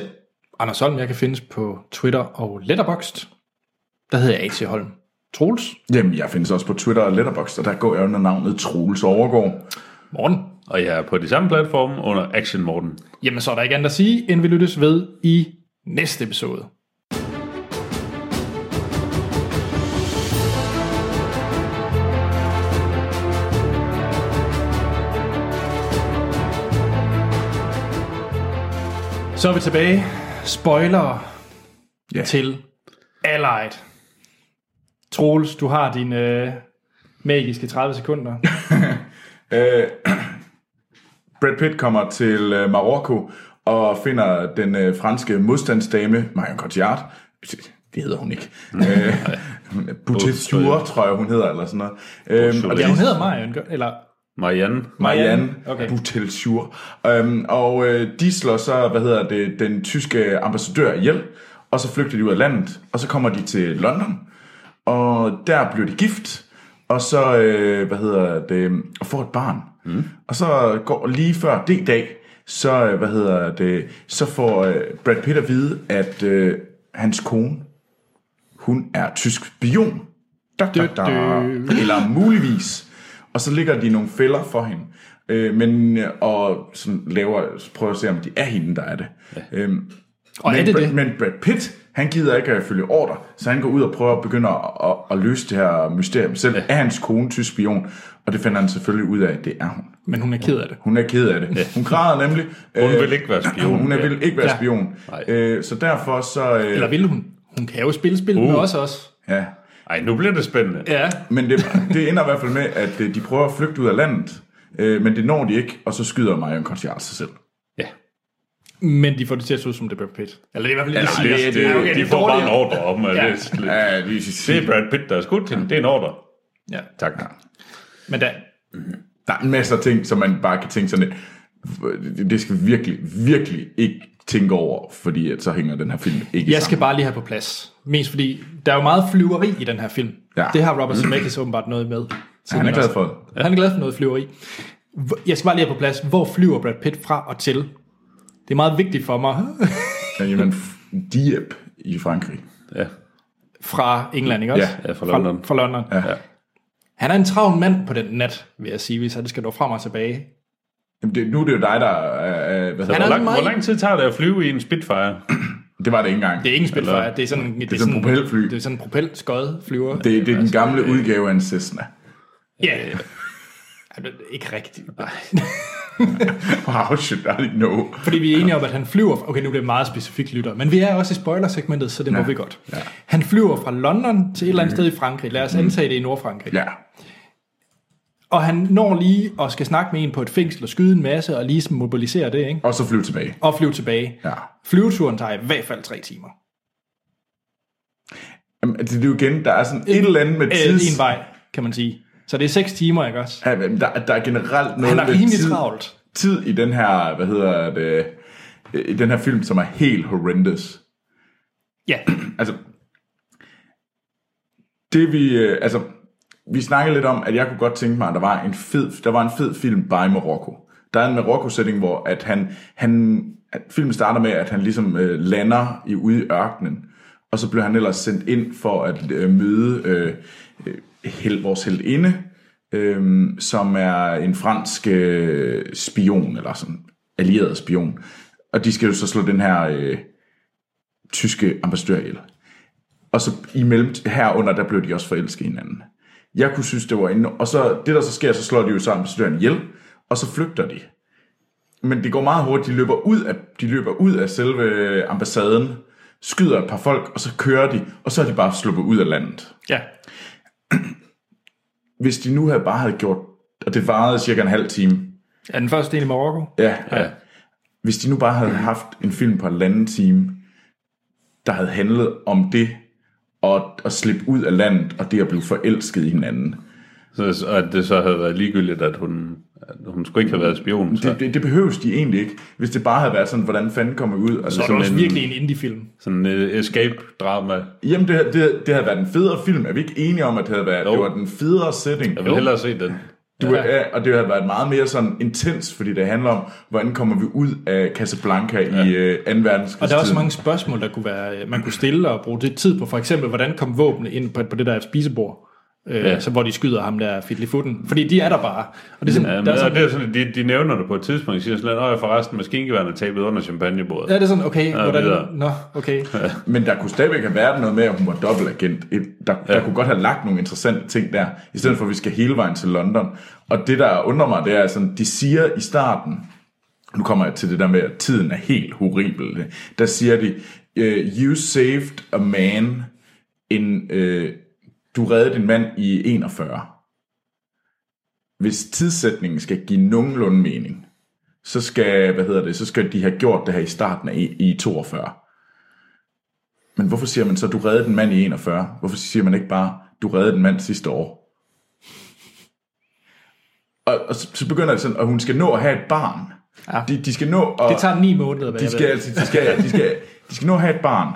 Speaker 1: Anders Holm, jeg kan findes på Twitter og Letterboxd. Der hedder jeg A.T. Holm. Troels.
Speaker 2: Jamen, jeg findes også på Twitter og Letterboxd, og der går jeg under navnet Troels Overgaard.
Speaker 1: Morgen.
Speaker 3: Og jeg er på de samme platforme under Action Morten.
Speaker 1: Jamen, så er der ikke andet at sige, end vi lyttes ved i næste episode. Så er vi tilbage. Spoiler
Speaker 2: Ja.
Speaker 1: til Allied. Troels, du har dine øh, magiske 30 sekunder.
Speaker 2: Øh, Brad Pitt kommer til øh, Marokko og finder den øh, franske modstandsdame, Marion Cotillard. Det hedder hun ikke. Øh, Boutetture, tror jeg, hun hedder, eller sådan noget. Øhm, og
Speaker 1: Ja, hun
Speaker 2: de-
Speaker 1: hedder Marion, gør- eller
Speaker 3: Marianne.
Speaker 2: Marianne
Speaker 1: Okay.
Speaker 2: okay. Butelschur. Øhm, og øh, de slår så, hvad hedder det, den tyske ambassadør ihjel, og så flygter de ud af landet, og så kommer de til London, og der bliver de gift, og så, øh, hvad hedder det, og får et barn. Mm. Og så går lige før det dag, så, øh, hvad hedder det, så får øh, Brad Pitt at vide, at øh, hans kone, hun er tysk spion. Da, da, da. Eller muligvis. Og så ligger de nogle fælder for hende. Øh, men, øh, og sådan laver, så prøver at se, om det er hende, der er det. Ja. Øhm,
Speaker 1: Og
Speaker 2: men,
Speaker 1: er det
Speaker 2: Brad,
Speaker 1: det?
Speaker 2: men Brad Pitt, han gider ikke at følge ordre, så han går ud og prøver at begynde at, at, at løse det her mysterium. Selv er hans kone tysk spion, og det finder han selvfølgelig ud af, at det er hun.
Speaker 1: Men hun er ked af det.
Speaker 2: Hun er ked af det. Hun græder nemlig.
Speaker 3: Hun
Speaker 2: øh,
Speaker 3: vil ikke være spion.
Speaker 2: Hun er,
Speaker 3: Ja.
Speaker 2: vil ikke være
Speaker 1: Ja.
Speaker 2: spion.
Speaker 3: Nej.
Speaker 2: Øh, så derfor så... Øh,
Speaker 1: Eller vil hun? Hun kan jo spille spil uh. med
Speaker 3: Uh.
Speaker 1: os også.
Speaker 2: ja.
Speaker 3: Ej, nu bliver det spændende.
Speaker 1: Ja.
Speaker 2: Men det, det ender i hvert fald med, at øh, de prøver at flygte ud af landet, øh, men det når de ikke, og så skyder Marion Cotillard sig selv.
Speaker 3: Ja.
Speaker 1: Men de får det til at se ud som det er Brad Pitt. Eller det er i hvert fald
Speaker 3: Ja,
Speaker 1: ikke,
Speaker 3: det, det,
Speaker 1: Ja, okay,
Speaker 3: det, de
Speaker 1: er
Speaker 3: får bare en
Speaker 1: dårligere.
Speaker 3: ordre om, at
Speaker 1: Ja.
Speaker 3: ja. det, det,
Speaker 2: Ja, de,
Speaker 3: det er Brad Pitt, der er skudt til hende. Det er en ordre.
Speaker 1: Ja.
Speaker 3: Tak.
Speaker 1: Men da,
Speaker 2: der er masser af ting, som man bare kan tænke sådan lidt, "Det- det skal vi virkelig, virkelig ikke tænke over, fordi at så hænger den her film ikke
Speaker 1: jeg
Speaker 2: sammen.
Speaker 1: skal bare lige have på plads. Mest fordi, der er jo meget flyveri i den her film.
Speaker 2: Ja.
Speaker 1: Det har Robert Zemeckis åbenbart noget med.
Speaker 2: Ja, han er glad for det.
Speaker 1: Ja. Han er glad for noget flyveri. Hvor- Jeg skal bare lige have på plads, hvor flyver Brad Pitt fra og til? Det er meget vigtigt for mig.
Speaker 2: Ja, Jamen, f- Dieppe i Frankrig.
Speaker 3: Ja.
Speaker 1: fra England, ikke også?
Speaker 2: Ja,
Speaker 3: ja, fra London.
Speaker 1: Fra, fra London. Ja. Han er en travl mand på den nat, vil jeg sige, hvis han skal nå frem og tilbage.
Speaker 2: Jamen, det, nu er det jo dig, der... Øh, øh, hvad hedder
Speaker 1: Han er
Speaker 3: Hvor lang,
Speaker 1: meget-
Speaker 3: hvor lang tid tager det at flyve i en Spitfire?
Speaker 2: det? Det var det ikke engang.
Speaker 1: Det er
Speaker 2: Det,
Speaker 1: ikke en Spitfire, det er sådan, det er
Speaker 2: sådan en propelfly.
Speaker 1: Det er sådan en propel skød flyver. Det.
Speaker 2: det, det er den gamle udgave af en Cessna.
Speaker 1: Ja.
Speaker 2: Øh,
Speaker 1: Ja, det er ikke rigtigt.
Speaker 2: Wow, shit, I didn't know.
Speaker 1: Fordi vi er enige om, at han flyver... fra- Okay, nu bliver det meget specifikt, lytter. Men vi er også i spoilersegmentet, så det ja. må vi godt. Ja. Han flyver fra London til et eller andet sted i Frankrig. Lad os antage det i Nordfrankrig.
Speaker 2: Mhm. Ja,
Speaker 1: Og han når lige og skal snakke med en på et fængsel og skyde en masse og lige sådan mobilisere det, ikke?
Speaker 2: og så flyve tilbage.
Speaker 1: Og flyve tilbage.
Speaker 2: Ja.
Speaker 1: Flyveturen tager i hvert fald tre timer.
Speaker 2: Jamen, det, det er jo igen, der er sådan et eller andet med
Speaker 1: øh,
Speaker 2: tids...
Speaker 1: en vej, kan man sige. Så det er 6 timer, ikke også?
Speaker 2: Ja, men der, der er generelt noget
Speaker 1: Han er
Speaker 2: med
Speaker 1: rimelig
Speaker 2: tid,
Speaker 1: travlt.
Speaker 2: tid i den her, hvad hedder det, øh, i den her film, som er helt horrendous.
Speaker 1: Ja,
Speaker 2: Altså, det vi, øh, altså, vi snakkede lidt om, at jeg kunne godt tænke mig, at der var en fed, der var en fed film bare i Marokko. Der er en Marokko-sætning, hvor at han, han, at filmen starter med, at han ligesom øh, lander i, ude i ørkenen, og så bliver han ellers sendt ind for at øh, møde øh, øh, hel, vores heldinde, øh, som er en fransk øh, spion, eller sådan allieret spion. Og de skal jo så slå den her øh, tyske ambassadør ihjel. Og så imellem herunder, der blev de også forelsket i hinanden. Jeg kunne synes, det var endnu... Og så det, der så sker, så slår de jo så ambassadøren ihjel, og så flygter de. Men det går meget hurtigt. De løber ud af, de løber ud af selve øh, ambassaden, skyder et par folk, og så kører de, og så er de bare sluppet ud af landet.
Speaker 1: ja.
Speaker 2: Hvis de nu havde bare havde gjort... Og det varede cirka en halv time.
Speaker 1: Er den første del i Marokko?
Speaker 2: Ja, ja. Hvis de nu bare havde haft en film på halvanden time, der havde handlet om det, og at slippe ud af landet, og det at blive forelsket i hinanden.
Speaker 3: Så, og at det så havde været ligegyldigt, at hun, at hun skulle ikke have været spion. Så.
Speaker 2: Det, det, det behøves de egentlig ikke, hvis det bare havde været sådan, hvordan fanden kommer vi ud? Altså,
Speaker 1: Så er det også virkelig en indie-film.
Speaker 3: Sådan en escape-drama.
Speaker 2: Jamen, det, det, det havde været en federe film. Er vi ikke enige om, at det havde været,
Speaker 3: Jo.
Speaker 2: det var den federe setting?
Speaker 3: Jeg vil hellere se den.
Speaker 2: Du, ja. Og det havde været meget mere sådan intens, fordi det handler om, hvordan kommer vi ud af Casablanca ja. i øh, 2. verdenskrig.
Speaker 1: Og der er også mange spørgsmål, der kunne være, øh, man kunne stille og bruge det tid på. For eksempel, hvordan kom våbnene ind på, på det der spisebord? Øh,
Speaker 3: Ja.
Speaker 1: så hvor de skyder ham der fidt i futten. Fordi de er der bare. Og det er sådan,
Speaker 3: Ja, men, altså,
Speaker 1: der er
Speaker 3: og
Speaker 1: sådan,
Speaker 3: det er sådan, de, de nævner det på et tidspunkt. De siger sådan, at forresten, maskingeværen er tabet under champagnebordet.
Speaker 1: ja, det er sådan, okay, hvordan,
Speaker 3: videre.
Speaker 1: nå, okay.
Speaker 2: Men der kunne stadigvæk have været noget med, at hun var dobbeltagent. Et- Der, ja. der kunne godt have lagt nogle interessante ting der, i stedet for, at vi skal hele vejen til London. Og det, der undrer mig, det er, sådan, de siger i starten, nu kommer jeg til det der med, at tiden er helt horribel. Der siger de, øh, you saved a man in, øh, du reddede din mand i 41. Hvis tidssætningen skal give nogenlunde mening, så skal, hvad hedder det, så skal de have gjort det her i starten af i, i 42. Men hvorfor siger man så, du reddede den mand i 41? Hvorfor siger man ikke bare, du reddede den mand sidste år? Og, og så, så begynder det sådan, at hun skal nå at have et barn. Ja. De, de skal nå at...
Speaker 1: Det tager ni måneder, hvad
Speaker 2: de
Speaker 1: jeg
Speaker 2: skal,
Speaker 1: ved.
Speaker 2: altså, de, skal, de, skal, de skal nå at have et barn.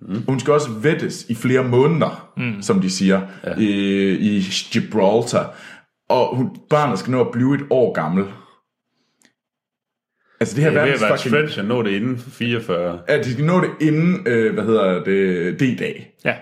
Speaker 2: Mm. Hun skal også vettes i flere måneder, mm. som de siger, ja. i, i Gibraltar. Og hun, barnet skal nå at blive et år gammel. Altså det her
Speaker 3: Det er ved at være
Speaker 2: verdens fucking...
Speaker 3: stretch at nå det inden for 44.
Speaker 2: Ja, de skal nå det inden, øh, hvad hedder det, D-dag.
Speaker 1: Ja.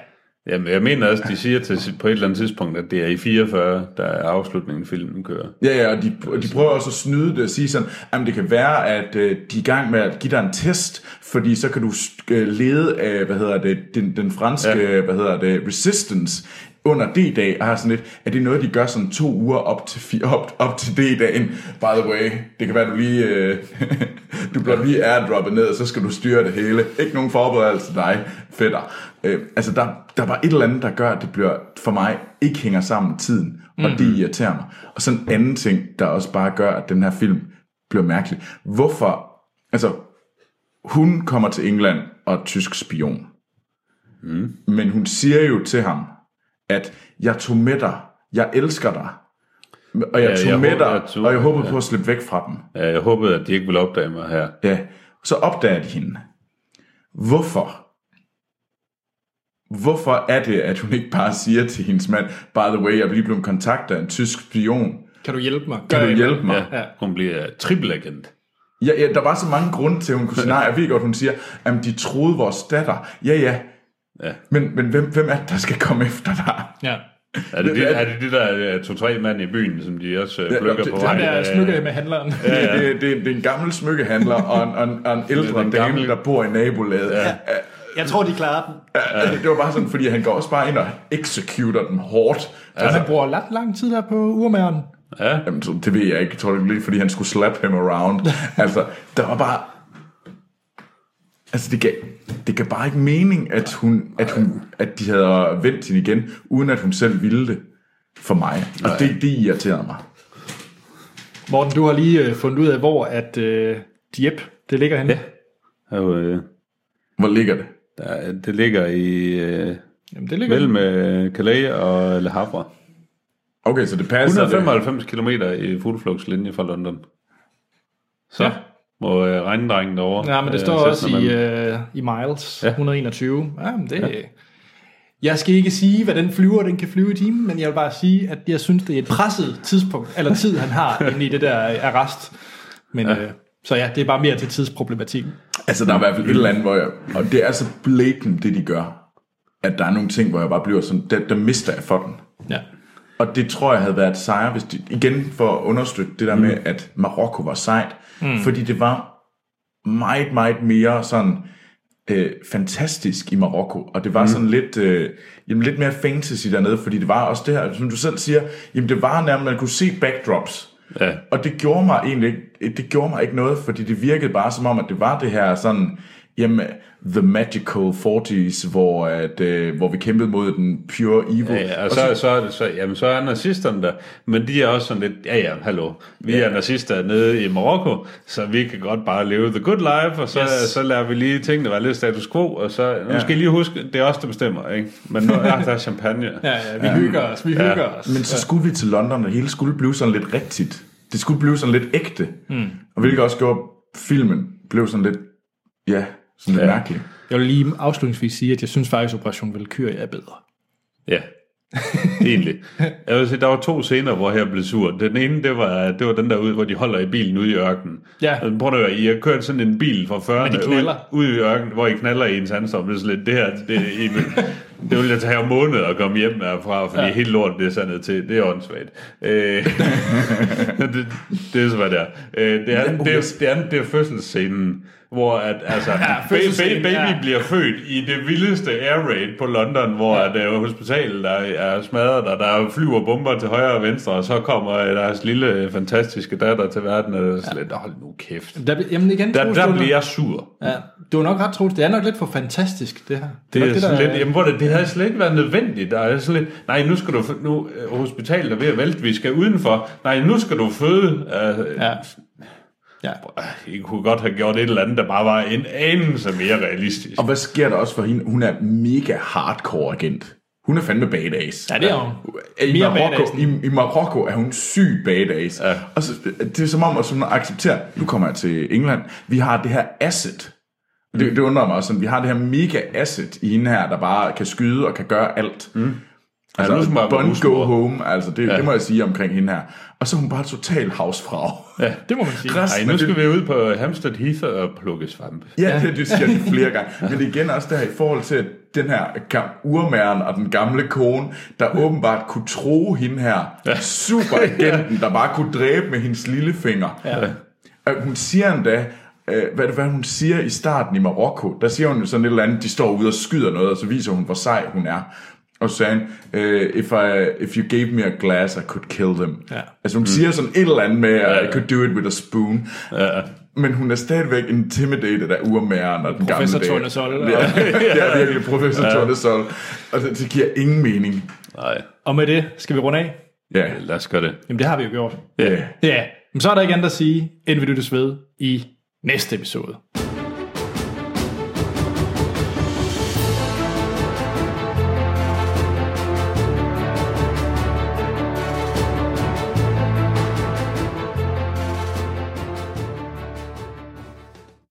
Speaker 3: Jamen, jeg mener også, de siger til, på et eller andet tidspunkt, at det er i 44, der er afslutningen, filmen kører.
Speaker 2: Ja, ja, og de, og de prøver også at snyde det og sige sådan, jamen det kan være, at øh, de er i gang med at give dig en test, fordi så kan du øh, lede af, hvad hedder det, den, den franske, ja. hvad hedder det, resistance under D-dag, og har sådan lidt, at det er noget, de gør sådan to uger op til, fi- op, op til D-dagen. By the way, det kan være, du lige, øh, du bliver lige airdroppet ned, og så skal du styre det hele. Ikke nogen forberedelse dig, fætter. Øh, altså, der, der var et eller andet, der gør, at det bliver, for mig, ikke hænger sammen tiden, og mm-hmm. det irriterer mig. Og sådan en anden ting, der også bare gør, at den her film bliver mærkelig. Hvorfor, altså, hun kommer til England og er tysk spion. Mm.
Speaker 3: Mm-hmm.
Speaker 2: Men hun siger jo til ham, at jeg tog med dig, jeg elsker dig, og jeg
Speaker 3: Ja,
Speaker 2: ja, tog
Speaker 3: jeg
Speaker 2: med
Speaker 3: håber,
Speaker 2: dig,
Speaker 3: jeg tog-
Speaker 2: og jeg håbede ja. på at slippe væk fra dem.
Speaker 3: Ja, Jeg håbede, at de ikke ville opdage mig her.
Speaker 2: Ja, så opdager de hende. Hvorfor? Hvorfor er det, at hun ikke bare siger til hendes mand, by the way, jeg er lige blevet kontaktet af en tysk spion,
Speaker 1: Kan du hjælpe mig?
Speaker 2: kan
Speaker 1: Gør
Speaker 2: du
Speaker 1: jeg-
Speaker 2: hjælpe mig?
Speaker 3: Ja, hun bliver trippelagent.
Speaker 2: Ja, ja, der var så mange grunde til, at hun kunne sige nej. Jeg ved godt, hun siger, at de troede vores datter. Ja, ja.
Speaker 3: Ja.
Speaker 2: Men, men hvem, hvem er det, der skal komme efter dig?
Speaker 1: Ja.
Speaker 3: Er det,
Speaker 2: Men-
Speaker 3: det, er det de der øh, to-tre mand i byen, som de også øh,
Speaker 2: Ja,
Speaker 3: plukker
Speaker 2: det-
Speaker 3: på
Speaker 2: det-
Speaker 1: Ham
Speaker 3: vej?
Speaker 1: der
Speaker 3: Øh,
Speaker 1: smykker med handleren.
Speaker 2: Ja, ja. Det, det, det er en gammel smykkehandler og en, og en, og en ældre
Speaker 3: den
Speaker 2: dame,
Speaker 3: gamle-
Speaker 2: der bor i nabolaget. Ja.
Speaker 1: Jeg tror, de klarer den.
Speaker 2: Det var bare sådan, fordi han går også bare ind og executer dem hårdt. Ja.
Speaker 1: Altså, han bruger ret lang tid der på urmæren.
Speaker 3: Ja,
Speaker 2: Jamen, så- det ved jeg ikke. Jeg tror, det er lidt, fordi han skulle slap him around. altså, der var bare... Altså, det gav, det gav bare ikke mening, at, hun, at, hun, at de havde vendt hende igen, uden at hun selv ville det for mig. Og det, det irriterede mig.
Speaker 1: Morten, du har lige øh, fundet ud af, hvor at øh, Dieppe, det ligger henne.
Speaker 3: Ja. og, øh,
Speaker 2: Hvor ligger det?
Speaker 3: der, det ligger i øh,
Speaker 1: Jamen, det ligger
Speaker 3: mellem øh, Calais og Le Havre.
Speaker 2: Okay, så Altså, det passer. det.
Speaker 3: 195 km i fugleflugtslinje fra London. Så
Speaker 1: Ja.
Speaker 3: ja. må øh, regndrengen derovre.
Speaker 1: Ja, men det
Speaker 3: øh,
Speaker 1: står
Speaker 3: sætte
Speaker 1: også
Speaker 3: sig
Speaker 1: i,
Speaker 3: mellem.
Speaker 1: øh, i miles, ja.
Speaker 3: Ja.
Speaker 1: 121. Ja, men det... Ja. Jeg skal ikke sige, hvad den flyver, den kan flyve i timen, men jeg vil bare sige, at jeg synes, det er et presset tidspunkt, eller tid, han har inde i det der øh, arrest. Men, ja. Øh, så ja, det er bare mere til tidsproblematikken.
Speaker 2: Altså, der er i hvert fald et eller andet, hvor jeg... Og det er så blatant, det de gør. At der er nogle ting, hvor jeg bare bliver sådan... Der, der mister jeg for den.
Speaker 1: Ja.
Speaker 2: Og det tror jeg havde været sejre, hvis de, igen for at understøtte det der mm. med, at Marokko var sejt. Mm. Fordi det var meget, meget mere sådan øh, fantastisk i Marokko. Og det var mm. sådan lidt, øh, jamen lidt mere fantasy dernede, fordi det var også det her, som du selv siger, jamen det var nærmest, man kunne se backdrops.
Speaker 3: Ja.
Speaker 2: Og det gjorde mig egentlig ikke, det gjorde mig ikke noget, fordi det virkede bare som om, at det var det her sådan, jamen, the magical 40s, hvor, at, øh, hvor vi kæmpede mod den pure evil.
Speaker 3: Ja, ja, og så, så, er det så, jamen, så er nazisterne der, men de er også sådan lidt, ja ja, hallo, vi ja. er nazister nede i Marokko, så vi kan godt bare leve the good life, og så, yes. så lader vi lige tingene være lidt status quo, og så, nu
Speaker 2: Ja.
Speaker 3: skal I lige huske, det er os, der bestemmer, ikke? Men nu ja, der er champagne.
Speaker 1: Ja, ja, vi ja. hygger os, vi ja. hygger os.
Speaker 2: Men så skulle vi til London, og det hele skulle blive sådan lidt rigtigt. Det skulle blive sådan lidt ægte. Mm. Og hvilket også gjorde, at filmen blev sådan lidt, ja, sådan lidt ja. mærkelig.
Speaker 1: Jeg vil lige afslutningsvis sige, at jeg synes faktisk, Operation Valkyrie er bedre.
Speaker 3: Ja, egentlig. Jeg vil sige, der var to scener, hvor jeg blev sur. Den ene, det var, det var den der ud, hvor de holder i bilen ude i ørkenen.
Speaker 1: Ja.
Speaker 3: Men Prøv at høre, I har kørt sådan en bil fra 40
Speaker 1: Men de knaller.
Speaker 3: ud, ud, i ørkenen, hvor I knaller i en sandstorm. Det er sådan lidt, det her, det, I, vil- det ville jeg tage måneder at komme hjem herfra, fordi ja. hele lortet det er sandet til. Det er åndssvagt. Øh, det, det, er så, hvad det er. Øh, det, andet, det, er- det, andet, det er fødselsscenen, hvor at, altså, ba- ba-
Speaker 1: fødselsscenen,
Speaker 3: baby
Speaker 1: ja.
Speaker 3: bliver bliver født i det vildeste air raid på London, hvor ja. at, uh, hospitalet der er smadret, og der flyver bomber til højre og venstre, og så kommer øh, deres lille øh, fantastiske datter til verden, og det er slet, hold nu kæft.
Speaker 1: Der, jamen igen,
Speaker 3: Der,
Speaker 1: Troels,
Speaker 3: der
Speaker 1: du er
Speaker 3: bliver
Speaker 1: nok-
Speaker 3: jeg sur.
Speaker 1: Ja, du er nok ret, Troels. Det er nok lidt for fantastisk, det her.
Speaker 3: Det,
Speaker 1: nok
Speaker 3: er sådan
Speaker 1: der-
Speaker 3: lidt, jamen, hvor det, det havde slet ikke været nødvendigt. Der er sådan lidt, nej, nu skal du, fø- nu øh, hospitalet er ved at vælte, vi skal udenfor. Nej, nu skal du føde. Uh,
Speaker 1: Ja. Ja.
Speaker 3: I kunne godt have gjort et eller andet, der bare var en anelse mere realistisk.
Speaker 2: Og hvad sker der også for hende? Hun er mega hardcore agent. Hun er fandme badass.
Speaker 1: Ja, det er hun.
Speaker 2: I
Speaker 1: Mere
Speaker 2: Marokko,
Speaker 1: badass
Speaker 2: i, I Marokko er hun syg badass. Ja. Og så, det er som om, at hun accepterer, nu kommer jeg til England, vi har det her asset. Det, det undrer mig også sådan, vi har det her mega asset i hende her, der bare kan skyde og kan gøre alt. Mm. Altså,
Speaker 3: nu skal man
Speaker 2: ja,
Speaker 3: være
Speaker 2: Bond
Speaker 3: husmor.
Speaker 2: go home, altså det, ja. det må jeg sige omkring hende her. Og så er hun bare total havsfrag. Ja.
Speaker 1: Det må man sige.
Speaker 3: Nej, nu skal vi ud på Hampstead Heath og plukke svampe.
Speaker 2: Ja, det, det siger de flere gange. Men det er igen også der i forhold til, at den her gam- urmæren og den gamle kone, der åbenbart kunne tro hende her, superagenten, der bare kunne dræbe med hendes lillefinger. Ja. Hun siger endda, øh, hvad, er det, hvad hun siger i starten i Marokko, der siger hun jo sådan et eller andet, de står ude og skyder noget, og så viser hun, hvor sej hun er. Og så sagde han, øh, if, I, if you gave me a glass, I could kill them. Ja. Altså hun mm. siger sådan et eller andet med, I could do it with a spoon. Ja. Men hun er stadigvæk intimidated af urmæren og den
Speaker 1: Professor
Speaker 2: gamle dame.
Speaker 1: Tornesol.
Speaker 2: Ja, det er virkelig professor ja. Tornesol. Og det, det giver ingen mening.
Speaker 3: Nej,
Speaker 1: Og med det skal vi runde af.
Speaker 2: Ja,
Speaker 3: lad os gøre det.
Speaker 1: Jamen det har vi jo gjort.
Speaker 2: ja.
Speaker 1: Ja, men så er der ikke andet at sige, end vi lyttes ved i næste episode.